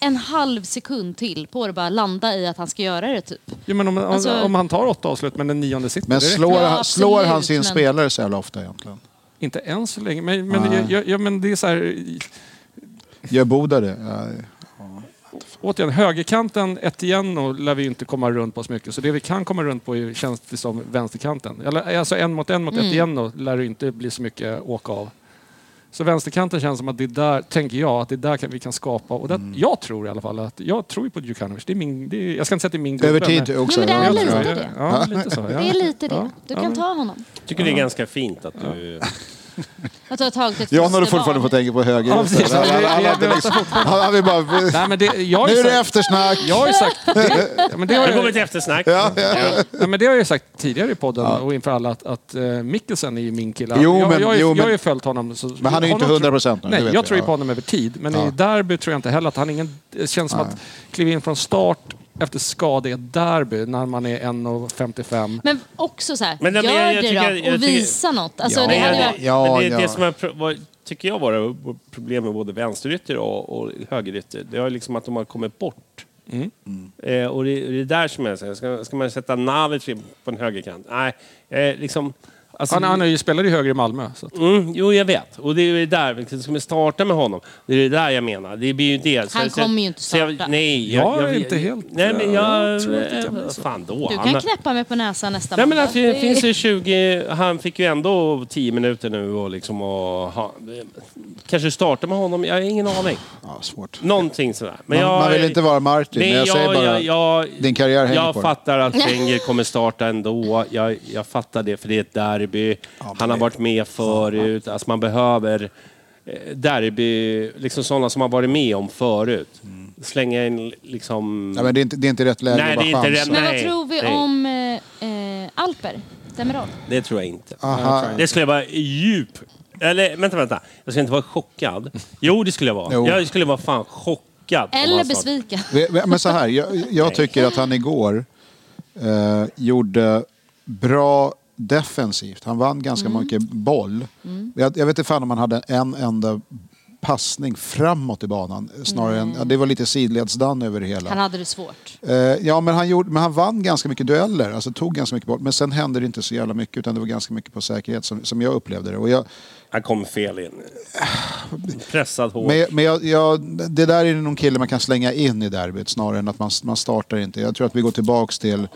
S6: en halv sekund till på det bara landa i att han ska göra det typ.
S3: Ja, men om, om,
S6: Alltså-
S3: om han tar åtta avslut men den nionde sitter.
S1: Men
S3: det räcker.
S1: slår,
S6: Ja,
S1: han, slår han sin
S6: absolut, men-
S1: spelare så jävla ofta egentligen?
S3: Inte än så länge. Men, men, jag, jag, ja, men det är så här...
S1: Gör Boda det? Ja.
S3: Återigen, högerkanten, Etienne lär vi inte komma runt på så mycket. Så det vi kan komma runt på är- känns det som vänsterkanten. Eller, Alltså en mot en mot
S6: Mm.
S3: Etienne lär det inte bli så mycket åka av. Så vänsterkanten känns som att det är där, tänker jag, att det är där kan, vi kan skapa. Och det,
S1: Mm.
S3: Jag tror i alla fall att, jag tror ju på Djukanovic. Det är min, det är, jag ska inte säga att det är min gubbe.
S1: Över tid
S3: men-
S1: också?
S6: Nej, men
S3: jag
S6: det är
S3: tror-
S6: lite det.
S3: Ja, lite så. Ja.
S6: Det är lite
S3: Ja.
S6: det. Du kan ta honom.
S2: tycker det är ganska fint att du...
S6: Att du har tagit ett
S1: Jan håller
S6: fosterbarn.
S1: fortfarande på att tänka på höger.
S3: Ja, precis.
S1: Han- han- han- han-
S3: Det- det-
S1: han- han vill bara...
S3: Nej, men det, jag har
S1: Nu
S3: ju
S1: är det
S3: sagt-
S1: eftersnack!
S3: Jag har ju sagt... Det, ja, men det har
S2: Nu går
S3: jag,
S2: vi till eftersnack.
S3: Nej, men det har jag ju sagt tidigare i podden och inför alla att, att eh, Mikkelsen är ju min kille.
S1: Jo,
S3: jag,
S1: men-
S3: jag, har ju-
S1: jo, men-
S3: jag har ju följt honom. Så,
S1: Men han är ju inte
S3: honom
S1: 100% nu, det
S3: Nej,
S1: vet
S3: jag
S1: vi,
S3: tror ju
S1: ja.
S3: på honom över tid. Men i derby tror jag inte heller att han... är Ingen, det känns som att kliva in från start efter skada i ett derby när man är 1,55.
S6: Men också så här,
S2: Men, nej, men
S6: gör
S2: jag- jag
S6: det
S2: tycker-
S6: då
S2: jag
S6: och
S2: tycker-
S6: visa något. Alltså,
S1: Ja.
S6: det
S2: Men
S6: hade
S2: jag-
S6: ju
S1: Ja,
S6: varit...
S2: men det,
S1: ja.
S2: det som är, pro- vad, tycker jag var problem med både vänsterytter och, och högerytter, det är liksom att de har kommit bort.
S3: Mm.
S2: Eh, och det, det är där som jag säger, ska, ska man sätta Nalic in på en högerkant? Nej, eh, liksom... alltså-
S3: Han, han är ju spelare i höger i Malmö. Så att,
S2: Mm, jo, jag vet. Och det är ju där, liksom, ska vi starta med honom? Det är det där jag menar. Det blir ju det.
S6: Han kommer ju inte starta.
S2: Så jag, nej,
S3: Jag är inte helt- eh,
S2: Nej, men jag...
S3: jag tror att det kan bli
S2: eh,
S3: så.
S2: fan då.
S6: Du
S2: Han-
S6: kan knäppa mig på näsan nästa
S2: Nej, men
S6: måndag.
S2: att det
S6: är-
S2: finns ju 20... Han fick ju ändå 10 minuter nu och liksom och ha, Kanske starta med honom, jag har ingen aning.
S1: Ja, svårt.
S2: Någonting sådär. Men
S1: Man-
S2: jag,
S1: man vill inte vara Martin, men jag säger bara, din karriär hänger
S2: Jag
S1: på det.
S2: fattar att Wenger kommer starta ändå. Jag, jag fattar det, för det är ett derby. Han har varit med förut. Alltså man behöver eh, derby, liksom sådana som har varit med om förut. Slänga in liksom...
S1: Nej, Mm. men det, är inte, det är inte rätt läge
S2: Nej,
S1: att bara
S2: det är inte
S1: chansa.
S6: Men
S2: nej,
S6: vad tror vi
S2: nej.
S6: om eh, eh, Alper? Demirol?
S2: Det tror jag inte.
S1: Aha.
S2: Det skulle jag vara djup... Eller vänta, vänta. Jag skulle inte vara chockad. Jo, det skulle jag vara.
S1: Jo.
S2: Jag skulle vara fan chockad. om
S6: Eller
S2: han startade.
S6: besviken?
S1: Vi- Men så här, jag, jag tycker att han igår eh, gjorde bra defensivt. Han vann ganska mycket boll. Jag, jag vet inte fan om han hade en enda passning framåt i banan. Snarare än, ja, det var lite sidledsdan över det hela.
S6: Han hade det svårt.
S1: Eh, ja, men han, gjorde, men han vann ganska mycket dueller, alltså tog ganska mycket boll. Men sen hände det inte så jävla mycket, utan det var ganska mycket på säkerhet som, som jag upplevde det. Och jag,
S2: Han kom fel in. Pressad hårt.
S1: men men jag, jag, det där är någon kille man kan slänga in i derbyt snarare än att man, man startar inte. Jag tror att vi går tillbaks till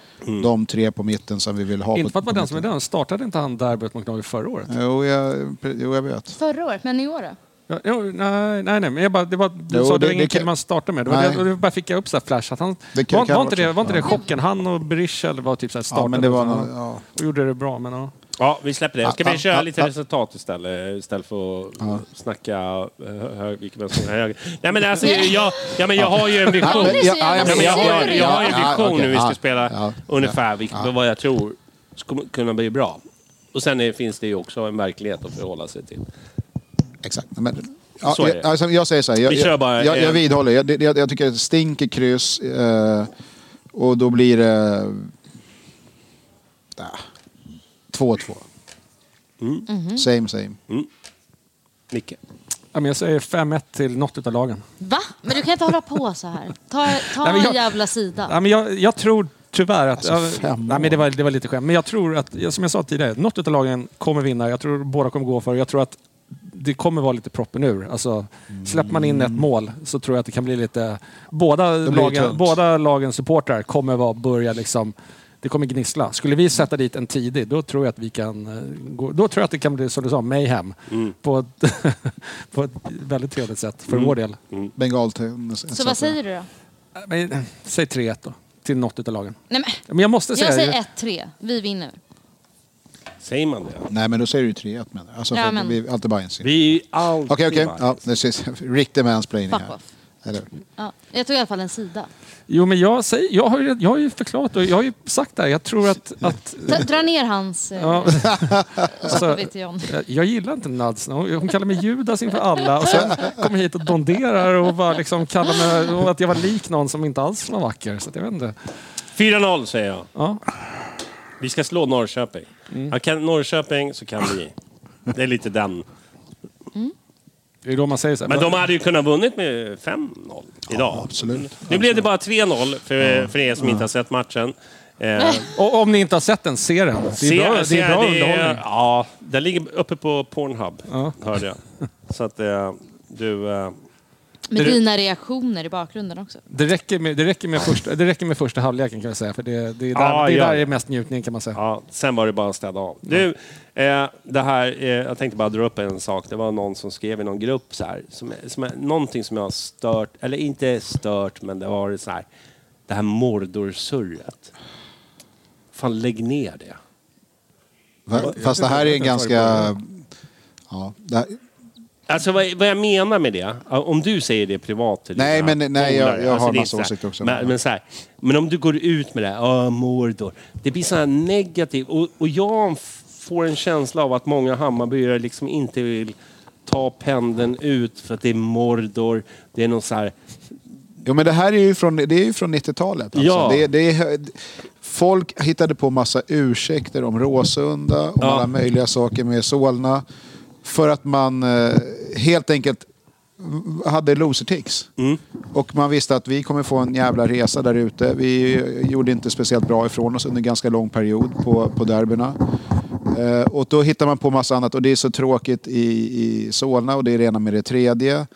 S1: de tre på mitten som vi vill ha.
S3: inte för att
S1: på,
S3: vara
S1: på
S3: den som är den. Startade inte han derbyt mot Norge förra året?
S1: Jo, jag, jo, jag vet.
S6: Förra året, men i år då?
S3: Ja, jo, nej, nej, nej, men jag bara, det var, du
S1: Jo,
S3: sa
S1: det-
S3: det var
S1: det
S3: ingen
S1: kan-
S3: kille man startade med. Det var,
S1: Nej.
S3: det, och det bara fick jag upp så här flash. Att han,
S1: Det kan-
S3: var,
S1: kan
S3: var
S1: vara
S3: inte, det,
S1: så.
S3: var inte det
S1: Ja.
S3: chocken? Han och Bryssel var typ så här startade.
S1: Ja, men det var
S3: och-
S1: någon, ja.
S3: Och gjorde det bra, men ja.
S2: Ja, vi släpper det. Ska
S1: Ah,
S2: vi
S1: ah,
S2: köra
S1: ah,
S2: lite
S1: ah.
S2: resultat istället? Istället för att snacka eh, hö- vilken vän som är höger. Nej men alltså, jag, ja, men jag har ju en vision.
S1: men- ja, ja,
S2: Ja,
S1: jag
S2: men jag, har, jag har ju en
S1: Ja, ja,
S2: vision
S1: okej.
S2: hur vi ska
S1: Ja,
S2: spela
S1: ja,
S2: ungefär vilk- vad jag tror kommer kunna bli bra. Och sen är, finns det ju också en verklighet att förhålla sig till.
S1: Exakt. Men, ja,
S2: Så är
S1: jag,
S2: det.
S1: alltså, jag säger så här, jag,
S2: Vi kör bara
S1: jag, jag, jag
S2: en-
S1: vidhåller. Jag, det- jag, jag tycker det stinker kryss eh, och då blir det eh, ah, 2-2.
S2: Mm.
S1: Same same.
S2: Micke?
S3: Ja, men jag säger 5-1 till något utav lagen.
S6: Va? Men du kan inte hålla på så här. Ta, ta
S3: Nej, men jag-
S6: en jävla sida.
S3: Ja, men jag, jag tror tyvärr att...
S1: Alltså,
S3: ja,
S1: fem
S3: nej,
S1: år.
S3: men det, var, det var lite skämt. Men jag tror att, ja, som jag sa tidigare, något utav lagen kommer vinna. Jag tror båda kommer gå för det. Jag tror att det kommer vara lite proppen ur. Alltså, släpper man in ett mål så tror jag att det kan bli lite... Båda,
S1: Mm. blir det
S3: lagen,
S1: tungt.
S3: båda lagens supportrar kommer vara, börja liksom Det kommer gnissla. Skulle vi sätta dit en tidig, då tror jag att vi kan... eh, Gå, då tror jag att det kan bli, som du sa, mayhem.
S1: Mm.
S3: På, ett, på ett väldigt trevligt sätt, för vår del.
S1: Mm. Bengal.
S6: Så vad säger du då?
S3: Men, eh, säg 3-1 då, till något utav lagen.
S6: Nej,
S3: Men jag måste
S6: men,
S3: säga...
S6: jag säger 1-3. Vi vinner.
S2: Säger man det?
S1: Nej, men då säger du 3-1 menar jag. Alltså,
S6: Ja,
S1: för
S6: men-
S1: vi, alltid Bajens. Okej,
S2: Vi är alltid
S1: okej.
S2: Bayern.
S1: Ja, det ses- Riktig mansplaining
S6: Fuck
S1: här.
S6: off.
S1: Eller,
S6: Ja, jag tog i alla fall en sida.
S3: Jo, men jag, säger, jag, har ju, jag har ju förklarat och jag har ju sagt det här. Jag tror att... att
S6: Ta, dra ner hans... eh,
S3: ja,
S6: så
S3: alltså,
S6: vet jag om.
S3: jag- jag gillar inte Nadsna. Hon hon kallar mig Judas inför alla och sen kommer hit och donderar och bara liksom kallar mig och att jag var lik någon som inte alls var vacker. Så att jag vet inte.
S2: 4-0 säger jag.
S3: Ja.
S2: Vi ska slå Norrköping.
S3: Mm.
S2: Ja, kan Norrköping så kan vi. Det är lite den.
S3: Det är då man säger så här.
S2: Men de hade ju kunnat vunnit med 5-0 idag.
S1: absolut.
S2: Nu blev det bara 3-0 för, för er som inte har sett matchen. Eh,
S3: och om ni inte har sett den, se den. Det är bra, det är bra underhållning.
S2: Ja, den ligger uppe på Pornhub, hörde jag. Så att eh, du... Eh,
S6: Med dina reaktioner i bakgrunden också.
S3: Det räcker med, det räcker med, första, det räcker med första halvleken kan jag säga. För det, det är där,
S2: Ja,
S3: det är,
S2: ja.
S3: där det är mest njutning kan man säga.
S2: Ja, sen var det bara att städa av. Du, eh, det här, eh, jag tänkte bara dra upp en sak. Det var någon som skrev i någon grupp så här, som, som, är- någonting som jag har stört, eller inte stört, men det var så här, det här mordorsurret. Fan, lägg ner det.
S1: Va- Fast det här är en ganska... Ja, det här,
S2: Alltså vad, vad jag menar med det, om du säger det privat till
S1: Nej,
S2: dina
S1: men- nej, jag-
S2: polare, alltså,
S1: jag har
S2: det är
S1: massa
S2: så här,
S1: åsikter också.
S2: Men, men, så här, men om du går ut med det här, "Åh, Mordor. Det blir så här negativt. Och, och jag f- får en känsla av att många Hammarbyare liksom inte vill ta pendeln ut för att det är Mordor. Det är någon så här...
S1: Jo, men det här är ju från, det är ju från 90-talet. Alltså.
S2: Ja.
S1: Det, är- det är, folk hittade på massa ursäkter om Råsunda, om
S2: Ja.
S1: alla möjliga saker med Solna. För att man eh, helt enkelt hade losertics.
S2: Mm.
S1: Och man visste att vi kommer få en jävla resa där ute. Vi gjorde inte speciellt bra ifrån oss under en ganska lång period på, på derbyna. Eh, och då hittar man på massa annat och det är så tråkigt i, i Solna och det är det ena med det tredje.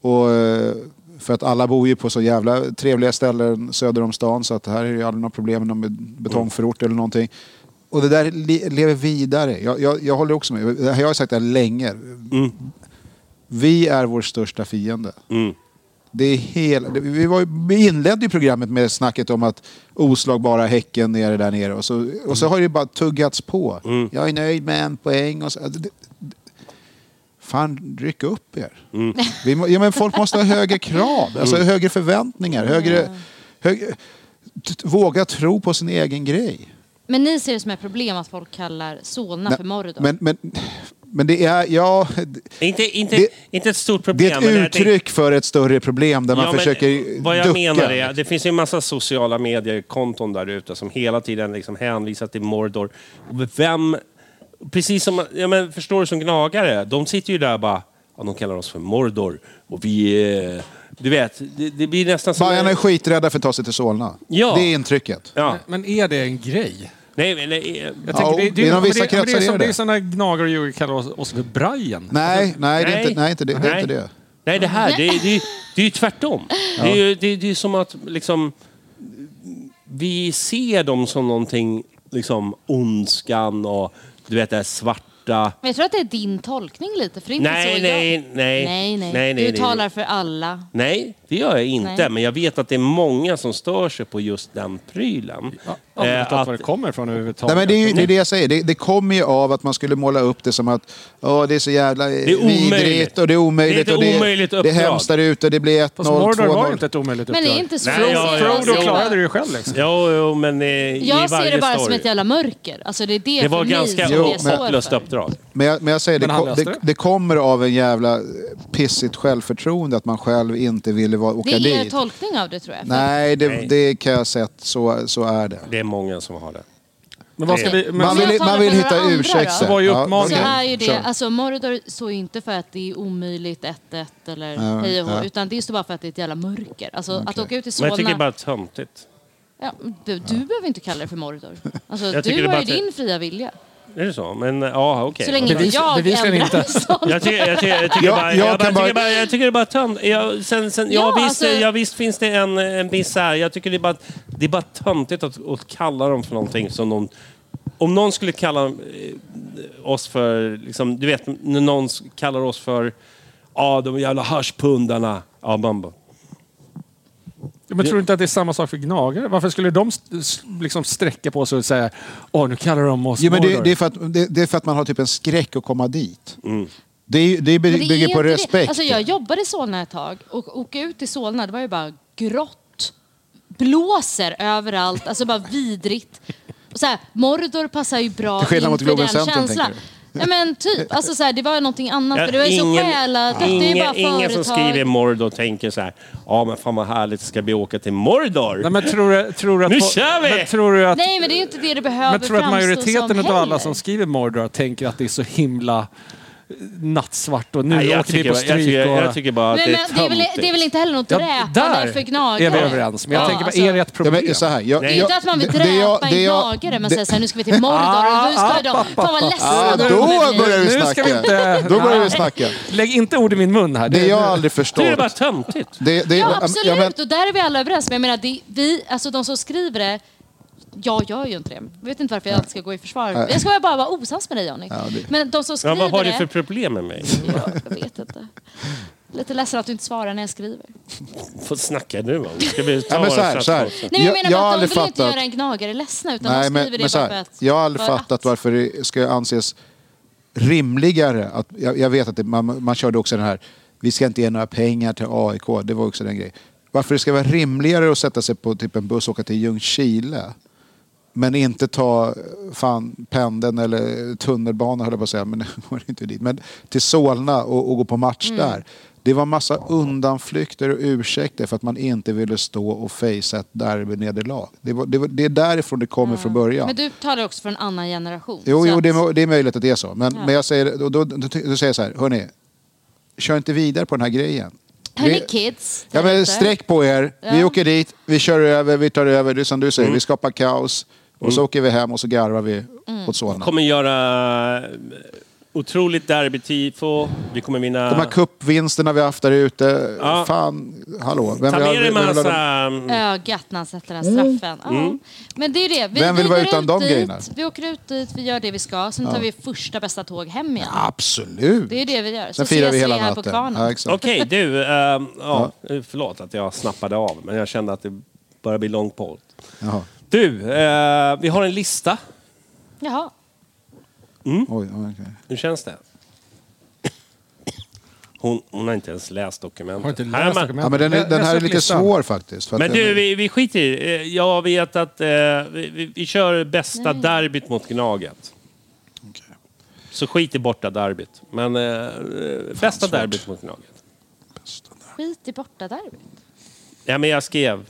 S1: Och, eh, för att alla bor ju på så jävla trevliga ställen söder om stan så att här är ju aldrig några problem med någon betongförort eller någonting. Och det där le- lever vidare. Jag, jag, jag håller också med. Jag har sagt det här länge. Vi är vår största fiende. Det är hela, det- vi, var, ju- vi inledde ju programmet med snacket om att oslagbara Häcken nere där nere. Och så, och
S2: Mm.
S1: så har det ju bara tuggats på. Jag är nöjd med en poäng. Och så, det, det, fan, ryck upp er.
S2: Mm.
S1: Vi, må- ja, men folk måste ha högre krav, alltså, högre förväntningar. Högre, hög, t- t- våga tro på sin egen grej.
S6: Men ni ser det som ett problem att folk kallar Solna för Mordor.
S1: Men, men, men det är... Ja, d-
S2: Inte, inte,
S1: Det-
S2: inte ett stort problem.
S1: det är ett
S2: men jag tänkte-
S1: uttryck för ett större problem där man
S2: men
S1: försöker
S2: Vad jag
S1: ducka. liksom.
S2: menar är, det finns ju en massa sociala mediekonton där ute som hela tiden liksom hänvisar till Mordor. Och Vem... Precis som, ja men förstår du som gnagare, de sitter ju där och bara, ja, de kallar oss för Mordor och vi är... Du vet, det, det blir nästan som...
S1: Bajarna är skiträdda för att ta sig till Solna.
S2: Ja.
S1: Det är intrycket.
S2: Ja,
S3: Men är det en grej?
S2: nej, eh, men, nej,
S3: Jag
S1: Ja,
S3: tänker, det, det,
S1: inom
S3: men det,
S1: vissa
S3: men det,
S1: kretsar
S3: är
S1: är
S3: som-
S1: det.
S3: det är sådana gnagare och djur kallar oss, oss för Brian.
S1: Nej, nej, det är inte, nej, inte det. det, är
S2: Alltså, Nej.
S1: inte det.
S2: Nej, det här, det, är- det, är- det är ju tvärtom. Det är ju det, är- det är som att liksom, vi ser dem som någonting, liksom ondskan och du vet det här svarta.
S6: Men jag tror att det är din tolkning lite, för det är inte så
S2: Nej, nej, nej.
S6: jag... Nej, nej.
S2: nej,
S6: du
S2: nej,
S6: talar
S2: nej.
S6: för alla.
S2: Nej, det gör jag inte.
S6: Nej.
S2: Men jag vet att det är många som stör sig på just den prylen.
S3: Jag vet
S2: Eh,
S3: inte var det kommer ifrån
S1: Nej,
S3: överhuvudtaget.
S1: men det är ju det, är det jag säger. Det, det kommer ju av att man skulle måla upp det som att åh, det är så jävla det
S2: är omöjligt.
S1: vidrigt och det är omöjligt.
S2: Det är ett
S1: och det,
S2: omöjligt
S1: det är
S2: uppdrag.
S1: hemskt där ute. Det blir 1-0,
S3: Fast Mordor var ju
S1: 2-0.
S3: inte ett omöjligt
S6: Men det är
S3: uppdrag.
S6: inte så.
S2: Nej, ja, ja,
S3: Frodo
S2: ja.
S3: klarade det ju själv liksom.
S2: Jo, jo, men eh, i
S6: Jag ser
S2: varje
S6: det bara
S2: story.
S6: som ett jävla mörker. Alltså det är det,
S2: Det var
S6: för mig
S2: ganska
S6: som det står
S2: hopplöst
S6: för.
S2: uppdrag.
S1: Men jag, men jag säger, det,
S3: Men han
S1: ko-
S3: löste
S1: det,
S3: det.
S1: det kommer av en jävla eh, pissigt självförtroende att man själv inte ville vara, åka
S6: Det är er
S1: dit.
S6: tolkning av det tror jag.
S1: Nej, det,
S2: Nej.
S1: det kan jag säga att så, så är det.
S2: Det är många som har det.
S3: Men vad ska vi... Men,
S1: Man
S6: jag
S1: vill,
S6: talar
S1: man vill
S6: för
S1: hitta
S6: några andra
S1: ursäkter.
S6: då?
S3: Det var ju
S1: Ja,
S3: uppmaningen.
S6: Så
S1: okej.
S6: är ju det,
S1: Kör.
S6: alltså Mordor står ju inte för att det är omöjligt 1-1 eller hej och hå,
S1: ja.
S6: utan det står bara för att det är ett jävla mörker. Alltså att åka ut i
S2: Men
S6: Solna...
S2: jag tycker det är bara töntigt.
S6: ja, du, du behöver inte kalla det för Mordor. Alltså,
S2: tycker det
S6: du
S2: bara
S6: har ju
S2: att det-
S6: din fria vilja.
S2: Är det så? Men ja, okej.
S4: Så länge inte
S2: Bevis-
S4: jag
S2: bevisligen
S4: ändrar
S2: inte.
S4: sånt.
S2: Jag tycker, jag tycker, jag tycker,
S4: Ja,
S2: bara,
S4: jag
S2: jag, bara,
S4: kan bara-
S2: tycker bara... Jag tycker det är bara tömt. Jag, sen, sen, ja,
S4: Ja,
S2: visst,
S4: alltså-
S2: ja, visst finns det en, en miss här. Jag tycker det är bara, det är bara töntigt att, att kalla dem för någonting som de... Om någon skulle kalla eh, oss för... Liksom, du vet, när någon s- kallar oss för... Ja, de jävla haschpundarna. Ja, man bara...
S3: Ja, Men tror du inte att det är samma sak för gnagare? Varför skulle de st- s- liksom sträcka på sig och säga Åh, nu kallar de oss
S1: Jo, men det,
S3: Mordor."
S1: det, är för att, det, det är för att man har typ en skräck att komma dit. Det, är, det, är,
S4: Men
S1: bygger
S4: det är
S1: på
S4: inte det.
S1: respekt.
S4: Alltså jag jobbade i Solna ett tag och åka ut i Solna, det var ju bara grått. Blåser överallt, alltså bara vidrigt. Och så här, Mordor passar ju bra
S1: Till skillnad
S4: in
S1: mot
S4: för
S1: Globen
S4: den
S1: Centrum,
S4: känslan.
S1: tänker
S4: Ja men typ, alltså så här, det var någonting annat.
S2: Ja,
S4: för det var ju så själat. Det är ju
S2: ingen,
S4: bara
S2: ingen som
S4: företag.
S2: skriver Mordor tänker så här. Ja, men fan vad härligt, ska vi åka till Mordor?
S3: Nej, men tror du, tror du att
S2: Nu
S3: fo-
S2: kör vi!
S3: Men tror du att,
S4: Nej men det är ju inte det det behöver
S3: men tror du att
S4: framstå som
S3: majoriteten av alla
S4: heller.
S3: som skriver Mordor tänker att det är så himla eh, nattsvart och nu
S2: Nej, jag
S3: åker vi
S2: tycker-
S3: på
S2: jag
S3: stryk?
S2: tycker-
S3: och...
S2: jag tycker bara
S4: Men, men, det, är väl, det är väl inte heller något
S3: Ja,
S4: dräpande för gnagare?
S3: är vi överens. Men jag
S4: Ja,
S3: tänker,
S4: alltså-
S3: bara, är det ett problem?
S1: Ja, men så här, jag-
S4: Det är ju inte att man vill
S1: det- det jag-
S4: dräpa en
S1: det jag-
S4: gnagare men
S1: det-
S4: säger såhär, nu ska vi till Mordor och nu ska de... Fan vad
S1: Ah,
S4: ledsna de
S1: då
S4: kommer bli.
S1: börjar vi
S3: Nu ska
S1: snacka.
S3: vi inte-
S1: Då börjar vi
S3: Nej.
S1: snacka.
S3: Lägg inte ord i min mun här.
S1: Det jag aldrig
S2: Det är bara
S1: förstått.
S2: töntigt.
S1: Det, det,
S4: Ja,
S1: ja,
S4: absolut.
S1: men-
S4: Och där är vi alla överens. Men jag menar, det, vi, alltså de som skriver det, jag gör ju inte det. Jag vet inte varför jag alltid ska gå i försvar. Jag ska bara vara osams med dig, Johnny. Men de som
S2: Ja,
S4: skriver
S2: vad har du
S4: det...
S2: för problem med mig?
S4: Ja, jag vet inte. Lite ledsen att du inte svarar när jag skriver.
S2: Vad snackar du om? Ska vi ta
S1: Ja, men så här,
S2: våra
S1: så här.
S2: chattboxar?
S4: Nej, men jag,
S1: Jag-
S4: menar bara
S1: jag har
S4: att de
S1: aldrig
S4: vill inte
S1: fattat-
S4: göra en gnagare ledsna utan
S1: Nej,
S4: de
S1: men,
S4: skriver
S1: men
S4: det
S1: så
S4: bara
S1: här,
S4: för att...
S1: Jag har aldrig
S4: för att-
S1: fattat varför det ska anses rimligare. Att, jag, jag vet att det, man, man körde också den här, vi ska inte ge några pengar till AIK. Det var också den grejen. Varför det ska vara rimligare att sätta sig på typ en buss och åka till Ljungskile. Men inte ta fan, pendeln eller tunnelbana höll jag på att säga. Men det går inte dit. Men till Solna och, och gå på match
S4: Mm.
S1: där. Det var massa undanflykter och ursäkter för att man inte ville stå och fejsa ett derbynederlag. Det, var, det, var, det är därifrån det kommer från början.
S4: Mm. Men du talar också för en annan generation.
S1: Jo,
S4: så
S1: jo
S4: att-
S1: det, är, må- det är möjligt att det är så. Men, men jag säger, då, då, då, ty- då säger jag så här, hörni, kör inte vidare på den här grejen.
S4: Hörni
S1: Vi-
S4: kids.
S1: Ja,
S4: där
S1: men
S4: ute.
S1: sträck på er, vi
S4: Ja.
S1: åker dit, vi kör över, vi tar över, det är som du
S2: Mm.
S1: säger, vi skapar kaos. Och så åker vi hem och så garvar vi
S4: Mm.
S1: åt sådana.
S2: kommer göra eh, otroligt derbytifo. Vi kommer vinna...
S1: De här cupvinsterna vi har haft där ute,
S2: Ja.
S1: fan, hallå. Vem
S2: Ta
S1: vill-
S2: med dig
S1: vem vill ha dem?
S2: massa...
S4: ögat när han sätter den straffen. Ja. Men det är det. Vi,
S1: Vem vill
S4: vi
S1: vara
S4: går
S1: utan
S4: ut
S1: de
S4: dit,
S1: grejerna?
S4: Vi åker ut dit, vi gör det vi ska, sen tar vi första bästa tåg hem igen.
S1: Absolut.
S4: Det är det vi gör. Så
S1: Sen firar
S4: ses
S1: vi hela
S4: här på
S1: natten.
S4: kvarnen.
S1: Ja, exakt.
S2: Okej, du. ehm, ja, Förlåt att jag snappade av, men jag kände att det börjar bli lång podd.
S1: Jaha.
S2: Du, eh, vi har en lista.
S4: Jaha.
S2: Mm.
S1: Oj, oj, okej.
S2: Hur känns det? Hon, hon har inte ens läst dokumentet.
S3: Har inte läst
S2: Här är man-
S3: dokumentet.
S1: Ja, men den, är- den här är lite svår faktiskt. för att
S2: Men
S1: den-
S2: du, vi, vi skiter i det. Eh, Jag vet att eh, vi, vi, vi kör bästa derbyt mot Gnaget. Så skit i borta derbyt. Men eh, bästa derbyt mot Gnaget.
S4: Skit i borta derbyt.
S2: Ja, men jag skrev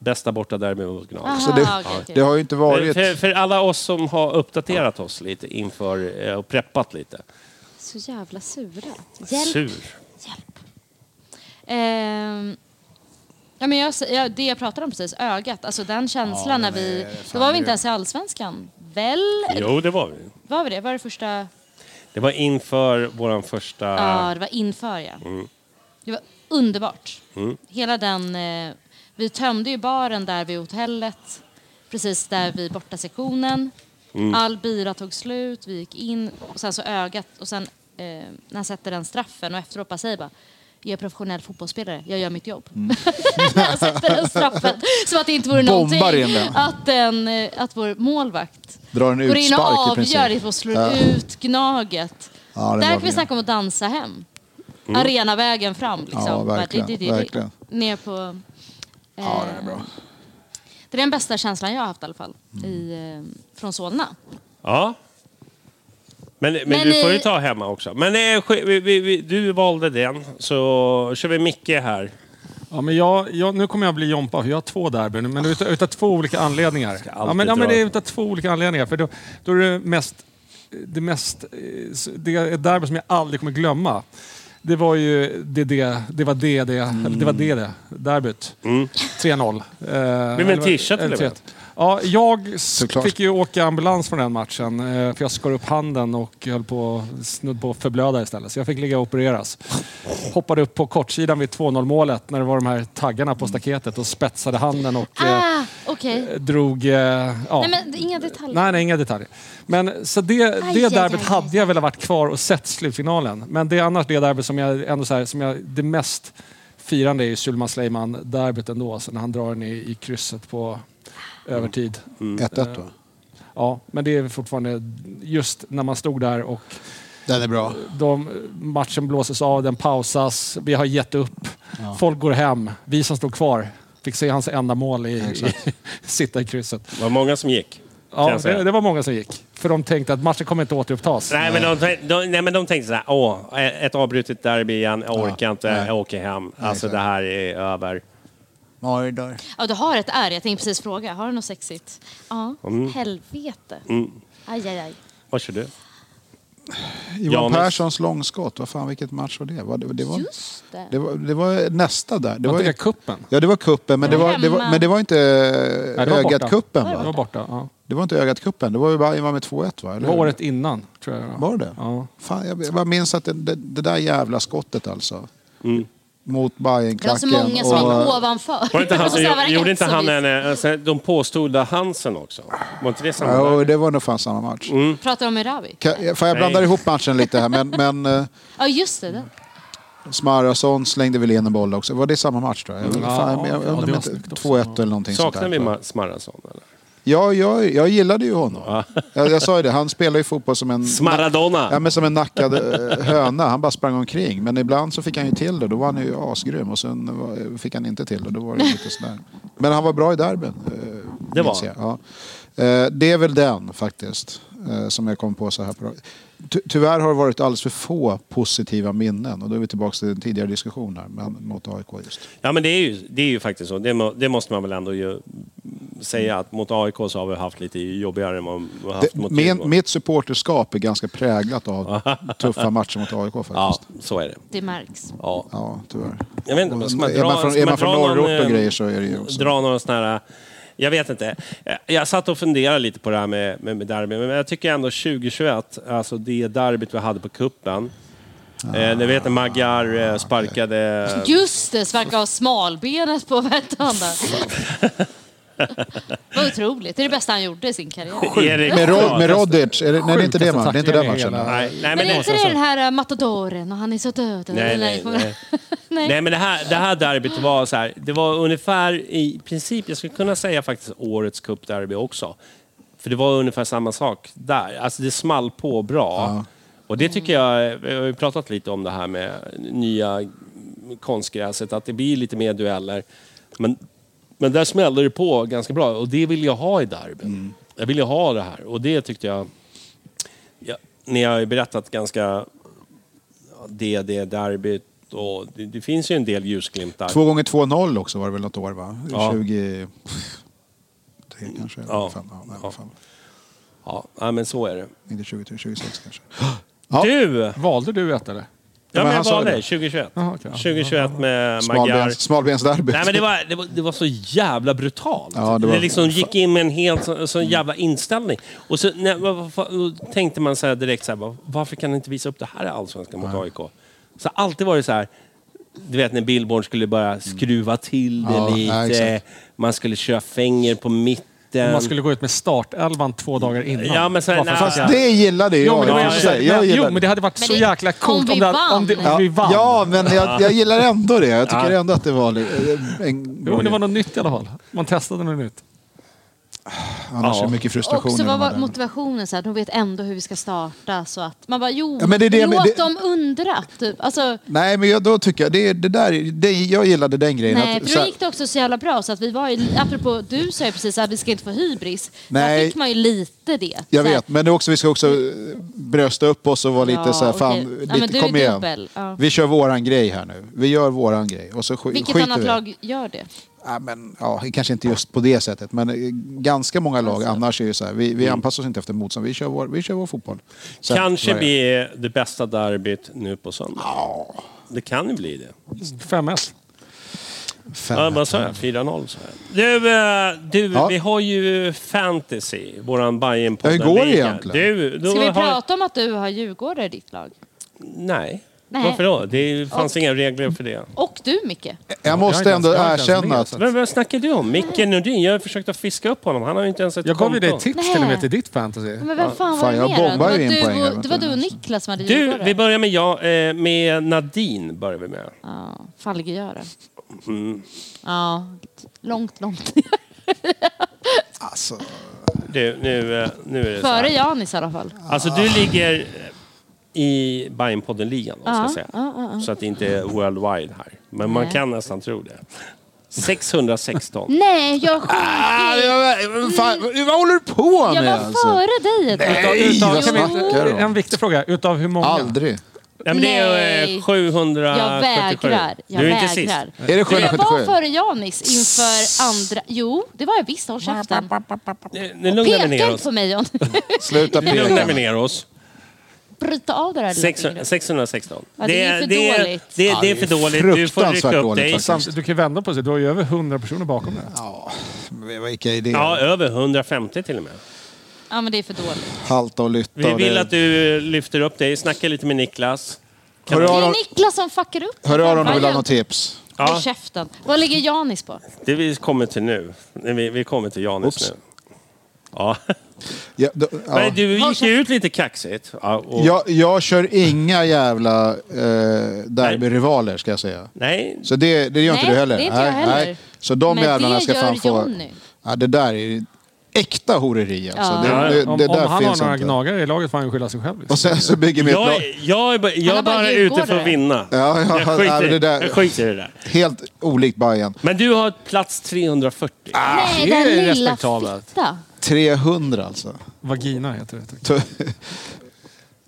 S2: bästa borta derbyt mot Gnaget.
S4: Aha,
S1: Så Alltså, det,
S4: Ah, okej, okej.
S1: det har ju inte
S2: För,
S1: varit...
S2: för, för alla oss som har uppdaterat oss lite inför eh, och preppat lite.
S4: Så jävla sura. Hjälp.
S2: Sur.
S4: Hjälp. Ehm, ja, men jag, jag, det jag pratade om precis, ögat, alltså den känslan när vi... Då var vi inte ens i Allsvenskan. Väl?
S2: Jo, det var vi.
S4: Var vi det? Var det första...
S2: Det var inför vår första...
S4: Ja, det var inför ja. Det var underbart. Hela den... Eh, vi tömde ju baren där vid hotellet, precis där vid bortasektionen. All bira tog slut, vi gick in och sen så ögat och sen eh, när han sätter den straffen och efteråt bara säger bara jag är professionell fotbollsspelare, jag gör mitt jobb.
S1: Mm.
S4: När han sätter den straffen. Som att det inte vore
S1: Bombar in
S4: någonting.
S1: den.
S4: Att, den, eh, att vår målvakt
S1: Drar en
S4: går in och
S1: utspark i princip.
S4: avgör det och slår
S1: Ja.
S4: ut Gnaget.
S1: Ja, det var
S4: Där kan vi
S1: fint.
S4: snacka om att dansa hem. Arenavägen fram. Liksom.
S1: Ja, verkligen,
S4: Bara di- di- di- di-
S1: verkligen.
S4: Ner på... Eh,
S1: Ja, den är bra.
S4: Det är den bästa känslan jag har haft i alla fall. I, eh, från Solna.
S2: Ja. Men, men,
S4: Men
S2: du får ju
S4: i-
S2: ta hemma också. Men eh, sk- vi, vi, vi, du valde den, så kör vi Micke här.
S3: Ja, men jag, jag, nu kommer jag bli Jompa, för jag har två derbyn. Men utav, utav två olika anledningar.
S2: Ah, alltid
S3: Ja, men, ja, men
S2: dra
S3: det är
S2: det.
S3: utav två olika anledningar. För då, då är det mest... Det, mest, eh, s- det är ett derby som jag aldrig kommer glömma. Det var ju det, det, det var det,
S2: Mm.
S3: det, eller det var det, det derbyt. 3-0. Eh,
S2: en
S3: eller vad-
S2: t-shirt
S3: eller
S2: till och med.
S3: 3-1. Ja, jag s-
S1: Såklart.
S3: fick ju åka ambulans från den matchen eh, för jag skar upp handen och höll på snudd på att förblöda istället. Så jag fick ligga och opereras. Hoppade upp på kortsidan vid 2-0 målet när det var de här taggarna på staketet och spetsade handen och eh,
S6: Ah, okej.
S3: drog... Eh, ja.
S6: Nej, men inga detaljer.
S3: Nej, nej, inga detaljer. Men, så det,
S6: aj,
S3: det
S6: aj,
S3: derbyt
S6: aj.
S3: hade jag velat varit kvar och sett slutfinalen. Men det är annars det derbyt som jag ändå så här, som jag, det mest firande är ju Sulman Sleiman-derbyt ändå. Alltså när han drar den i, i krysset på övertid.
S1: 1-1 då.
S3: Ja, men det är fortfarande just när man stod där och
S1: Den är bra.
S3: de, matchen blåses av, den pausas, vi har gett upp. Folk går hem. Vi som stod kvar fick se hans enda mål i, i sitta i krysset.
S2: Det var många som gick. kan
S3: Ja,
S2: jag säga.
S3: det, det var många som gick. För de tänkte att matchen kommer inte återupptas.
S2: Nej men, de, de, nej, men de tänkte så här, åh, ett avbrutet derby igen, jag orkar inte,
S1: nej.
S2: jag åker hem. Alltså
S1: exakt.
S2: det här är över.
S1: Mardar.
S6: Ja, du har ett ärr. Jag tänkte precis fråga. Har du något sexigt? Ja.
S1: Mm.
S6: Helvete. Aj, aj, aj.
S2: Vad kör du?
S1: Johan
S2: Janus.
S1: Perssons långskott. Vad fan, vilket match var det? Var det, det, var,
S6: Just det.
S1: det, var, det var nästa där. Det
S3: Det
S1: var,
S3: var
S1: ju-
S3: inte kuppen.
S1: ja, det var kuppen, men det var, det var,
S6: Hemma.
S1: men det var inte
S3: Nej, det var borta.
S1: ögat-kuppen
S3: Det var
S1: va?
S3: borta. Ja.
S1: Det var inte ögat-kuppen. Det var ju Bayern var med 2-1 va?
S3: Det
S1: Eller
S3: var
S1: hur?
S3: året innan, tror jag.
S1: Var det?
S3: Ja.
S1: Fan, jag, jag bara minns att det, det, det där jävla skottet alltså.
S3: Mm.
S1: Mot
S6: Det var så
S1: Bajenklacken.
S6: många som gick ovanför.
S2: Var det inte han
S6: Och
S2: som
S6: så var
S2: gjorde,
S6: det
S2: gjorde
S6: ett
S2: inte
S6: som
S2: han
S6: vi-
S2: en, eh, alltså, de påstodda Hansen också? Var inte det samma?
S1: Ja,
S2: där?
S1: och det var nog fan samma match.
S3: Mm.
S6: Pratar om Erawi?
S1: Ka- Fan, jag
S2: Nej.
S1: blandar ihop matchen lite här, men, men eh,
S6: Ja, just det.
S1: Mm.
S6: den.
S1: Smarason slängde väl in en boll också. Var det samma match då? Jag, fan, jag, jag,
S3: Ja, det
S1: undrar om
S3: var
S1: inte
S3: snyggt också.
S1: 2-1 eller någonting
S2: Saknar
S1: sånt
S2: vi
S1: där.
S2: Ma- Smarrason? eller?
S1: Ja, jag, jag gillade ju honom. Jag, jag sa ju det, han spelar ju fotboll som en...
S2: Smaradona!
S1: Ja, men som en nackad eh, höna. Han bara sprang omkring. Men ibland så fick han ju till det. Då var han ju asgrym. Och sen var, fick han inte till det. Då var det lite sådär. Men han var bra i derbyn. eh,
S2: Det var
S1: minns jag. Ja. Eh, Det är väl den faktiskt. eh, Som jag kom på så här på rak- Ty- Tyvärr har det varit alldeles för få positiva minnen. Och då är vi tillbaka till den tidigare diskussionen här, men mot AIK just.
S2: Ja men det är ju, det är ju faktiskt så. Det, må, det måste man väl ändå ju säga att mot AIK så har vi haft lite jobbigare än vad vi har haft
S1: Det,
S2: mot
S1: min,
S2: Djurgården.
S1: mitt supporterskap är ganska präglat av tuffa matcher mot AIK faktiskt.
S2: Ja,
S1: Ja,
S2: så är det.
S6: Det märks.
S2: Ja.
S1: tyvärr.
S2: Jag vet inte, men ska man
S1: Mm. är
S2: dra,
S1: man från,
S2: ska
S1: är man från
S2: dra någon,
S1: norrort och
S2: eh,
S1: grejer så är det ju också...
S2: dra några sådana här... eh, Jag vet inte. Eh, Jag satt och funderade lite på det här med, med, med derby, men jag tycker ändå 2021, alltså det derbyt vi hade på kuppen. Eh,
S1: Ah,
S2: ni vet när Maggar eh, sparkade...
S6: Just det, sparka av smalbenet på Vetlanda. Vad otroligt. Det är det bästa han gjorde i sin karriär.
S2: Erik,
S1: Med, Rod,
S2: Klaas.
S1: med Rodic? Är det, nej, det är inte det,
S3: Sjukaste
S1: man, det är inte den
S3: tacklingen i
S1: matchen.
S3: hela-
S2: Nej, nej, men,
S6: Men är inte
S2: någonstans-
S6: det den här äh, matadoren och han är så död?
S2: Nej, nej, nej. Nej, men det här, det här derbyt var så här, det var ungefär i princip, jag skulle kunna säga faktiskt årets cupderby också. För det var ungefär samma sak där. Alltså det small på bra. Och det tycker jag, vi har ju pratat lite om det här med nya konstgräset, att det blir lite mer dueller. Men, men där smällde det på ganska bra och det vill jag ha i derbyn.
S1: Mm.
S2: Jag vill ju ha det här och det tyckte jag, jag ni har ju berättat ganska DD-derbyt och det, det finns ju en del ljusglimtar.
S1: Två gånger 2-0 också var det väl något år va?
S2: Ja.
S1: 20... Tre kanske?
S2: Ja.
S1: Ja. Fem, ja, nej,
S2: Ja.
S1: Fan.
S2: Ja, ja, men så är det.
S1: Inte 20, 26 kanske. Ja.
S2: Du!
S6: eh,
S2: Ja,
S3: Valde du ett eller?
S2: men
S1: han
S2: jag
S1: sa
S2: valde
S1: det.
S2: 2021.
S3: Jaha, okej.
S2: 2021 med Magyar.
S1: Smalbens, smalbensderbyt.
S2: Nej men det var, det var, det var så jävla brutalt.
S1: Ja,
S2: det
S1: det var-
S2: liksom gick in med en helt så, sån jävla inställning. Och så när, vad- vad fan- då tänkte man så här direkt så här, "Va- varför kan ni inte visa upp det här i Allsvenskan mot AIK? Så alltid var det så här, du vet när Billborn skulle bara skruva till det
S1: Ja, ja,
S2: lite.
S1: exakt.
S2: man skulle köra fänger på mitten.
S1: Eh.
S3: Man skulle gå ut med startelvan två dagar innan.
S2: Ja, men så här,
S3: Varför
S2: nej,
S3: fan?
S1: Fast det gillade ju
S3: Jo,
S1: jag.
S3: men, det var ju
S1: i och för sig.
S3: så-
S1: jag
S3: men, jo,
S1: gillade
S3: men det hade varit
S6: Men
S3: så
S6: det-
S3: jäkla coolt
S6: om
S3: om,
S6: vi
S3: det hade- om, det,
S6: vann.
S3: om vi vann.
S1: Ja, men jag, jag gillar ändå det. Jag tycker ändå att det var... eh, En,
S3: Jo, men det var något nytt i alla fall. Man testade något nytt.
S1: Annars
S2: Ja.
S1: är det mycket
S6: Och
S1: frustration.
S6: så
S1: i
S6: vad
S1: de här
S6: var
S1: där.
S6: motivationen? Så här, de vet ändå hur vi ska starta. Så att man bara, jo,
S1: Ja, men det är det jag
S6: låt
S1: men- det-
S6: dem undra. Typ. Alltså,
S1: Nej, men jag, då tycker jag... Det, det där, det, jag gillade den grejen.
S6: nej,
S1: att,
S6: för
S1: så
S6: då
S1: här-
S6: gick det också så jävla bra. Så att vi var ju, apropå, du sa ju precis att vi ska inte få hybris. Där
S1: Nej.
S6: fick man ju lite det.
S1: Jag
S6: Så här,
S1: vet, men det är också, vi ska också eh, brösta upp oss och vara lite
S6: Ja,
S1: så här, fan,
S6: okej. Ja,
S1: lite,
S6: men du är
S1: kom igen.
S6: dubbel, ja.
S1: Vi kör våran grej här nu. Vi gör våran grej och så sk-
S6: Vilket
S1: skiter
S6: annat
S1: vi.
S6: lag gör det?
S1: Ja, men, ja, kanske inte just på det sättet, men eh, ganska många lag
S6: Alltså.
S1: annars är ju så här, vi, vi anpassar oss inte efter motstånd, vi kör vår, vi kör vår fotboll. Sen-
S2: Mm. Kanske
S1: vad är det?
S2: blir det bästa derbyt nu på söndag. Det kan ju bli det.
S3: 5-1.
S2: Ja, vad sa jag? 4-0 sa jag. Du, eh, du
S1: Ja.
S2: vi har ju fantasy, våran bayern på
S1: Ja, hur går det egentligen?
S2: Du, då
S6: Ska vi
S2: har...
S6: prata om att du har Djurgårdare i ditt lag?
S2: Nej.
S6: Nej.
S2: Varför då? Det fanns
S6: Och-
S2: inga regler för det.
S6: Och du, Micke.
S1: Jag måste ändå erkänna att...
S2: Men vad snackar du om? Micke Nordin? Jag har försökt att fiska upp honom. Han har ju inte ens ett
S3: Jag gav ju
S2: konto.
S3: dig tips till och med
S6: Nej.
S3: till ditt fantasy.
S6: Men vem fan var
S1: Fan,
S6: det
S1: jag
S6: mer då?
S1: bombar ju
S6: Det var
S1: in
S6: du
S1: poäng här,
S6: och-
S1: vet
S6: Det var
S1: du.
S6: du och Niklas som hade
S2: Du,
S6: Djurgårdare.
S2: vi börjar med, jag, eh, med Nadine. Börjar vi med.
S6: Ja, Falgegöra.
S2: Mm.
S6: Ja, långt, långt.
S1: Alltså,
S2: Du, nu, eh, nu är det så här.
S6: Före Janis i alla fall.
S2: Alltså du ligger i Bajenpodden-ligan, ska jag
S6: Ja,
S2: säga.
S6: ja, ja, ja.
S2: Så att det inte är worldwide här. Men man
S6: Nej.
S2: kan nästan tro det. 616.
S6: Nej, jag
S1: Ah,
S6: skiter i-
S1: jag- vad fan, vad håller du på
S6: Jag
S1: med?
S6: var
S1: Alltså?
S6: före dig ett tag.
S1: Nej, vad
S6: Jo.
S1: snackar du om?
S3: En viktig fråga. Utav hur många?
S1: Aldrig.
S2: Nej, men det är eh,
S6: Nej.
S2: 777.
S6: Jag vägrar. Jag
S2: du är inte sist.
S6: vägrar.
S1: Är det
S6: Jag var
S1: 777?
S6: före Janis inför andra... Jo, det var jag visst. Håll käften.
S2: Nu, nu lugnar vi ner
S6: Peka inte
S2: oss.
S6: på mig, John.
S1: Sluta
S2: Nu lugnar vi
S1: peka.
S2: ner oss.
S6: Bryta av det här lilla
S2: Sex-
S6: fingret.
S2: 616.
S6: Ja, det är för
S2: det, är-
S6: dåligt.
S2: Det, det är för dåligt. Du får rycka
S1: fruktansvärt
S2: upp
S1: dåligt
S2: dig.
S1: faktiskt.
S3: Samt, du kan ju vända på sig. Du har ju över 100 personer bakom dig.
S1: Men Vilka
S2: Ja,
S1: idéer.
S2: över 150 till och med.
S6: Ja, men det är för dåligt.
S1: Halta och lytta.
S2: Vi
S1: och
S2: vill
S1: det-
S2: att du lyfter upp dig, snackar lite med Niklas.
S1: Hör
S6: Det
S1: av
S6: är
S1: dig-
S6: Niklas som fuckar upp.
S1: hör av dig om du vill ha
S6: Vad
S1: något tips.
S6: gör- Håll
S2: Ja.
S6: käften. Vad ligger Janis på?
S2: Det vi kommer till nu. Nej, Vi, vi kommer till Janis
S1: Oops.
S2: nu. Ja.
S1: Ja, då, ja.
S2: Men du gick ju ut lite kaxigt. Ja, och,
S1: Jag, jag kör inga jävla eh, derbyrivaler ska jag säga.
S2: Nej,
S1: Så det, det gör inte
S6: Nej,
S1: du heller.
S6: det är inte jag heller.
S1: Så de
S6: Men
S1: jävlarna
S6: det
S1: ska
S6: gör
S1: fan få...
S6: Johnny.
S1: Ja, det där är ju äkta horeri alltså.
S6: Ja.
S1: Det,
S2: Ja,
S1: det, det
S3: Om,
S1: där
S3: om han har
S1: finns
S3: några
S1: inte.
S3: gnagare i laget får han ju skylla sig själv. Liksom.
S1: Och sen så bygger vi ett
S2: jag,
S1: lag.
S2: jag är, bara-
S6: Han
S2: jag är
S6: är bara
S2: bara
S6: djurgårdare.
S2: ute för att vinna.
S1: Ja, ja,
S2: jag, skiter,
S1: ja, det där-
S2: jag skiter i det där.
S1: Helt olikt Bayern.
S2: Men du har plats 340.
S4: Ah.
S6: Nej,
S3: det är
S6: den lilla
S3: respektabelt.
S6: fitta.
S1: 300 alltså.
S3: Vagina heter det.
S1: Så-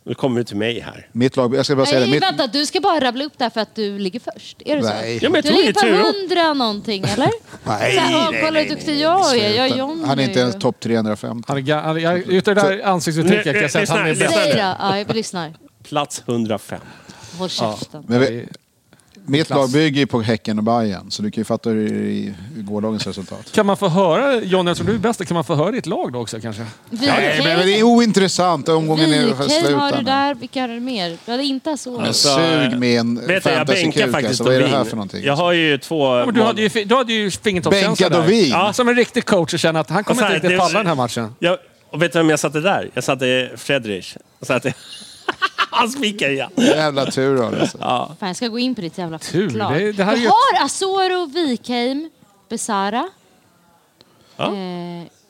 S2: Nu kommer du till mig här.
S1: Mitt lag, jag ska bara säga det.
S6: Nej,
S1: Mitt,
S6: vänta. Du ska bara rabbla upp det här för att du ligger först. Är det
S1: Nej.
S6: så?
S2: Ja, men jag
S6: Du
S2: tog ju
S6: ligger
S2: tur
S6: på
S2: upp.
S6: hundra någonting, eller?
S1: Nej,
S6: Så här, "Åh, Kolla hur duktig jag är. Jag är Johnny.
S1: han är inte ens topp 350.
S3: Han är, ga- han är, jag- utav det där ansiktsuttrycket kan jag säga att han är bäst.
S2: Lyssna
S6: Säg
S2: nu.
S6: då. Ja, jag lyssnar.
S2: Plats 105.
S6: Håll käften.
S1: Men vi, mitt lag bygger ju på Häcken och Bayern. så du kan ju fatta hur det är i i gårdagens resultat.
S3: Kan man få höra, John, eftersom du är bäst, kan man få höra ditt lag då också kanske?
S1: Nej, men det
S6: Wikheim
S1: är ointressant. Omgången är slut.
S6: Wikheim har du
S1: Anna.
S6: där. Vilka är det mer? Du hade inte så.
S1: Men
S2: Alltså,
S1: sug med en
S2: Vet du, jag bänkar
S1: fantasykuk
S2: faktiskt
S1: alltså. Vad är det här
S2: Dovin.
S1: för någonting?
S2: Jag har ju två...
S3: Ja, men du, hade ju, fi- du hade ju fingertoppskänsla
S1: Bänkad
S3: där.
S1: och vin.
S2: Ja.
S3: Som en riktig coach och känner att han
S2: Och så
S3: kommer inte
S2: här,
S3: riktigt
S2: det-
S3: palla den här matchen.
S2: Jag, och vet du vem jag satte där? Jag satte Fredrich. Jag satte... Han spikar igen.
S1: Jävla tur då. Alltså.
S6: Fan, jag ska gå in på ditt jävla
S3: Tur,
S6: lag.
S3: det- det här är ju
S6: jag
S3: ett-
S6: har Asoro, Wikheim, Besara.
S2: Ja.
S6: Eh,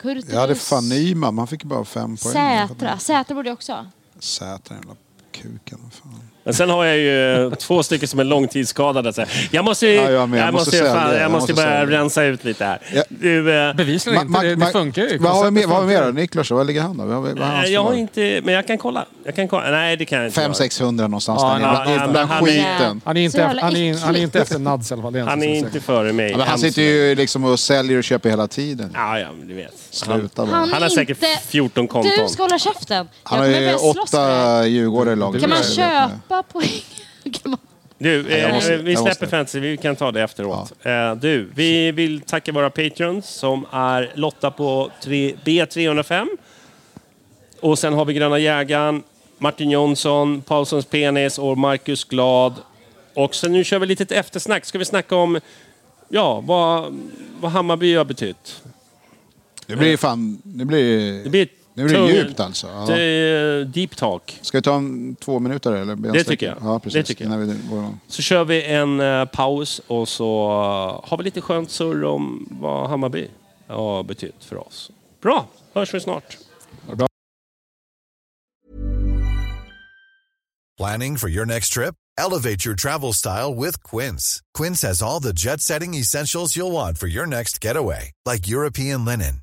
S6: Kurtulus,
S1: Jag hade fan Nyman, man fick ju bara fem poäng.
S6: Sätra. Sätra borde jag också ha.
S1: Sätra, jävla kuken. vad Fan.
S2: Men sen har jag ju eh, två stycken som är långtidsskadade. Så jag måste, ju-
S1: Ja, jag med. Jag
S2: jag
S1: måste
S2: måste, ju
S1: sälja.
S2: fan- jag
S1: Jag
S2: måste
S1: måste
S2: börja
S1: sälja.
S2: rensa ut lite här.
S1: Ja.
S2: Du, eh,
S3: Bevisligen
S1: Ma- ma-
S3: inte, det,
S1: ma-
S3: det funkar ju.
S1: Vad har vi mer- vad har vi mer då?
S3: Konceptet
S1: Niklas, då? var ligger han då? Vad- vad- vad har han
S2: eh, jag har
S1: för lag?
S2: inte... Men jag kan kolla. Jag kan kolla. Nej, det kan jag inte. göra.
S1: 500-600 någonstans
S3: Ja,
S1: där
S2: nej,
S1: nere. Bland-
S2: nej,
S1: Bland
S2: han är-
S1: skiten.
S3: han är
S6: Så
S3: inte,
S6: jävla
S3: han är, han är inte
S6: äckligt.
S3: efter Nads i alla fall. det är en
S2: Han
S3: sak
S2: är
S3: som jag
S2: inte
S3: säger.
S2: före mig.
S1: Ja, men han
S2: än
S1: sitter
S2: så länge.
S1: ju liksom och säljer och köper hela tiden.
S2: Ja, ja, men du vet. Han,
S1: Sluta bara.
S2: han har
S6: är
S2: säkert
S6: inte-
S2: 14 konton.
S6: Du ska hålla käften.
S1: Han
S6: jag
S1: har
S6: kommer
S1: ju
S6: börja slåss med dig.
S1: åtta Djurgårdare i laget.
S6: Kan man
S1: Jag vet inte.
S6: köpa poäng? Kan man...
S2: Du, eh,
S1: jag måste-
S2: vi
S1: jag
S2: släpper
S1: måste.
S2: fantasy, vi kan ta det efteråt. Eh, du, vi vill tacka våra patreons som är Lotta på tre- B305. Och sen har vi Gröna Jägaren, Martin Jonsson, Paulsons Penis och Marcus Glad. Och sen nu kör vi lite eftersnack. Ska vi snacka om ja, vad, vad Hammarby har betytt?
S1: Det blir fan... Det blir,
S2: Det blir,
S1: det blir
S2: tung-
S1: djupt alltså. Ja.
S2: Det är eh, deep talk.
S1: Ska vi ta en två minuter eller?
S2: Det tycker jag.
S1: Ja, precis.
S2: Det tycker jag.
S1: Innan vi går igång.
S2: Så kör vi en eh, paus och så eh, har vi lite skönt surr om vad Hammarby har betytt för oss. Bra, hörs vi snart.
S8: Planning for your next trip? Elevate your travel style with Quince. Quince has all the jet setting essentials you'll want for your next getaway, like European linen,